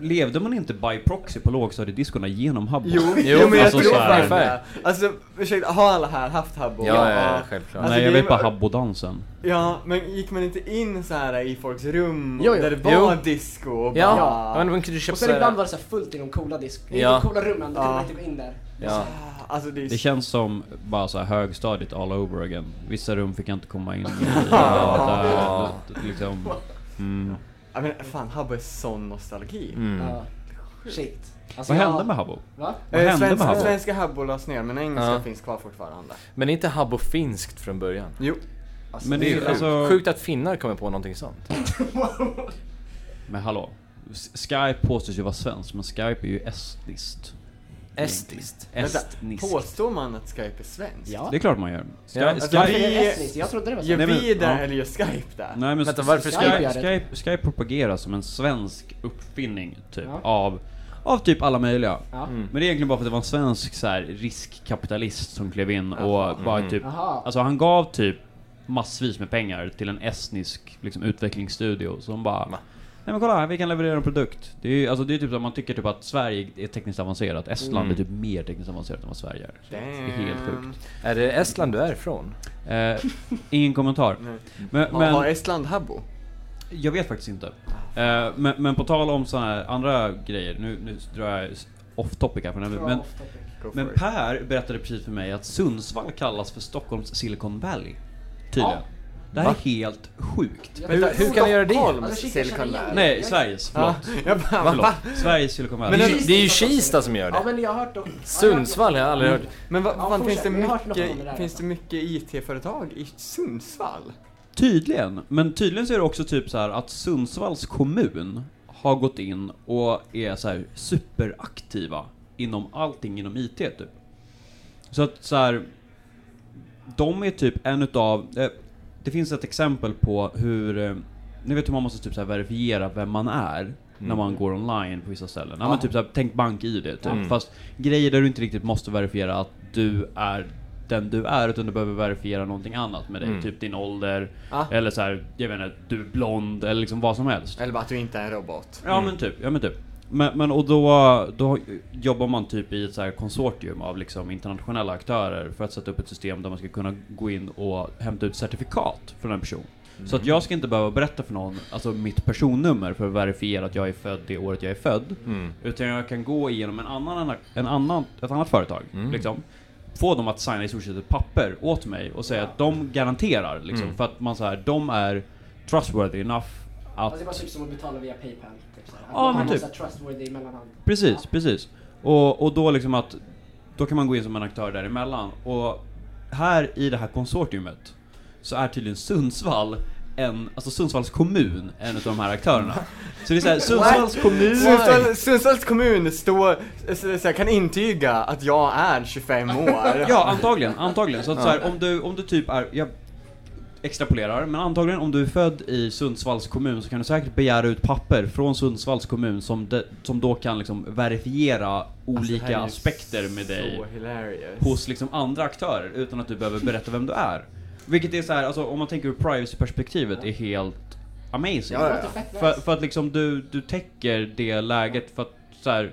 [SPEAKER 18] Levde man inte by proxy på lågstadiediskorna genom Habbo?
[SPEAKER 6] Jo, jo men jag
[SPEAKER 18] Alltså,
[SPEAKER 6] tror
[SPEAKER 18] så här-
[SPEAKER 6] fan det. Alltså ursäkta, har alla här haft habbo? Alltså,
[SPEAKER 7] Ja, ja, ja, självklart.
[SPEAKER 18] Nej jag
[SPEAKER 6] grejen
[SPEAKER 18] vet bara
[SPEAKER 6] var-
[SPEAKER 18] Habbo-dansen.
[SPEAKER 6] Ja, men gick man inte in så här i folks rum
[SPEAKER 2] Jo, jo.
[SPEAKER 6] där det var
[SPEAKER 7] Jo.
[SPEAKER 6] disco och
[SPEAKER 7] Ja.
[SPEAKER 6] bara...
[SPEAKER 7] Ja, men man kunde köpa
[SPEAKER 2] Och sen
[SPEAKER 7] så här-
[SPEAKER 2] ibland var det så här fullt i de coola disk... I
[SPEAKER 7] Ja.
[SPEAKER 2] de coola rummen, då kunde
[SPEAKER 6] Ja.
[SPEAKER 2] man inte gå in där.
[SPEAKER 7] Ja.
[SPEAKER 6] typ Alltså det är
[SPEAKER 18] Det känns som bara så här högstadiet all over again. Vissa rum fick jag inte komma in i.
[SPEAKER 6] Ja.
[SPEAKER 18] Ja, där, liksom. mm.
[SPEAKER 6] Ja, men fan, habbo är sån nostalgi.
[SPEAKER 18] Mm.
[SPEAKER 2] Ja. Shit. Alltså,
[SPEAKER 18] Vad hände med Habbo?
[SPEAKER 2] Va?
[SPEAKER 18] Vad
[SPEAKER 6] Eh,
[SPEAKER 18] hände med
[SPEAKER 6] svenska,
[SPEAKER 18] Habbo?
[SPEAKER 6] svenska habbo lades ner, men engelska
[SPEAKER 7] Ja.
[SPEAKER 6] finns kvar fortfarande.
[SPEAKER 7] Men är inte Habbo finskt från början?
[SPEAKER 6] Jo.
[SPEAKER 18] Men det är
[SPEAKER 7] sjukt.
[SPEAKER 18] alltså-
[SPEAKER 7] Sjukt att finnar kommer på någonting sånt.
[SPEAKER 18] Men hallå. S- Skype påstås ju vara svensk, men Skype är ju estniskt.
[SPEAKER 7] Estiskt?
[SPEAKER 6] Vänta,
[SPEAKER 18] Estniskt.
[SPEAKER 6] Påstår man att Skype är svenskt?
[SPEAKER 2] Ja.
[SPEAKER 18] Det är klart man gör. Sky-
[SPEAKER 7] Ja,
[SPEAKER 6] Alltså,
[SPEAKER 18] Skype-
[SPEAKER 6] vi-
[SPEAKER 2] estniskt, jag trodde det var
[SPEAKER 6] Gör
[SPEAKER 18] svenskt.
[SPEAKER 6] vi
[SPEAKER 18] Nej, men-
[SPEAKER 6] det
[SPEAKER 18] ja.
[SPEAKER 6] eller gör Skype det?
[SPEAKER 18] Nej men
[SPEAKER 7] Vänta,
[SPEAKER 18] s-
[SPEAKER 7] varför
[SPEAKER 18] Skype,
[SPEAKER 2] Skype gör
[SPEAKER 18] Skype,
[SPEAKER 2] det?
[SPEAKER 18] Skype, propageras som en svensk uppfinning typ
[SPEAKER 2] Ja.
[SPEAKER 18] av av typ alla möjliga.
[SPEAKER 2] Ja.
[SPEAKER 6] Mm.
[SPEAKER 18] Men det är egentligen bara för att det var en svensk så här, riskkapitalist som klev in och
[SPEAKER 6] Mm.
[SPEAKER 18] bara typ,
[SPEAKER 2] Aha.
[SPEAKER 18] alltså han gav typ massvis med pengar till en estnisk liksom, utvecklingsstudio som bara Nej men kolla, här, vi kan leverera en produkt. Det är ju alltså, det är typ att man tycker typ att Sverige är tekniskt avancerat. Estland
[SPEAKER 7] Mm.
[SPEAKER 18] är typ mer tekniskt avancerat än vad Sverige är. Så Det är helt sjukt.
[SPEAKER 7] Är det Estland du är ifrån?
[SPEAKER 18] Eh, ingen kommentar.
[SPEAKER 6] Nej.
[SPEAKER 18] Men,
[SPEAKER 6] Har-
[SPEAKER 18] men,
[SPEAKER 6] Har Estland habbo?
[SPEAKER 18] jag vet faktiskt inte. Eh, men, men på tal om såna här andra grejer, nu, nu drar jag s- off topic här för den här, men,
[SPEAKER 6] Go for
[SPEAKER 18] men
[SPEAKER 6] it.
[SPEAKER 18] Per berättade precis för mig att Sundsvall kallas för Stockholms Silicon Valley. Tydligen. Det här
[SPEAKER 7] Va?
[SPEAKER 18] är helt sjukt.
[SPEAKER 7] Hur, hur kan ni göra
[SPEAKER 2] Alltså,
[SPEAKER 7] det? Alltså,
[SPEAKER 6] Holms Silicon Valley.
[SPEAKER 18] Nej, Sveriges.
[SPEAKER 6] Ja,
[SPEAKER 18] Förlåt.
[SPEAKER 6] jag bara,
[SPEAKER 18] Förlåt.
[SPEAKER 6] va?
[SPEAKER 18] Sveriges Silicon Valley.
[SPEAKER 7] Men
[SPEAKER 18] Men,
[SPEAKER 7] det, det är ju Kista som gör
[SPEAKER 2] Ja
[SPEAKER 7] det.
[SPEAKER 2] men jag har hört om... Ja, jag-
[SPEAKER 7] Sundsvall har jag aldrig hört.
[SPEAKER 6] Men vad
[SPEAKER 2] Ja,
[SPEAKER 6] fan, finns
[SPEAKER 2] fortsätt.
[SPEAKER 6] det
[SPEAKER 2] Jag har hört något om det där.
[SPEAKER 6] mycket, finns det mycket IT-företag i Sundsvall?
[SPEAKER 18] tydligen. Men tydligen så är det också typ så här att Sundsvalls kommun har gått in och är så här superaktiva inom allting inom IT typ. Så att så här. De är typ en utav... Eh, det finns ett exempel på hur... Eh, ni vet hur man måste typ så här verifiera vem man är när man går online på vissa ställen. Ja, men typ så här, tänk bank-id typ.
[SPEAKER 7] Mm.
[SPEAKER 18] Fast grejer där du inte riktigt måste verifiera att du är den du är utan du behöver verifiera någonting annat med dig.
[SPEAKER 7] Mm.
[SPEAKER 18] Typ din ålder,
[SPEAKER 6] Ja.
[SPEAKER 18] eller så här, jag vet inte, du är blond eller liksom vad som helst.
[SPEAKER 6] Eller bara att du inte är en robot?
[SPEAKER 18] Ja men typ, ja men typ. Men, men och då, då jobbar man typ i ett så här konsortium av liksom internationella aktörer för att sätta upp ett system där man ska kunna gå in och hämta ut certifikat från en person.
[SPEAKER 6] Mm.
[SPEAKER 18] Så att jag ska inte behöva berätta för någon, alltså mitt personnummer för att verifiera att jag är född det året jag är född.
[SPEAKER 7] Mm.
[SPEAKER 18] Utan jag kan gå igenom en annan, en annan, ett annat företag,
[SPEAKER 7] Mm.
[SPEAKER 18] liksom. Få dem att signa i stort sett ett papper åt mig och säga att de garanterar, liksom.
[SPEAKER 7] Mm.
[SPEAKER 18] För att man så här, de är trustworthy enough att...
[SPEAKER 2] Alltså det var typ som att betala via Paypal. Typ så här.
[SPEAKER 18] Ja,
[SPEAKER 2] Att
[SPEAKER 18] men
[SPEAKER 2] man har
[SPEAKER 18] typ.
[SPEAKER 2] så här trustworthy mellanhand.
[SPEAKER 18] Precis, precis. Och, och då liksom att, då kan man gå in som en aktör däremellan. Och här i det här konsortiumet så är tydligen Sundsvall en, alltså Sundsvalls kommun är en av de här aktörerna. Så det är såhär, Sundsvalls
[SPEAKER 6] Why?
[SPEAKER 18] kommun...
[SPEAKER 6] Sundsvall, Sundsvalls kommun står, så, så jag kan intyga att jag är 25 år.
[SPEAKER 18] Ja, antagligen. antagligen. Så att
[SPEAKER 6] Ja.
[SPEAKER 18] så här, om, du, om du typ är... Jag extrapolerar, men antagligen om du är född i Sundsvalls kommun så kan du säkert begära ut papper från Sundsvalls kommun som, de, som då kan liksom verifiera
[SPEAKER 6] Alltså, det
[SPEAKER 18] olika
[SPEAKER 6] här är
[SPEAKER 18] aspekter med
[SPEAKER 6] så
[SPEAKER 18] dig
[SPEAKER 6] hilarious.
[SPEAKER 18] hos liksom andra aktörer utan att du behöver berätta vem du är. Vilket är så här, alltså om man tänker ur privacy-perspektivet är helt amazing.
[SPEAKER 6] Ja, ja, ja.
[SPEAKER 18] För, för att liksom du, du täcker det läget för att så här,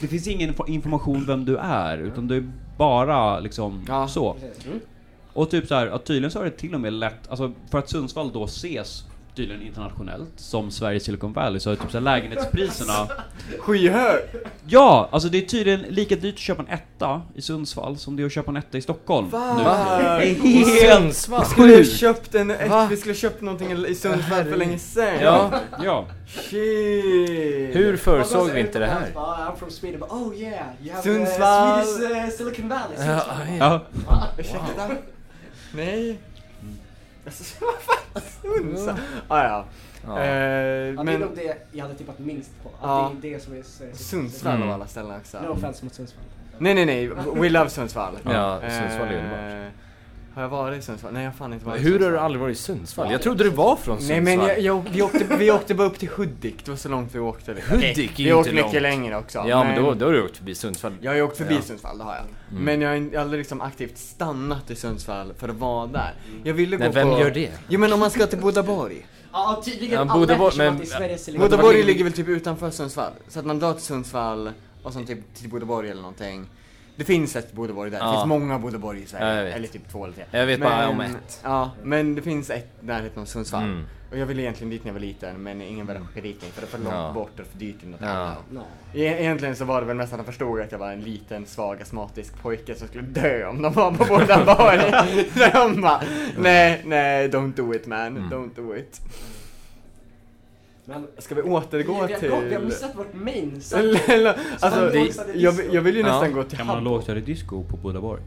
[SPEAKER 18] det finns ingen info- information vem du är, utan du är bara liksom så.
[SPEAKER 6] precis. Mm.
[SPEAKER 18] Och typ så här, att tydligen så är det till och med lätt, alltså för att Sundsvall då ses tydligen internationellt som Sveriges Silicon Valley så är typ så här lägenhetspriserna
[SPEAKER 6] Skyhög!
[SPEAKER 18] Ja! Alltså det är tydligen lika dyrt att köpa en etta i Sundsvall som det är att köpa en etta i Stockholm
[SPEAKER 6] Va?
[SPEAKER 18] nu. Det är
[SPEAKER 6] Vi
[SPEAKER 18] helt
[SPEAKER 6] skulle ha
[SPEAKER 18] sjukt!
[SPEAKER 6] köpt en, ett, vi skulle ha köpt någonting i Sundsvall för länge sedan.
[SPEAKER 18] Ja, ja.
[SPEAKER 6] Shit.
[SPEAKER 11] Hur förutsåg vi inte det här?
[SPEAKER 2] Bara, I'm from Sweden. But, oh yeah, you have
[SPEAKER 6] Sundsvall.
[SPEAKER 2] Uh, Swedish eh, Silicon Valley.
[SPEAKER 6] Ja,
[SPEAKER 2] Sundsvall.
[SPEAKER 6] ja.
[SPEAKER 2] Fan,
[SPEAKER 6] Ursäkta? Nej. Alltså, vad fan, Sundsvall? Ah, ja,
[SPEAKER 2] Mm. Ja.
[SPEAKER 6] Eh,
[SPEAKER 2] Ja, det är nog det jag hade tippat minst på. Att
[SPEAKER 6] Ja. Mm.
[SPEAKER 2] det är det som är Sveriges
[SPEAKER 6] Sundsvall
[SPEAKER 11] Mm.
[SPEAKER 6] av alla ställen också.
[SPEAKER 2] No offense mot Sundsvall.
[SPEAKER 6] Nej, nej, nej. We love Sundsvall.
[SPEAKER 11] Ja,
[SPEAKER 6] Eh,
[SPEAKER 11] Sundsvall är underbart.
[SPEAKER 6] Har jag varit i Sundsvall? Nej, jag har fan inte varit i
[SPEAKER 11] Hur har du
[SPEAKER 6] Sundsvall.
[SPEAKER 11] aldrig varit i Sundsvall? Jag trodde du var från
[SPEAKER 6] Nej
[SPEAKER 11] Sundsvall.
[SPEAKER 6] men jag, jag, vi, åkte, vi åkte bara upp till Hudik, det var så långt vi åkte. liksom.
[SPEAKER 11] Hudik är
[SPEAKER 6] Okej,
[SPEAKER 11] inte
[SPEAKER 6] Vi åkte
[SPEAKER 11] långt.
[SPEAKER 6] mycket längre också.
[SPEAKER 11] Ja, men då- då har du åkt förbi Sundsvall.
[SPEAKER 6] Jag har ju åkt förbi
[SPEAKER 11] Ja.
[SPEAKER 6] Sundsvall, det har jag.
[SPEAKER 11] Mm.
[SPEAKER 6] Men jag har in- aldrig liksom aktivt stannat i Sundsvall för att vara där. Jag ville
[SPEAKER 11] Mm. Nej,
[SPEAKER 6] gå
[SPEAKER 11] vem
[SPEAKER 6] på...
[SPEAKER 11] gör det?
[SPEAKER 6] Jo men om man ska till Bodaborg.
[SPEAKER 2] Ja, tydligen
[SPEAKER 11] Ja,
[SPEAKER 2] alla
[SPEAKER 11] Bodaborg-
[SPEAKER 2] eftersom
[SPEAKER 11] men-
[SPEAKER 2] att det är Sveriges Silicon
[SPEAKER 6] Bodaborg
[SPEAKER 2] Valley.
[SPEAKER 6] ligger väl typ utanför Sundsvall? Så att man drar till Sundsvall och sen typ till Bodaborg eller någonting. Det finns ett Bodaborg där, det
[SPEAKER 11] Ja.
[SPEAKER 6] finns många Bodaborg i Sverige.
[SPEAKER 11] Ja, jag vet.
[SPEAKER 6] eller typ två eller tre.
[SPEAKER 11] Jag vet bara om ett.
[SPEAKER 6] Ja, men det finns ett i närheten av Sundsvall.
[SPEAKER 11] Mm.
[SPEAKER 6] Och jag ville egentligen dit när jag var liten, men ingen ville skicka dit mig för det var för långt
[SPEAKER 11] Ja.
[SPEAKER 6] bort och för dyrt i något
[SPEAKER 11] Ja.
[SPEAKER 6] annat.
[SPEAKER 11] Ja.
[SPEAKER 6] E- egentligen så var det väl mest att de förstod att jag var en liten svag astmatisk pojke som skulle dö om de var på Bodaborg. Så de bara, nej, nej, don't do it man, don't do it.
[SPEAKER 2] Men-
[SPEAKER 6] Ska vi återgå
[SPEAKER 2] Vi har
[SPEAKER 6] till...
[SPEAKER 2] gått- vi har missat vårt main
[SPEAKER 6] Eller- eller- alltså, jag, jag vill ju nästan gå till
[SPEAKER 18] Gamla
[SPEAKER 6] Hamburg.
[SPEAKER 18] lågstadiedisco på Bodaborg.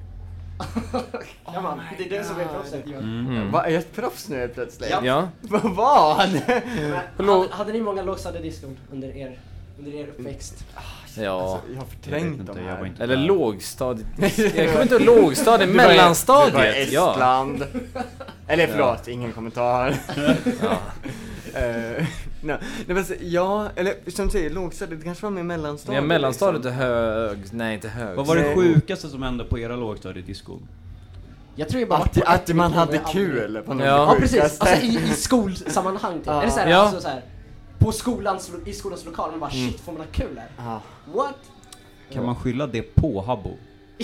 [SPEAKER 2] Ja, man, det är det som är proffset.
[SPEAKER 18] Mm.
[SPEAKER 6] Vad Mm-hmm. är jag ett proffs nu plötsligt?
[SPEAKER 2] Ja. Ja.
[SPEAKER 6] Vad var det?
[SPEAKER 2] Men Hade, hade ni många lågstadiediskon under er, under er uppväxt?
[SPEAKER 11] Ja.
[SPEAKER 6] Alltså, jag har förträngt
[SPEAKER 11] inte,
[SPEAKER 6] de
[SPEAKER 11] jag
[SPEAKER 6] här.
[SPEAKER 11] var inte Eller lågstadiet. Jag kommer inte ihåg lågstadiet,
[SPEAKER 6] Du var i-
[SPEAKER 11] mellanstadiet.
[SPEAKER 6] Du var i
[SPEAKER 11] ja.
[SPEAKER 6] Estland. Eller
[SPEAKER 11] Ja.
[SPEAKER 6] förlåt, ingen kommentar.
[SPEAKER 11] Ja.
[SPEAKER 6] Eh, nej. nej men så- ja, eller som du säger, lågstadiet, det kanske var mer mellanstadiet.
[SPEAKER 11] Ja, mellanstadiet
[SPEAKER 6] liksom.
[SPEAKER 11] är hög... Nej, inte hög.
[SPEAKER 18] Vad var det sjukaste som hände på era lågstadiediscon?
[SPEAKER 2] Jag tror ju bara
[SPEAKER 6] liksom. Att- att man hade kul på något Ja.
[SPEAKER 2] Ja, precis.
[SPEAKER 6] sjukaste.
[SPEAKER 2] Alltså i, i skolsammanhang typ.
[SPEAKER 6] Ja.
[SPEAKER 2] Eller såhär,
[SPEAKER 6] Ja.
[SPEAKER 2] alltså, såhär, på skolans, lo- i skolans lokal, man bara
[SPEAKER 18] Mm.
[SPEAKER 2] shit, får man ha kul här?
[SPEAKER 6] Ja.
[SPEAKER 2] What?
[SPEAKER 18] Kan man skylla det på Habbo?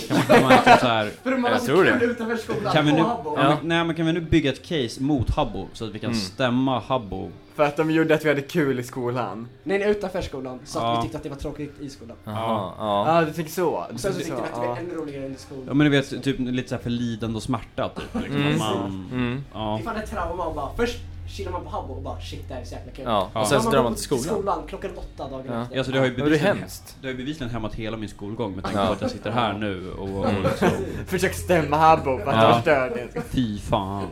[SPEAKER 18] Kan man, kan man liksom så här,
[SPEAKER 2] För man har Jag så tror kul det. utanför skolan,
[SPEAKER 18] kan vi
[SPEAKER 2] på
[SPEAKER 18] nu,
[SPEAKER 2] Habbo.
[SPEAKER 18] ja. men, nej, men kan vi nu bygga ett case mot Habbo så att vi kan
[SPEAKER 6] Mm.
[SPEAKER 18] stämma Habbo?
[SPEAKER 6] För att de gjorde att vi hade kul i skolan.
[SPEAKER 2] Nej, nej, utanför skolan. Så att
[SPEAKER 18] Ja.
[SPEAKER 2] vi tyckte att det var tråkigt i skolan.
[SPEAKER 11] Jaha,
[SPEAKER 6] ja. du tycker så?
[SPEAKER 2] Och sen så
[SPEAKER 6] Du
[SPEAKER 2] tyckte vi att det
[SPEAKER 6] ja.
[SPEAKER 2] var ännu roligare under skolan.
[SPEAKER 18] Ja men du vet, typ lite så här för lidande och smärta typ. Liksom.
[SPEAKER 11] Mm.
[SPEAKER 18] att Man,
[SPEAKER 11] Mm.
[SPEAKER 18] ja.
[SPEAKER 2] Det är fan ett trauma och bara först chillar man på Habbo och bara shit det här är så jäkla kul.
[SPEAKER 11] Ja,
[SPEAKER 2] Sen
[SPEAKER 11] och sen
[SPEAKER 2] har
[SPEAKER 11] så drar
[SPEAKER 2] gått
[SPEAKER 11] man till skolan.
[SPEAKER 2] klockan åtta dagen
[SPEAKER 11] Ja.
[SPEAKER 2] efter.
[SPEAKER 18] Alltså det har ju
[SPEAKER 11] Ja, det är
[SPEAKER 18] bevisligen,
[SPEAKER 11] hemskt.
[SPEAKER 18] det har ju bevisligen hämmat hela min skolgång med tanke
[SPEAKER 11] Ja.
[SPEAKER 18] på att jag sitter här nu och, och
[SPEAKER 11] Mm.
[SPEAKER 18] liksom...
[SPEAKER 6] Försök stämma Habbo för att han förstörde det.
[SPEAKER 18] Fy fan.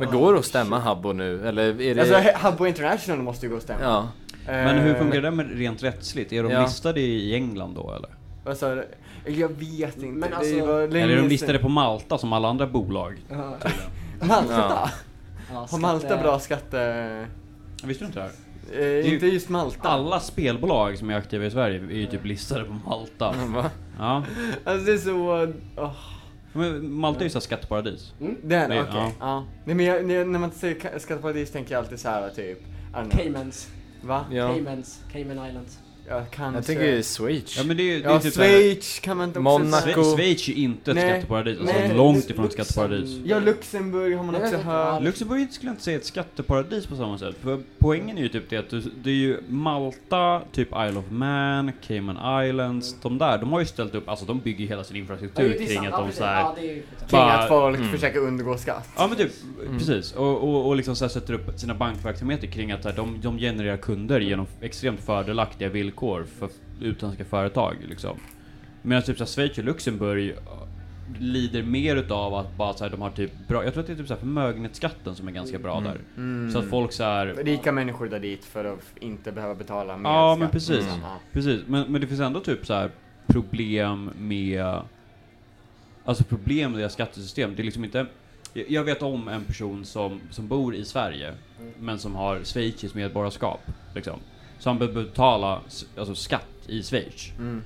[SPEAKER 11] Men går det att stämma Habbo nu? Eller är det...
[SPEAKER 6] Alltså He- Habbo International måste ju gå och stämma.
[SPEAKER 11] Ja.
[SPEAKER 18] Men hur
[SPEAKER 6] Eh,
[SPEAKER 18] funkar det med rent rättsligt? Är de
[SPEAKER 11] Ja.
[SPEAKER 18] listade i England då eller?
[SPEAKER 6] Vad sa du? Jag vet inte.
[SPEAKER 2] Men
[SPEAKER 6] det
[SPEAKER 2] alltså-
[SPEAKER 6] var länge
[SPEAKER 18] Eller är de
[SPEAKER 6] sedan.
[SPEAKER 18] listade på Malta som alla andra bolag?
[SPEAKER 2] Ja.
[SPEAKER 18] tydligen?
[SPEAKER 6] Malta?
[SPEAKER 2] Ja,
[SPEAKER 6] Har Malta
[SPEAKER 2] skatte-
[SPEAKER 6] bra skatte...
[SPEAKER 18] Visste du inte det här?
[SPEAKER 6] Eh, inte just Malta.
[SPEAKER 18] Alla spelbolag som är aktiva i Sverige är ju typ listade på Malta.
[SPEAKER 11] Va?
[SPEAKER 18] Ja.
[SPEAKER 6] Alltså det är så... åh.
[SPEAKER 18] Men Malta är ju såhär skatteparadis.
[SPEAKER 6] Mm,
[SPEAKER 2] Mm.
[SPEAKER 6] Det är det?
[SPEAKER 18] Det-
[SPEAKER 6] Okej. Ja. Nej men jag, när- när man säger ka- skatteparadis tänker jag alltid så här typ... I don't know.
[SPEAKER 2] Caymans.
[SPEAKER 6] Va?
[SPEAKER 11] Ja.
[SPEAKER 2] Caymans. Cayman Islands.
[SPEAKER 6] Ja, kanske.
[SPEAKER 11] Jag tänker ju Schweiz.
[SPEAKER 18] Ja men det är ju... det är
[SPEAKER 6] Ja,
[SPEAKER 18] typ så här-
[SPEAKER 6] Schweiz kan man inte också
[SPEAKER 11] Monaco.
[SPEAKER 6] säga.
[SPEAKER 18] Sve- Schweiz är ju inte ett
[SPEAKER 6] Nej,
[SPEAKER 18] skatteparadis. Alltså
[SPEAKER 6] nej.
[SPEAKER 18] långt ifrån ett skatteparadis.
[SPEAKER 6] Ja, Luxemburg har man
[SPEAKER 2] Jag
[SPEAKER 6] också
[SPEAKER 2] vet inte.
[SPEAKER 6] hört.
[SPEAKER 18] Luxemburg skulle jag inte säga ett skatteparadis på samma sätt. För poängen är ju typ det att du, det är ju Malta, typ Isle of Man, Cayman Islands, de där, de har ju ställt upp, alltså de bygger ju hela sin infrastruktur
[SPEAKER 2] Ja, det är
[SPEAKER 18] kring
[SPEAKER 2] sant.
[SPEAKER 18] att
[SPEAKER 2] Ja,
[SPEAKER 18] de
[SPEAKER 2] precis.
[SPEAKER 18] såhär...
[SPEAKER 2] Ja, det är ju-
[SPEAKER 6] Kring
[SPEAKER 18] bara-
[SPEAKER 6] att folk
[SPEAKER 18] Mm.
[SPEAKER 6] försöker undgå skatt.
[SPEAKER 18] Ja men typ, precis. Och, och, och liksom så här sätter upp sina bankverksamheter kring att så här, de, de genererar kunder genom extremt fördelaktiga villkor för utländska företag. Liksom. Medan typ så här, Schweiz och Luxemburg lider mer utav att bara så här, de har typ bra, jag tror att det är typ så här förmögenhetsskatten som är ganska bra där.
[SPEAKER 6] Mm.
[SPEAKER 18] Så att
[SPEAKER 11] Mm.
[SPEAKER 18] folk så här,
[SPEAKER 6] Rika människor där dit för att f- inte behöva betala mer
[SPEAKER 18] Ja,
[SPEAKER 6] skatt.
[SPEAKER 18] men precis.
[SPEAKER 6] Mm. Ja.
[SPEAKER 18] precis. Men, men det finns ändå typ så här problem med... Alltså problem med deras skattesystem. Det är liksom inte... jag- Jag vet om en person som, som bor i Sverige,
[SPEAKER 6] Mm.
[SPEAKER 18] men som har schweiziskt medborgarskap. Liksom. Så han behöver betala s- alltså, skatt i Schweiz.
[SPEAKER 6] Mm.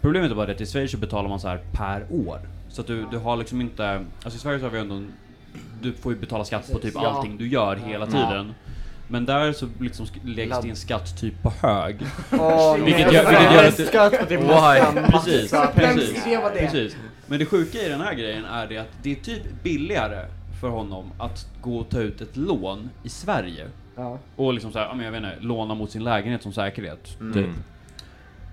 [SPEAKER 18] Problemet är bara det att i Schweiz så betalar man så här per år. Så att du, du har liksom inte... Alltså i Sverige så har vi ändå... en- Du får ju betala skatt på typ
[SPEAKER 11] Ja.
[SPEAKER 18] allting du gör hela
[SPEAKER 11] Ja.
[SPEAKER 18] tiden. Men där så liksom sk- läggs din skatt typ på hög.
[SPEAKER 6] Åh,
[SPEAKER 18] vilket
[SPEAKER 6] nej.
[SPEAKER 18] gör, vilket gör att det-
[SPEAKER 6] Skatt, det är massa,
[SPEAKER 18] Why?
[SPEAKER 6] massa
[SPEAKER 18] Precis,
[SPEAKER 6] skatt.
[SPEAKER 18] precis,
[SPEAKER 6] Vem skrev vad det är?
[SPEAKER 18] precis. Men det sjuka i den här grejen är det att det är typ billigare för honom att gå och ta ut ett lån i Sverige.
[SPEAKER 2] Ja.
[SPEAKER 18] Och liksom så här, ja, men jag vet inte, låna mot sin lägenhet som säkerhet.
[SPEAKER 11] Mm.
[SPEAKER 18] Typ.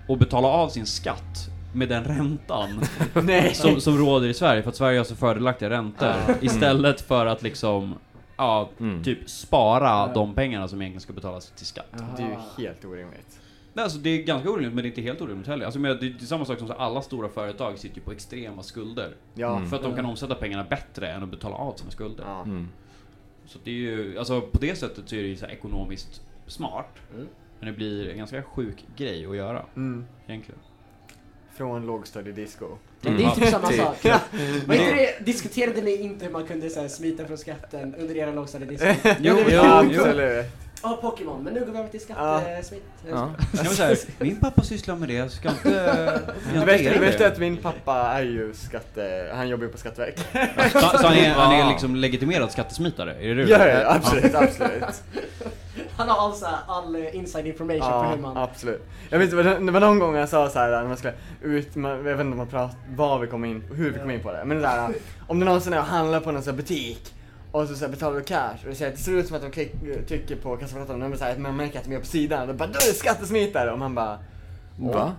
[SPEAKER 18] Och betala av sin skatt med den räntan
[SPEAKER 6] Nej. Ah. Mm.
[SPEAKER 18] som, som råder i Sverige. För att Sverige har så fördelaktiga räntor.
[SPEAKER 11] Ja.
[SPEAKER 18] Istället för att liksom, ja, typ spara
[SPEAKER 6] Ja.
[SPEAKER 18] de pengarna som egentligen ska betalas till skatt.
[SPEAKER 6] Det är ju helt orimligt.
[SPEAKER 18] Nej, alltså det är ganska orimligt men det är inte helt orimligt heller. Alltså, men det det är samma sak som så här, alla stora företag sitter ju på extrema skulder.
[SPEAKER 6] Ja.
[SPEAKER 18] För att de
[SPEAKER 6] Mm.
[SPEAKER 18] kan omsätta pengarna bättre än att betala av sina skulder.
[SPEAKER 11] Mm.
[SPEAKER 18] Så det är ju, alltså på det sättet så är det ju så här ekonomiskt smart. Men det blir en ganska sjuk grej att göra.
[SPEAKER 6] Mm.
[SPEAKER 18] Egentligen.
[SPEAKER 6] Från lågstadiedisco.
[SPEAKER 2] Men det är typ samma
[SPEAKER 18] Mm.
[SPEAKER 2] sak.
[SPEAKER 6] Ja.
[SPEAKER 11] typ.
[SPEAKER 2] Men inte det, diskuterade ni inte hur man kunde så här, smita från skatten under era lågstadiediskon?
[SPEAKER 6] Jo,
[SPEAKER 2] Det var
[SPEAKER 6] jo,
[SPEAKER 2] kul.
[SPEAKER 6] jo. Absolut.
[SPEAKER 2] Ja, Pokémon, men nu går vi över till skattesmitt.
[SPEAKER 18] Ska man säga, min pappa sysslar med det, så ska inte...
[SPEAKER 6] Det
[SPEAKER 18] jag
[SPEAKER 6] värsta-
[SPEAKER 18] inte
[SPEAKER 6] det
[SPEAKER 18] göra
[SPEAKER 6] värsta är att min pappa är ju skatte... Han jobbar ju på Skatteverket.
[SPEAKER 18] Så, så han, är, han är liksom legitimerad skattesmitare? Är det det?
[SPEAKER 6] Ja, ja, ja, absolut, absolut.
[SPEAKER 2] Han har alltså all eh, inside information på
[SPEAKER 6] Ja,
[SPEAKER 2] hur man...
[SPEAKER 6] absolut. Jag vet inte, det var- det var någon gång jag sa så här när man skulle ut, man, jag vet inte om man prat, vad vi kom in hur vi kom in på det. Men så här, om det någonsin är att handla på någon sån här butik och så, så här, betalar du cash och det, så här, det ser ut som att de klick, trycker på kassaapparaten och de så här, man märker att de är på sidan och då bara du är skattesmitare och man bara
[SPEAKER 11] Va?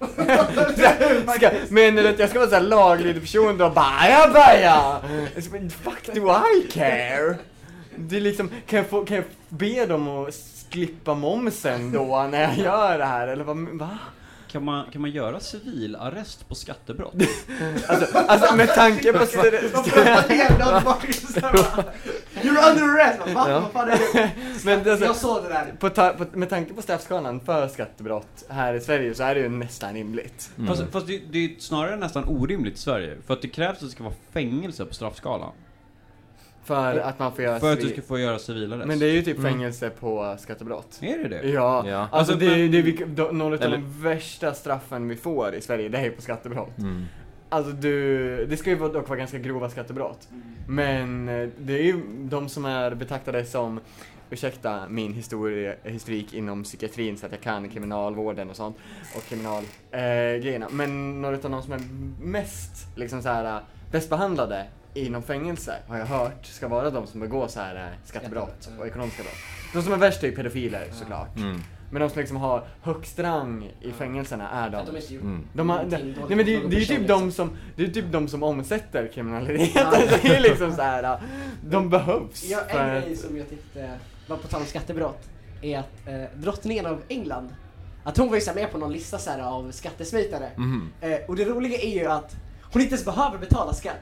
[SPEAKER 6] och- Så här, ska, menar du att jag ska vara så här laglydig person då? Baja baja! Fuck do I care? Det är liksom, kan jag, få, kan jag be dem att slippa momsen då när jag gör det här? Eller vad, va?
[SPEAKER 18] Kan man, kan man göra civilarrest på skattebrott?
[SPEAKER 6] alltså, alltså med tanke på...
[SPEAKER 2] You're under arrest! Vad fan, vad fan är det?
[SPEAKER 6] Men alltså,
[SPEAKER 2] Jag såg det där.
[SPEAKER 6] På, ta, på, med tanke på straffskalan för skattebrott här i Sverige så är det ju nästan rimligt. Alltså,
[SPEAKER 18] Fast, fast det, det är snarare nästan orimligt i Sverige. För att det krävs att det ska vara fängelse på straffskalan.
[SPEAKER 6] För att man får göra
[SPEAKER 18] För att
[SPEAKER 6] civil-
[SPEAKER 18] du ska få göra civilarrest.
[SPEAKER 6] Men det är ju typ
[SPEAKER 18] Mm.
[SPEAKER 6] fängelse på skattebrott.
[SPEAKER 18] Är det det?
[SPEAKER 6] Ja.
[SPEAKER 18] Ja.
[SPEAKER 6] Alltså,
[SPEAKER 18] Alltså,
[SPEAKER 6] det är
[SPEAKER 18] men-
[SPEAKER 6] det är vilka- de- några av
[SPEAKER 18] Eller-
[SPEAKER 6] de värsta straffen vi får i Sverige, det är ju på skattebrott.
[SPEAKER 11] Mm.
[SPEAKER 6] Alltså du, det ska ju vara- dock vara ganska grova skattebrott. Men eh, det är ju de som är betraktade som, ursäkta min historie, historik inom psykiatrin så att jag kan kriminalvården och sånt och kriminal eh, grejerna. Men några av de som är mest liksom så här eh, bäst behandlade inom fängelse har jag hört ska vara de som begår så här eh, skattebrott och ekonomiska brott. De som är värst är ju pedofiler såklart.
[SPEAKER 11] Mm.
[SPEAKER 6] Men de som liksom har högst rang i fängelserna är de.
[SPEAKER 2] Att de inte gjort
[SPEAKER 11] Mm.
[SPEAKER 6] de har,
[SPEAKER 2] någonting
[SPEAKER 6] nej,
[SPEAKER 2] dåligt
[SPEAKER 6] nej, men det,
[SPEAKER 2] mot någon
[SPEAKER 6] det är ju
[SPEAKER 2] person,
[SPEAKER 6] typ
[SPEAKER 2] liksom.
[SPEAKER 6] de som, det är typ de som omsätter kriminaliteten. det är liksom så här, de behövs.
[SPEAKER 2] Ja,
[SPEAKER 6] för
[SPEAKER 2] en
[SPEAKER 6] att-
[SPEAKER 2] grej som jag tyckte var på tal om skattebrott är att eh, drottningen av England, att hon var ju så här med på någon lista så här, av skattesmitare.
[SPEAKER 11] Mhm.
[SPEAKER 2] Eh, och det roliga är ju att hon inte ens behöver betala skatt.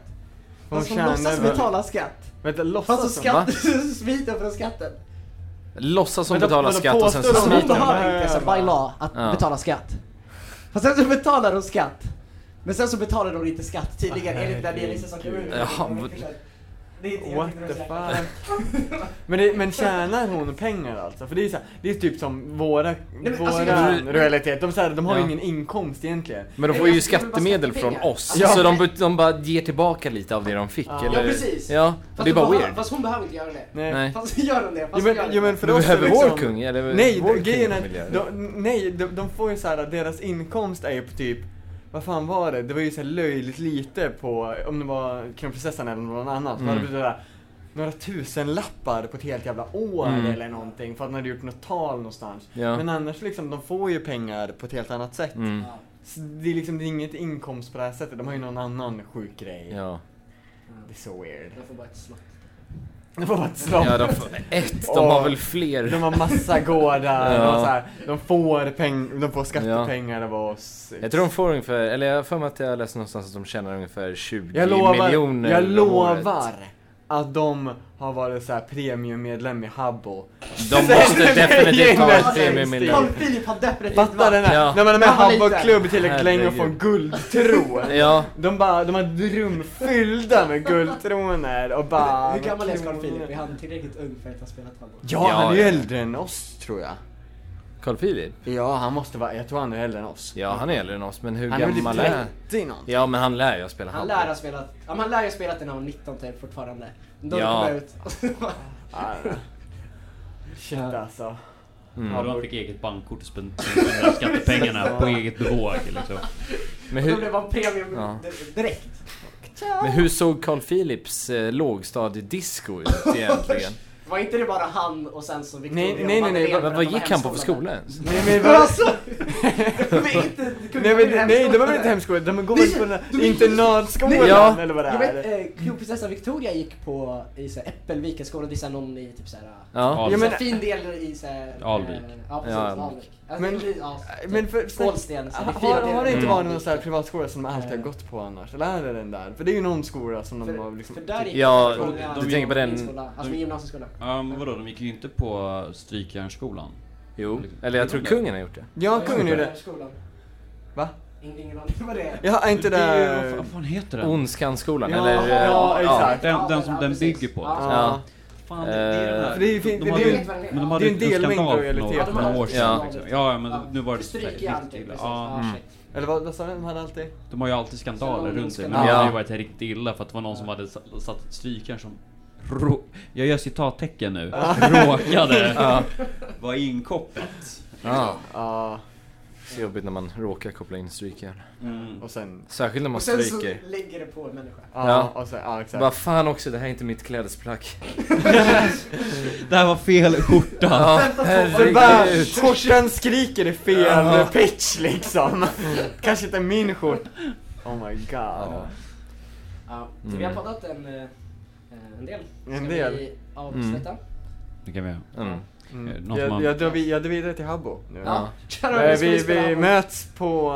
[SPEAKER 6] Hon
[SPEAKER 2] Fast hon
[SPEAKER 6] tjänar
[SPEAKER 2] låtsas
[SPEAKER 6] väl-
[SPEAKER 2] betala skatt.
[SPEAKER 6] Vänta, låtsas
[SPEAKER 2] Fast så
[SPEAKER 6] hon? Va?
[SPEAKER 2] skatt, så smiter hon från skatten.
[SPEAKER 11] Låtsas som
[SPEAKER 2] Vänta,
[SPEAKER 11] betalar
[SPEAKER 2] vadå,
[SPEAKER 11] skatt och sen så
[SPEAKER 2] påstår de att
[SPEAKER 11] smiter
[SPEAKER 2] hon behöver
[SPEAKER 11] de.
[SPEAKER 2] inte så här, by law att
[SPEAKER 11] Ja.
[SPEAKER 2] betala skatt. Fast sen så betalar hon skatt. Men sen så betalar hon inte skatt tidigare enligt den listan som kom ut.
[SPEAKER 11] Ja, men-
[SPEAKER 2] Det är inte- jag
[SPEAKER 6] What
[SPEAKER 2] tycker
[SPEAKER 6] the
[SPEAKER 2] det var så jäkla-
[SPEAKER 6] fuck? men, det, men tjänar hon pengar alltså? För det är, så här, det är typ som våra,
[SPEAKER 2] men
[SPEAKER 6] våra
[SPEAKER 2] alltså, jag-
[SPEAKER 6] realitet. De, så här, de har ju
[SPEAKER 11] Ja.
[SPEAKER 6] ingen inkomst egentligen.
[SPEAKER 11] Men de får ju skattemedel från oss, så de, de bara ger tillbaka lite av det de fick.
[SPEAKER 2] Ja,
[SPEAKER 11] eller?
[SPEAKER 2] precis.
[SPEAKER 11] Ja, och
[SPEAKER 2] Fast
[SPEAKER 11] det
[SPEAKER 2] hon
[SPEAKER 11] är bara
[SPEAKER 2] behöver-
[SPEAKER 11] weird.
[SPEAKER 2] Fast hon behöver inte göra det.
[SPEAKER 11] Nej. Nej.
[SPEAKER 2] Fast gör hon det. Fast
[SPEAKER 6] Jo men,
[SPEAKER 2] hon gör
[SPEAKER 6] jo,
[SPEAKER 2] det.
[SPEAKER 6] men för
[SPEAKER 11] Men
[SPEAKER 6] oss
[SPEAKER 11] behöver
[SPEAKER 6] är liksom,
[SPEAKER 11] vår kung, eller
[SPEAKER 6] Nej,
[SPEAKER 11] vår
[SPEAKER 6] det- grejen
[SPEAKER 11] kung
[SPEAKER 6] är
[SPEAKER 11] vill göra
[SPEAKER 6] att
[SPEAKER 11] det.
[SPEAKER 6] de, nej, de, de får ju så här, deras inkomst är ju på typ, vad fan var det? Det var ju så här löjligt lite på, om det var kronprinsessan eller någon annan,
[SPEAKER 11] Mm.
[SPEAKER 6] som hade blivit typ några tusen lappar på ett helt jävla år
[SPEAKER 11] Mm.
[SPEAKER 6] eller någonting för att de hade gjort något tal någonstans.
[SPEAKER 11] Ja.
[SPEAKER 6] Men annars liksom, de får ju pengar på ett helt annat sätt.
[SPEAKER 11] Mm.
[SPEAKER 6] Så det är liksom det är inget inkomst på det här sättet, de har ju någon annan sjuk grej.
[SPEAKER 11] Ja.
[SPEAKER 6] Det är så weird.
[SPEAKER 2] Jag får bara ett slott.
[SPEAKER 6] Det var bara ett slott.
[SPEAKER 7] Ja, de får ett, de har väl fler.
[SPEAKER 6] De har massa gårdar.
[SPEAKER 7] Ja.
[SPEAKER 6] de, har så här, de, får peng, de får skattepengar av oss.
[SPEAKER 7] Jag tror de får ungefär, eller jag har för mig att jag läste någonstans att de tjänar ungefär 20
[SPEAKER 6] Jag lovar,
[SPEAKER 7] miljoner
[SPEAKER 6] jag
[SPEAKER 7] om året.
[SPEAKER 6] lovar att de har varit så här premiummedlem i Habbo.
[SPEAKER 7] De måste definitivt ha varit premiummedlem.
[SPEAKER 6] premiummedlem.
[SPEAKER 16] Filip har definitivt
[SPEAKER 6] Fattar den här,
[SPEAKER 7] Ja.
[SPEAKER 6] när man är med i
[SPEAKER 7] Han var
[SPEAKER 6] Habbo-klubb
[SPEAKER 7] liten.
[SPEAKER 6] tillräckligt länge och får en guldtro.
[SPEAKER 7] Ja.
[SPEAKER 6] De, bara, de har ett rum fyllda med guldtronor och bara...
[SPEAKER 2] Hur gammal är Carl Philip? Är han tillräckligt ung för att ha spelat handboll?
[SPEAKER 6] Ja, han är ju äldre än oss tror jag.
[SPEAKER 7] Carl Philip?
[SPEAKER 6] Ja, han måste vara, jag tror han är äldre än oss.
[SPEAKER 7] Ja, han är äldre än oss, men hur
[SPEAKER 6] Han är väl
[SPEAKER 7] gammal
[SPEAKER 6] typ
[SPEAKER 7] är
[SPEAKER 6] 30 någonting.
[SPEAKER 7] Ja, men han lär ju att spela
[SPEAKER 2] Han
[SPEAKER 7] handboll.
[SPEAKER 2] lär ha spelat, ja, men han lär ju ha spelat den när han var 19 typ fortfarande. Då
[SPEAKER 7] Ja.
[SPEAKER 2] ja. kom ut.
[SPEAKER 6] Shit alltså.
[SPEAKER 18] Mm.
[SPEAKER 6] Ja,
[SPEAKER 18] de fick eget bankkort och spenderade skattepengarna på eget bevåg liksom.
[SPEAKER 7] Men
[SPEAKER 2] Då blev han premium
[SPEAKER 7] Ja.
[SPEAKER 2] direkt.
[SPEAKER 7] Men hur såg Carl Philips eh, lågstadiedisco ut egentligen?
[SPEAKER 2] Var inte det bara han och sen så Victoria?
[SPEAKER 6] Nej, nej, nej, nej.
[SPEAKER 7] Vad- vad gick han på för skola ens?
[SPEAKER 6] Nej, men
[SPEAKER 2] vad...
[SPEAKER 6] vad-
[SPEAKER 2] Alltså! vi är inte,
[SPEAKER 6] Nej, men, nej, de var väl inte hemskola? De går väl på den där internatskolan eller vad det
[SPEAKER 2] jag vet,
[SPEAKER 6] är?
[SPEAKER 2] eh, kronprinsessan Victoria gick på i så här, Äppelvikens skola, det är så här någon i typ såhär...
[SPEAKER 7] Ja.
[SPEAKER 2] Ja,
[SPEAKER 7] Ja,
[SPEAKER 2] men,
[SPEAKER 7] men-
[SPEAKER 2] fin del i såhär...
[SPEAKER 7] Alvik.
[SPEAKER 2] Ja precis,
[SPEAKER 7] Ja,
[SPEAKER 2] Alvik.
[SPEAKER 7] Alvik.
[SPEAKER 2] Alltså,
[SPEAKER 6] Men-
[SPEAKER 2] det är- ja,
[SPEAKER 6] Men för,
[SPEAKER 2] typ Kolsten, så här, det är fyra
[SPEAKER 6] har, har det
[SPEAKER 2] delar.
[SPEAKER 7] Mm.
[SPEAKER 6] inte varit någon sån här privatskola som man alltid har gått på annars? Eller är det den där? För det är ju någon skola som de har liksom...
[SPEAKER 2] för där gick
[SPEAKER 7] Ja,
[SPEAKER 2] jag på- på
[SPEAKER 7] du tänker på
[SPEAKER 2] min
[SPEAKER 7] den-
[SPEAKER 2] skola, Alltså min gymnasieskola.
[SPEAKER 18] Ja, men vadå, de gick ju inte på Strykjärnsskolan. Liksom.
[SPEAKER 7] Jo, eller jag tror kungen har gjort det.
[SPEAKER 6] Ja, kungen gjorde det.
[SPEAKER 2] Skolan.
[SPEAKER 6] Va?
[SPEAKER 2] Ingen, ingen aning vad det är.
[SPEAKER 6] Ja, inte
[SPEAKER 18] Det är ju-
[SPEAKER 6] där...
[SPEAKER 18] vad fan heter den?
[SPEAKER 7] Ondskanskolan,
[SPEAKER 6] Ja,
[SPEAKER 7] eller... eh,
[SPEAKER 6] ja, exakt.
[SPEAKER 18] Den, den som den bygger på.
[SPEAKER 7] Ja.
[SPEAKER 18] Fan, det, det är den
[SPEAKER 7] Eh,
[SPEAKER 18] här.
[SPEAKER 6] För det är ju fin-
[SPEAKER 18] de
[SPEAKER 6] det-
[SPEAKER 18] hade
[SPEAKER 6] det-
[SPEAKER 18] ju- men de hade
[SPEAKER 6] det är
[SPEAKER 18] ju
[SPEAKER 6] en
[SPEAKER 18] en
[SPEAKER 6] del med
[SPEAKER 18] skandal för
[SPEAKER 6] individualitet.
[SPEAKER 18] några- några år sedan.
[SPEAKER 7] Ja.
[SPEAKER 18] Liksom. Ja, men nu var det
[SPEAKER 2] Stryk i
[SPEAKER 18] säkert
[SPEAKER 2] allt,
[SPEAKER 18] riktigt illa.
[SPEAKER 2] precis.
[SPEAKER 18] Ja.
[SPEAKER 2] Ja,
[SPEAKER 18] Mm.
[SPEAKER 2] shit.
[SPEAKER 6] Eller vad, vad sa du? De hade alltid...
[SPEAKER 18] De har ju alltid skandaler
[SPEAKER 2] Så de
[SPEAKER 18] runt sig. Men
[SPEAKER 2] skandaler.
[SPEAKER 18] det hade ju
[SPEAKER 2] Ja.
[SPEAKER 18] varit riktigt illa för att det var någon som hade sa- satt ett strykjärn som rå- jag gör citattecken nu,
[SPEAKER 6] Ja.
[SPEAKER 18] råkade
[SPEAKER 6] Ja.
[SPEAKER 18] vara inkopplat.
[SPEAKER 7] Ja.
[SPEAKER 6] Ja.
[SPEAKER 7] Så jobbigt när man råkar koppla in strykjärn.
[SPEAKER 18] Mm.
[SPEAKER 6] Och sen...
[SPEAKER 7] Särskilt när man
[SPEAKER 2] Och sen så
[SPEAKER 7] stryker.
[SPEAKER 2] lägger det på en människa.
[SPEAKER 6] Ja, och så- ja, exakt.
[SPEAKER 7] Vad fan också, det här är inte mitt klädesplagg.
[SPEAKER 18] Det här var fel skjorta.
[SPEAKER 7] Ja,
[SPEAKER 6] Och bara,
[SPEAKER 7] herregud.
[SPEAKER 6] Skjortan skriker i fel
[SPEAKER 7] Ja.
[SPEAKER 6] pitch liksom. Kanske inte min skjort. Oh my god.
[SPEAKER 2] Ja, så
[SPEAKER 6] Mm.
[SPEAKER 2] vi har poddat en, eh, en del.
[SPEAKER 6] En
[SPEAKER 2] Ska
[SPEAKER 6] del.
[SPEAKER 2] vi avsluta?
[SPEAKER 18] Det kan vi göra.
[SPEAKER 7] Mm.
[SPEAKER 18] Eh,
[SPEAKER 6] Mm.
[SPEAKER 18] något
[SPEAKER 6] Jag,
[SPEAKER 18] man-
[SPEAKER 6] jag, drar vi, jag drar vidare till Habbo nu.
[SPEAKER 2] Ja.
[SPEAKER 6] Eh,
[SPEAKER 2] Vi ska
[SPEAKER 6] vi,
[SPEAKER 2] spela
[SPEAKER 6] vi
[SPEAKER 2] Habbo.
[SPEAKER 6] möts på...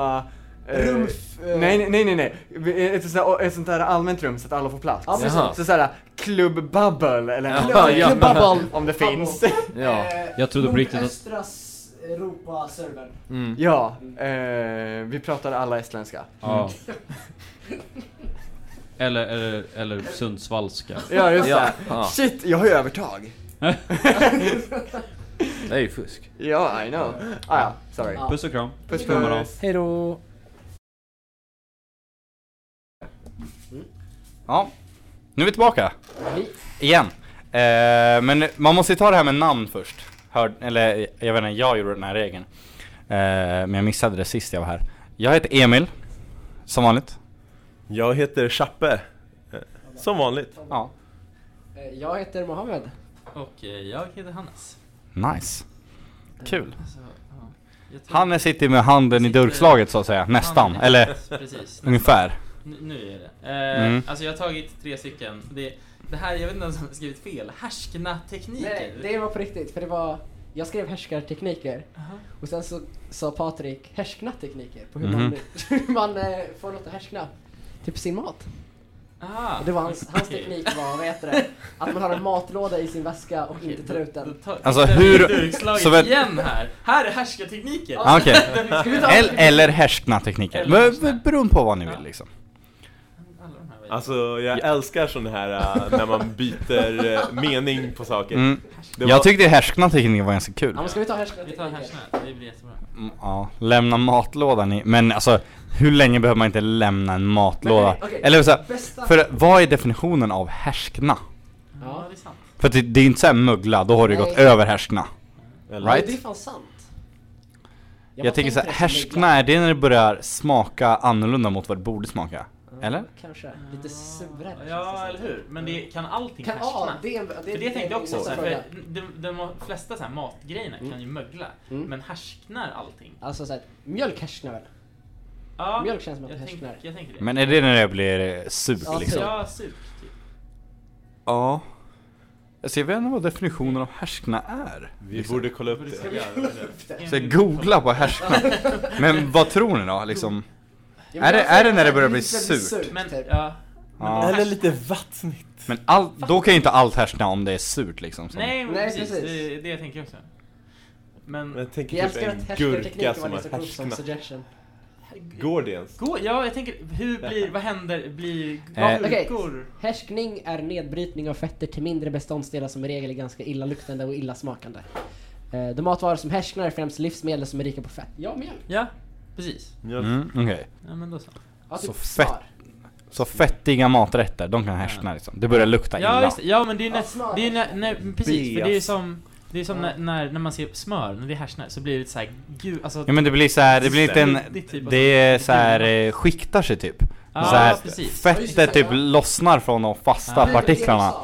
[SPEAKER 6] eh,
[SPEAKER 2] Rumf, eh.
[SPEAKER 6] Nej, nej, nej, nej, nej. Vi- eh, Ett, sånt där- ett sånt där allmänt rum så att alla får plats.
[SPEAKER 2] Ja, precis.
[SPEAKER 6] så, så såhär Club Bubble eller
[SPEAKER 7] Ja,
[SPEAKER 6] någonting.
[SPEAKER 7] ja. Club Bubble.
[SPEAKER 6] Om det finns.
[SPEAKER 7] Ja.
[SPEAKER 2] Eh,
[SPEAKER 18] Jag trodde på riktigt att-
[SPEAKER 2] Nordöstra s- Europa-servern.
[SPEAKER 6] Ja, eh, vi pratar alla estländska. Mm.
[SPEAKER 18] Ja. Eller, eller, eller Sundsvallska.
[SPEAKER 6] Ja, just det.
[SPEAKER 7] Ja.
[SPEAKER 6] Shit, jag har ju övertag.
[SPEAKER 7] Det är ju fusk.
[SPEAKER 6] Ja, I know. Ah, ja, sorry.
[SPEAKER 18] Puss och kram.
[SPEAKER 6] Puss och
[SPEAKER 18] Kramar
[SPEAKER 6] kram.
[SPEAKER 18] av.
[SPEAKER 7] Hejdå!
[SPEAKER 6] Mm.
[SPEAKER 1] Ja, nu är vi tillbaka. Igen. Eh, men man måste ju ta det här med namn först. Hör, eller jag vet inte, jag gjorde den här regeln. Eh, men jag missade det sist jag var här. Jag heter Emil, som vanligt.
[SPEAKER 19] Jag heter Chappe, eh, som vanligt.
[SPEAKER 1] Ja.
[SPEAKER 2] Eh, Jag heter Mohammed.
[SPEAKER 5] Och eh, jag heter Hannes.
[SPEAKER 1] Nice. Kul.
[SPEAKER 5] Alltså, ja. Jag tror-
[SPEAKER 1] Han sitter med handen i durkslaget så att säga, nästan.
[SPEAKER 5] Han-
[SPEAKER 1] Eller
[SPEAKER 5] Precis, nästan.
[SPEAKER 1] ungefär.
[SPEAKER 5] Nu, nu är det. Eh,
[SPEAKER 1] Mm.
[SPEAKER 5] Alltså jag har tagit tre stycken. Det, det här, jag vet inte ens om jag har skrivit fel. Härskna-tekniker.
[SPEAKER 2] Nej, det var på riktigt. För det var... Jag skrev härskartekniker.
[SPEAKER 5] Aha.
[SPEAKER 2] Och sen så sa Patrik härskartekniker på hur
[SPEAKER 1] Mhm.
[SPEAKER 2] man, hur man eh, får något att härskna. Typ sin mat.
[SPEAKER 5] Ah,
[SPEAKER 2] Och det var hans, hans
[SPEAKER 5] okej.
[SPEAKER 2] teknik var, vad heter det? Att man har en matlåda i sin väska och inte tar ut den.
[SPEAKER 1] Alltså, hur- så
[SPEAKER 5] Så
[SPEAKER 1] väl-
[SPEAKER 5] igen här. Här är härskartekniker.
[SPEAKER 1] Ah, Okej.
[SPEAKER 5] Ska vi ta-
[SPEAKER 1] Eller, eller härskna-tekniker.
[SPEAKER 5] Eller härskna.
[SPEAKER 1] Men- Beroende på vad ni vill liksom.
[SPEAKER 19] Alltså jag älskar sån här eh, när man byter eh, mening på saker.
[SPEAKER 1] Mm.
[SPEAKER 19] Det var-
[SPEAKER 1] Jag tyckte härskna-tekniker var ganska kul.
[SPEAKER 2] Ja, men ska vi ta härskartekniker?
[SPEAKER 5] Vi tar härskna, det blir jättebra.
[SPEAKER 1] Mm, Ja, lämna matlådan i, men alltså hur länge behöver man inte lämna en matlåda?
[SPEAKER 5] Men, okej,
[SPEAKER 1] Eller så här,
[SPEAKER 5] bästa-
[SPEAKER 1] för vad är definitionen av härskna?
[SPEAKER 5] Ja, det är sant.
[SPEAKER 1] För att det, det är inte såhär muggla, då har du
[SPEAKER 2] Nej.
[SPEAKER 1] gått över härskna.
[SPEAKER 2] Det är
[SPEAKER 1] Right?
[SPEAKER 2] fan sant.
[SPEAKER 1] Jag tänker såhär,
[SPEAKER 2] tänkte det som
[SPEAKER 1] härskna är det när det börjar smaka annorlunda mot vad det borde smaka? Eller?
[SPEAKER 2] Kanske. Lite surare.
[SPEAKER 5] Ja, eller hur? Men det, kan allting
[SPEAKER 2] Kan-
[SPEAKER 5] härskna?
[SPEAKER 2] ja, det är en- det är-
[SPEAKER 5] för
[SPEAKER 2] det
[SPEAKER 5] det
[SPEAKER 2] är
[SPEAKER 5] tänkte
[SPEAKER 2] en
[SPEAKER 5] jag också, så här,
[SPEAKER 2] fråga.
[SPEAKER 5] för de, de flesta så här matgrejerna
[SPEAKER 1] Mm.
[SPEAKER 5] kan ju mögla, men härsknar allting?
[SPEAKER 2] Alltså såhär, mjölk härsknar väl?
[SPEAKER 5] Ja,
[SPEAKER 2] Mjölk känns som att
[SPEAKER 5] jag
[SPEAKER 2] det
[SPEAKER 5] tänk-
[SPEAKER 2] härsknar.
[SPEAKER 5] jag tänker det.
[SPEAKER 1] Men
[SPEAKER 5] typ.
[SPEAKER 1] är det när det blir eh, surt
[SPEAKER 2] Ja,
[SPEAKER 1] liksom?
[SPEAKER 5] Ja, surt.
[SPEAKER 1] Ja. Alltså jag vet inte vad definitionen av härskna är.
[SPEAKER 19] Vi borde kolla upp det.
[SPEAKER 1] Så jag googla på härskna. Men vad tror ni då liksom?
[SPEAKER 2] Ja, men
[SPEAKER 1] Är det,
[SPEAKER 2] alltså,
[SPEAKER 1] är det när det börjar bli
[SPEAKER 2] lite typ.
[SPEAKER 1] surt?
[SPEAKER 5] Men, ja.
[SPEAKER 1] Ja.
[SPEAKER 19] Eller lite vattnigt.
[SPEAKER 1] Men all, då kan ju inte allt härskna om det är surt liksom. Så.
[SPEAKER 5] Nej, men
[SPEAKER 2] Nej,
[SPEAKER 5] precis.
[SPEAKER 2] precis.
[SPEAKER 5] Det, det jag tänker också. Men...
[SPEAKER 19] Jag
[SPEAKER 2] Vi
[SPEAKER 19] tänker typ
[SPEAKER 2] älskar att
[SPEAKER 19] en gurka
[SPEAKER 2] härskartekniken var
[SPEAKER 19] som
[SPEAKER 2] det
[SPEAKER 19] har
[SPEAKER 2] som kom upp som
[SPEAKER 19] härsknat.
[SPEAKER 2] suggestion.
[SPEAKER 19] Går det ens?
[SPEAKER 5] Gå, ja, jag tänker, hur blir, vad händer, blir
[SPEAKER 1] Eh,
[SPEAKER 2] Okej,
[SPEAKER 5] gurkor?
[SPEAKER 2] härskning är nedbrytning av fetter till mindre beståndsdelar som i regel är ganska illaluktande och illasmakande. Eh, De matvaror som härsknar är främst livsmedel som är rika på fett. Ja, mjölk.
[SPEAKER 5] Ja, precis.
[SPEAKER 1] Mm, okej.
[SPEAKER 5] Ja, men då så.
[SPEAKER 2] Ja,
[SPEAKER 1] Så
[SPEAKER 2] typ
[SPEAKER 1] fett.
[SPEAKER 2] svar.
[SPEAKER 1] Så fettiga maträtter, de kan härskna liksom. Det börjar lukta
[SPEAKER 5] Ja,
[SPEAKER 1] illa.
[SPEAKER 5] just, det. ja men det är ju näst,
[SPEAKER 2] smör.
[SPEAKER 5] det är ju nä, nä, precis, för det är ju
[SPEAKER 1] Beas.
[SPEAKER 5] som, det är som när, när, när man ser smör, när det härsnar, så blir det lite såhär gul, alltså
[SPEAKER 1] Ja men det blir så här, det blir inte en...
[SPEAKER 5] Riktigt typ av-
[SPEAKER 1] Det är så här, eh, skiktar sig typ.
[SPEAKER 5] Ja,
[SPEAKER 1] så här,
[SPEAKER 5] precis.
[SPEAKER 1] fettet typ lossnar från de fasta
[SPEAKER 5] Ja.
[SPEAKER 1] partiklarna.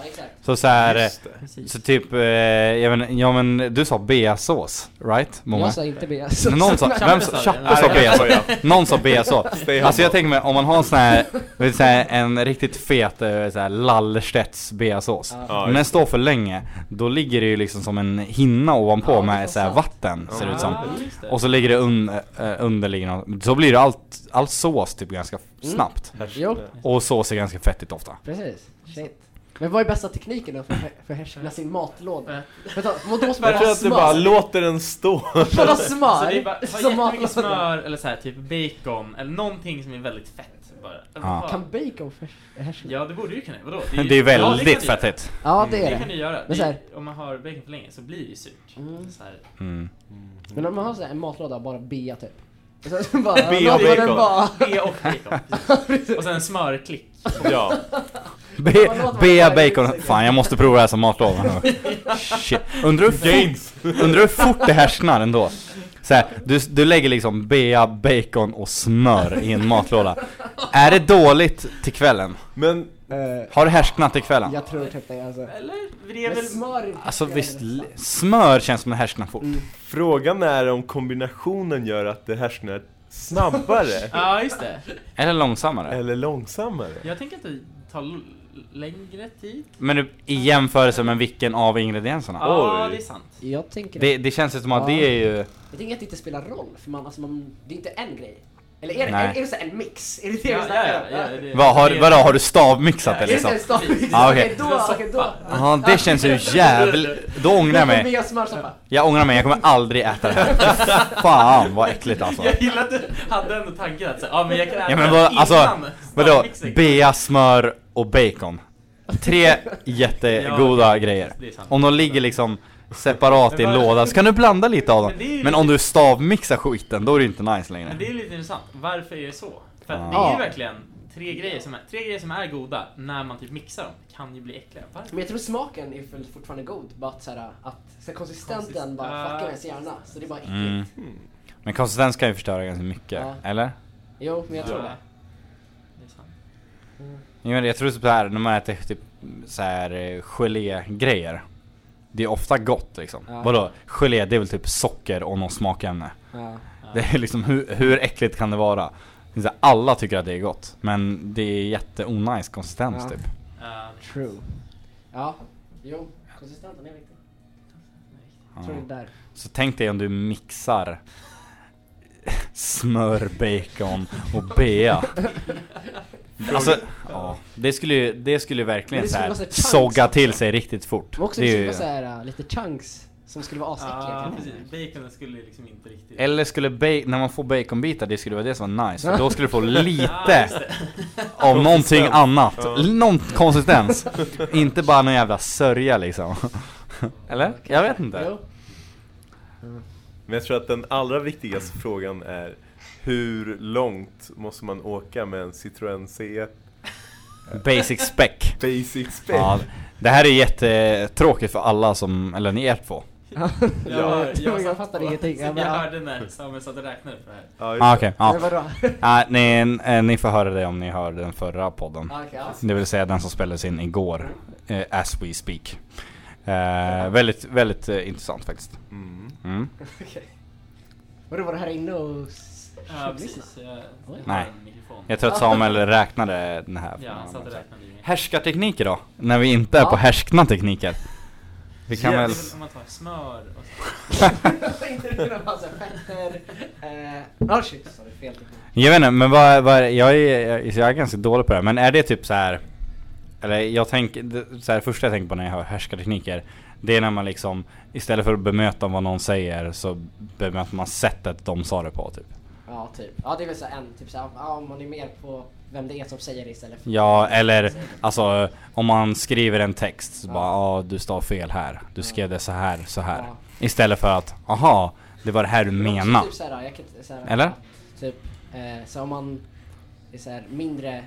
[SPEAKER 1] Så så här,
[SPEAKER 5] Just
[SPEAKER 1] eh,
[SPEAKER 5] det. Precis.
[SPEAKER 1] så typ, eh, jag vet, ja men du sa beasås, right? Moa?
[SPEAKER 2] Jag sa inte beasås.
[SPEAKER 1] Någon sa,
[SPEAKER 2] Chappe
[SPEAKER 1] vem
[SPEAKER 2] sa
[SPEAKER 1] sa,
[SPEAKER 2] det.
[SPEAKER 1] Chappe
[SPEAKER 2] Nej,
[SPEAKER 1] sa
[SPEAKER 2] jag
[SPEAKER 1] beasås.
[SPEAKER 2] skojar.
[SPEAKER 1] Någon sa beasås.
[SPEAKER 2] Stay
[SPEAKER 1] Alltså jag
[SPEAKER 2] humble.
[SPEAKER 1] tänker mig, om man har en sån här, vill säga, en riktigt fet eh, så här, Lallerstedts beasås.
[SPEAKER 2] Ja.
[SPEAKER 1] Om den står för länge, då ligger det ju liksom som en hinna ovanpå med så här, vatten, ser det ut som.
[SPEAKER 5] Ja, just det.
[SPEAKER 1] Och så ligger det un, eh, under, ligger något, så blir det allt, all sås typ ganska
[SPEAKER 2] Mm.
[SPEAKER 1] snabbt.
[SPEAKER 2] Jo.
[SPEAKER 1] Och sås är ganska fettigt ofta.
[SPEAKER 2] Precis. Shit. Men vad är bästa tekniken då för att förhärska sin matlåda? Vänta, må då som
[SPEAKER 19] Jag tror att du bara låter den stå.
[SPEAKER 2] Kolla smör!
[SPEAKER 5] Alltså, det är bara,
[SPEAKER 2] som
[SPEAKER 5] ta jättemycket
[SPEAKER 2] matlåda.
[SPEAKER 5] smör eller så här, typ bacon eller någonting som är väldigt fett bara. Alltså,
[SPEAKER 1] Ja.
[SPEAKER 5] fan.
[SPEAKER 2] Kan bacon förs- härska?
[SPEAKER 5] Ja det borde du kunna, vadå?
[SPEAKER 1] Men det är
[SPEAKER 5] ja,
[SPEAKER 1] väldigt
[SPEAKER 5] det kan du göra.
[SPEAKER 1] fettigt.
[SPEAKER 2] Ja, det är
[SPEAKER 5] Det
[SPEAKER 2] det.
[SPEAKER 5] kan du göra.
[SPEAKER 2] Men
[SPEAKER 5] Det,
[SPEAKER 2] så här-
[SPEAKER 5] om man har bacon för länge så blir det ju surt. Så här.
[SPEAKER 1] Mm.
[SPEAKER 2] Men om man har så här en matlåda av bara bea typ. Och sen så bara,
[SPEAKER 5] Bea och
[SPEAKER 2] låter den
[SPEAKER 5] bacon.
[SPEAKER 2] vara.
[SPEAKER 5] Bea och bacon, precis. Och sen smörklick.
[SPEAKER 19] Ja.
[SPEAKER 1] Be, bea bacon, fan jag måste prova det här som matlåda nu. Shit. Undrar hur,
[SPEAKER 19] Gains.
[SPEAKER 1] fort, undrar hur fort det härsknar ändå. Så här, du, du lägger liksom bea, bacon och smör i en matlåda. Är det dåligt till kvällen?
[SPEAKER 19] Men...
[SPEAKER 1] Har det härsknat till kvällen?
[SPEAKER 2] Eh, Jag tror typ det alltså.
[SPEAKER 5] Eller? Det är
[SPEAKER 2] Men
[SPEAKER 5] väl...
[SPEAKER 2] smör
[SPEAKER 1] Alltså visst, l- smör känns som det härsknar fort.
[SPEAKER 2] Mm.
[SPEAKER 19] Frågan är om kombinationen gör att det härsknar snabbare.
[SPEAKER 5] Ja just det.
[SPEAKER 1] Eller långsammare.
[SPEAKER 19] Eller långsammare.
[SPEAKER 5] Jag tänker att det tar l- längre tid.
[SPEAKER 1] Men du- i jämförelse med vilken av ingredienserna?
[SPEAKER 5] Ja det är sant.
[SPEAKER 2] Jag tänker
[SPEAKER 1] Det, det känns ju som att det är ju...
[SPEAKER 2] Jag tänker att det inte spelar roll för man, alltså man, det är inte en grej. Eller är det,
[SPEAKER 1] Nej.
[SPEAKER 2] är, är det så här en mix? Är det det
[SPEAKER 5] Ja,
[SPEAKER 2] vi
[SPEAKER 5] ja,
[SPEAKER 2] snackar
[SPEAKER 5] ja, ja,
[SPEAKER 2] om?
[SPEAKER 5] det-
[SPEAKER 1] Vad, har, vadå, har du stavmixat det
[SPEAKER 2] Är det så
[SPEAKER 1] liksom?
[SPEAKER 2] här stavmix?
[SPEAKER 1] Ja, okej.
[SPEAKER 2] Okej, då, okej då.
[SPEAKER 1] Ja, det känns ju jävligt... Då ångrar jag mig.
[SPEAKER 2] Med smörsoppa.
[SPEAKER 1] Jag ångrar mig, jag kommer aldrig äta det här. Fan vad äckligt alltså.
[SPEAKER 5] Jag gillar att du hade ändå tanken att säga, ja men jag kan äta
[SPEAKER 1] Ja men vad, alltså,
[SPEAKER 5] innan
[SPEAKER 1] vadå?
[SPEAKER 5] stavmixen."
[SPEAKER 1] Bea, smör och bacon. Tre jättegoda grejer.
[SPEAKER 5] det är sant.
[SPEAKER 1] Om de ligger liksom separat i en låda så kan du blanda lite av dem.
[SPEAKER 5] Men det är ju
[SPEAKER 1] Men om du stavmixar skiten, då är det inte nice längre.
[SPEAKER 5] Men det är lite intressant, varför är det så? För
[SPEAKER 1] Ja.
[SPEAKER 5] att det är ju verkligen tre grejer, som är, tre grejer som är goda när man typ mixar dem, kan ju bli äckliga. Varför?
[SPEAKER 2] Men jag tror smaken är väl fortfarande god, bara att, så här, att så här, konsistenten
[SPEAKER 5] Konsist-
[SPEAKER 2] bara fuckar
[SPEAKER 5] Ah.
[SPEAKER 2] med ens hjärna. Så det är bara äckligt.
[SPEAKER 1] Mm. Men konsistens kan ju förstöra ganska mycket,
[SPEAKER 2] Ja.
[SPEAKER 1] eller?
[SPEAKER 2] Jo, men jag tror
[SPEAKER 5] Ja.
[SPEAKER 2] det.
[SPEAKER 5] Det är sant.
[SPEAKER 1] Jag, menar, jag tror typ såhär, när man äter typ såhär eh, gelégrejer Det är ofta gott liksom.
[SPEAKER 2] Ja.
[SPEAKER 1] Vadå? Gelé, det är väl typ socker och någon smakämne.
[SPEAKER 2] Ja.
[SPEAKER 1] Det är liksom, hur, hur äckligt kan det vara? Det är så här, Alla tycker att det är gott, men det är jätteonajs konsistens
[SPEAKER 2] Ja.
[SPEAKER 1] typ.
[SPEAKER 5] Ja,
[SPEAKER 2] True. Ja, jo. Konsistenten är viktig.
[SPEAKER 1] Ja.
[SPEAKER 2] Tror det är där.
[SPEAKER 1] Så tänk dig om du mixar smör, bacon och bea. Alltså, ja, det skulle ju, det skulle ju verkligen
[SPEAKER 2] Men det skulle
[SPEAKER 1] såhär
[SPEAKER 2] vara så här chans
[SPEAKER 1] sogga
[SPEAKER 2] också.
[SPEAKER 1] till sig riktigt fort.
[SPEAKER 2] Men också
[SPEAKER 1] Det
[SPEAKER 2] det
[SPEAKER 1] är
[SPEAKER 2] skulle
[SPEAKER 1] ju-
[SPEAKER 2] vara så här, äh, lite chunks som skulle vara asäckliga. kan
[SPEAKER 5] Ja,
[SPEAKER 2] jag tänka mig.
[SPEAKER 5] precis. Baconen skulle liksom inte riktigt...
[SPEAKER 1] Eller skulle ba- när man får baconbitar, det skulle vara det som var nice. För då skulle du få
[SPEAKER 5] Ja,
[SPEAKER 1] lite
[SPEAKER 5] just det.
[SPEAKER 1] av någonting annat.
[SPEAKER 19] Ja.
[SPEAKER 1] L- Någon konsistens. inte bara någon jävla sörja liksom. Eller? Jag vet inte.
[SPEAKER 2] Jo.
[SPEAKER 19] Men jag tror att den allra viktigaste frågan är hur långt måste man åka med en Citroën C? E?
[SPEAKER 1] Basic spec.
[SPEAKER 19] Basic spec.
[SPEAKER 1] Ja, det här är jättetråkigt för alla som, eller ni är två.
[SPEAKER 5] Jag,
[SPEAKER 2] Ja,
[SPEAKER 5] jag,
[SPEAKER 2] jag
[SPEAKER 5] satt
[SPEAKER 2] fattar
[SPEAKER 5] på-
[SPEAKER 2] ingenting. Jag
[SPEAKER 5] Jag,
[SPEAKER 2] bara-
[SPEAKER 5] hörde när Samuel satt och räknade upp det här.
[SPEAKER 19] Ja, just
[SPEAKER 1] Ah,
[SPEAKER 19] det.
[SPEAKER 1] Okej,
[SPEAKER 2] Men
[SPEAKER 1] ja.
[SPEAKER 2] vadå?
[SPEAKER 1] Ah, ni, eh, ni får höra det om ni hör den förra podden.
[SPEAKER 2] Ah, okej, ja.
[SPEAKER 1] Det vill säga den som spelades in igår, eh, as we speak. Eh, väldigt, väldigt eh, intressant faktiskt.
[SPEAKER 19] Mm.
[SPEAKER 1] Mm.
[SPEAKER 2] Okej. Vadå, var det här inne och... s-
[SPEAKER 5] Ja,
[SPEAKER 2] tjuvlyssna?
[SPEAKER 5] precis. Jag
[SPEAKER 2] Oj.
[SPEAKER 1] Nej.
[SPEAKER 5] en mikrofon.
[SPEAKER 1] Jag tror att Samuel räknade den här.
[SPEAKER 5] Ja, han satt och räknade. i-
[SPEAKER 1] Härskartekniker då? När vi inte är på härskna tekniker. Vi kan
[SPEAKER 5] Ja,
[SPEAKER 1] väl...
[SPEAKER 5] det är väl om man tar smör och
[SPEAKER 2] Inte det kunna vara så här, fetter, eh, oh shit, sorry, fel teknik.
[SPEAKER 1] Jag vet inte, men vad, vad är, jag, är, jag är- jag är ganska dålig på det här, men är det typ så här Eller jag tänker, det- så här, det första jag tänker på när jag hör härskartekniker Det är när man liksom Istället för att bemöta vad någon säger så bemöter man sättet de sa det på typ
[SPEAKER 2] Ja, typ. Ja, det är väl så här en, typ så här, ja, om man är mer på vem det är som säger det istället för...
[SPEAKER 1] Ja, eller alltså om man skriver en text så bara ja du stav fel här, du skrev det så här, så här
[SPEAKER 2] Ja.
[SPEAKER 1] Istället för att aha, det var det här du menade
[SPEAKER 2] Typ så här, jag kan, inte- så här,
[SPEAKER 1] Eller?
[SPEAKER 2] Typ, eh, så om man är så här mindre...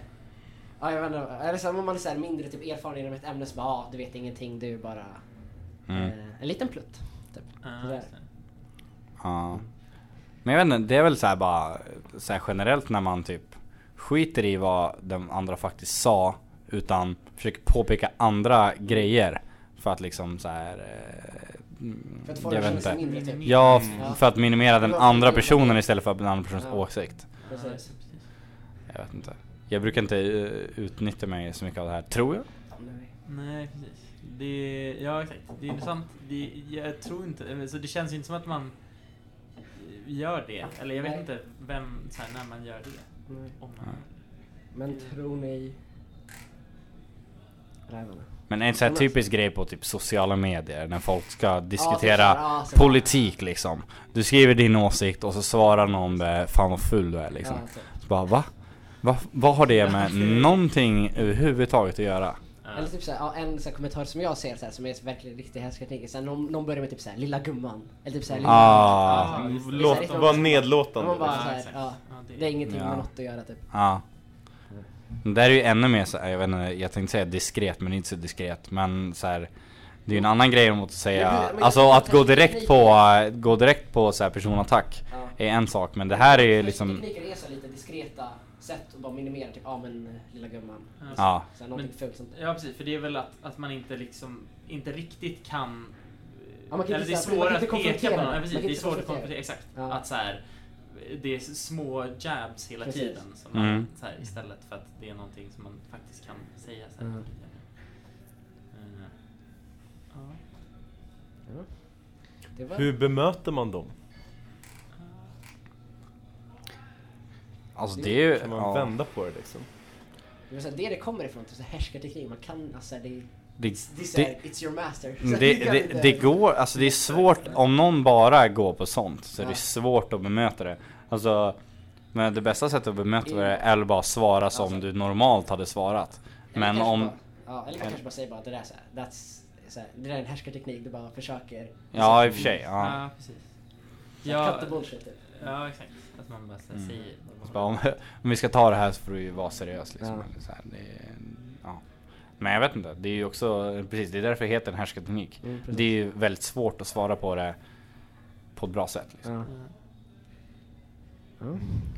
[SPEAKER 2] Ja, jag vet inte. Eller så här, om man är så här mindre typ erfaren inom ett ämne så bara, ja, du vet ingenting, du är bara...
[SPEAKER 1] Mm.
[SPEAKER 2] Eh, en liten plutt, typ. Så där.
[SPEAKER 1] Ja. Men jag vet inte, det är väl så här bara så här generellt när man typ skiter i vad den andra faktiskt sa utan försöker påpeka andra grejer för att liksom så här eh, mm,
[SPEAKER 2] För att få det
[SPEAKER 1] jag
[SPEAKER 2] att
[SPEAKER 1] vet
[SPEAKER 2] kännas
[SPEAKER 1] inte.
[SPEAKER 2] mindre, typ.
[SPEAKER 1] Ja,
[SPEAKER 2] Mm.
[SPEAKER 1] f- för att minimera den
[SPEAKER 2] Ja.
[SPEAKER 1] andra personen istället för den andra personens
[SPEAKER 2] Ja.
[SPEAKER 1] åsikt.
[SPEAKER 2] Precis.
[SPEAKER 1] Jag vet inte. Jag brukar inte eh, utnyttja mig så mycket av det här, tror jag.
[SPEAKER 5] Nej, precis. Det, ja, exakt. Det är intressant. Det, jag tror inte, eller så det känns ju inte som att man gör det. Eller jag vet
[SPEAKER 2] Nej.
[SPEAKER 5] inte vem, så här, när man gör det.
[SPEAKER 2] Nej.
[SPEAKER 5] Om man,
[SPEAKER 2] Men tror ni... Rävarna?
[SPEAKER 1] Men en sån här typisk grej på typ sociala medier när folk ska diskutera
[SPEAKER 2] typ så här, ja, så här.
[SPEAKER 1] politik liksom Du skriver din åsikt och så svarar någon med 'Fan vad ful du är' liksom
[SPEAKER 2] Ja, typ.
[SPEAKER 1] Så bara va? va? Vad har det med någonting överhuvudtaget att göra?
[SPEAKER 2] Eller typ såhär, ja, en sån här kommentar som jag ser såhär, som är verkligen riktig härskarteknik är såhär, någon, någon börjar med typ såhär 'lilla gumman' eller typ såhär lilla-
[SPEAKER 1] Ah,
[SPEAKER 2] Ja, just det.
[SPEAKER 19] låt-
[SPEAKER 2] Det är så här,
[SPEAKER 19] vara
[SPEAKER 2] man-
[SPEAKER 19] nedlåtande.
[SPEAKER 2] Man bara
[SPEAKER 19] Ja,
[SPEAKER 2] såhär,
[SPEAKER 19] exakt.
[SPEAKER 2] ja,
[SPEAKER 19] Ja, det-
[SPEAKER 2] det är ingenting
[SPEAKER 1] Ja.
[SPEAKER 2] med något att göra typ.
[SPEAKER 1] Ja Det där är ju ännu mer så här, jag vet inte, jag tänkte säga diskret men det är inte så diskret men så här, Det är ju en annan grej mot
[SPEAKER 2] Men-
[SPEAKER 1] att säga,
[SPEAKER 2] men- men-
[SPEAKER 1] alltså att gå direkt på, gå direkt på så här personattack Är en sak men det här är ju liksom
[SPEAKER 2] Tekniker är så lite diskreta sätt att bara minimera typ, ja men eh, lilla gumman.
[SPEAKER 1] Ja.
[SPEAKER 2] Såhär, någonting fult som...
[SPEAKER 5] Ja precis, för det är väl att, att man inte liksom, inte riktigt kan...
[SPEAKER 2] Ja, man kan
[SPEAKER 5] eller
[SPEAKER 2] inte
[SPEAKER 5] det är
[SPEAKER 2] säga- man
[SPEAKER 5] svårare
[SPEAKER 2] kan inte
[SPEAKER 5] att
[SPEAKER 2] konfrontera
[SPEAKER 5] peka på någon,
[SPEAKER 2] det.
[SPEAKER 5] ja,
[SPEAKER 2] Man
[SPEAKER 5] precis,
[SPEAKER 2] kan
[SPEAKER 5] det är
[SPEAKER 2] inte
[SPEAKER 5] svårt att
[SPEAKER 2] konfrontera
[SPEAKER 5] konfrontera, exakt. Att så här, det är små jabs hela
[SPEAKER 2] Precis.
[SPEAKER 5] tiden som
[SPEAKER 1] Mm.
[SPEAKER 5] man, så här, istället för att det är någonting som man faktiskt kan säga. Så här,
[SPEAKER 2] Mm.
[SPEAKER 5] Eh, ja.
[SPEAKER 2] Det var...
[SPEAKER 19] Hur bemöter man dem?
[SPEAKER 1] Alltså det är ju...
[SPEAKER 19] Kan man
[SPEAKER 1] ja.
[SPEAKER 19] vända på det liksom?
[SPEAKER 2] Det var såhär, det det kommer ifrån, typ såhär härskarteknik, man kan alltså det...
[SPEAKER 1] Det-
[SPEAKER 2] det är
[SPEAKER 1] det- Mm,
[SPEAKER 2] såhär, it's your master. Så
[SPEAKER 1] Det,
[SPEAKER 2] kan
[SPEAKER 1] det,
[SPEAKER 2] inte-
[SPEAKER 1] det går, alltså det är svårt, om någon bara går på sånt så är
[SPEAKER 2] Ja.
[SPEAKER 1] det svårt att bemöta det. Alltså, men det bästa sättet att bemöta det är att bara svara som du normalt hade svarat.
[SPEAKER 2] Mm. Eller
[SPEAKER 1] Men
[SPEAKER 2] kanske
[SPEAKER 1] om...
[SPEAKER 2] Bara, ja, eller man kanske bara säger bara det där såhär, that's... Såhär, det där är en härskarteknik, du bara försöker...
[SPEAKER 1] Ja, i och för sig, ja.
[SPEAKER 5] precis.
[SPEAKER 2] Så här, cut the bullshit, typ.
[SPEAKER 5] ja, exakt. Att man bara så här,
[SPEAKER 1] Mm.
[SPEAKER 5] säger...
[SPEAKER 1] Så bara, Om, om vi ska ta det här så får du ju vara seriös liksom. Eller Så här, det, är- ja. Men jag vet inte, det är ju också, precis det är därför det heter en härskarteknik.
[SPEAKER 2] Mm, precis.
[SPEAKER 1] det är ju väldigt svårt att svara på det på ett bra sätt. Liksom.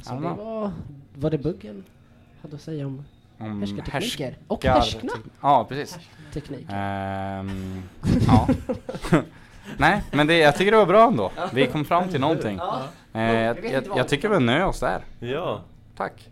[SPEAKER 2] Så det var... Var det buggen hade att säga om,
[SPEAKER 1] Om
[SPEAKER 2] härskartekniker? och
[SPEAKER 1] härskar-
[SPEAKER 2] härskna!
[SPEAKER 1] Ja, precis.
[SPEAKER 2] Teknik.
[SPEAKER 1] Ehm, ja. Nej, men det, jag tycker det var bra ändå. Vi kom fram till någonting.
[SPEAKER 2] Ja.
[SPEAKER 1] Eh, jag, jag, jag tycker vi nöjer oss där.
[SPEAKER 19] Ja.
[SPEAKER 1] Tack.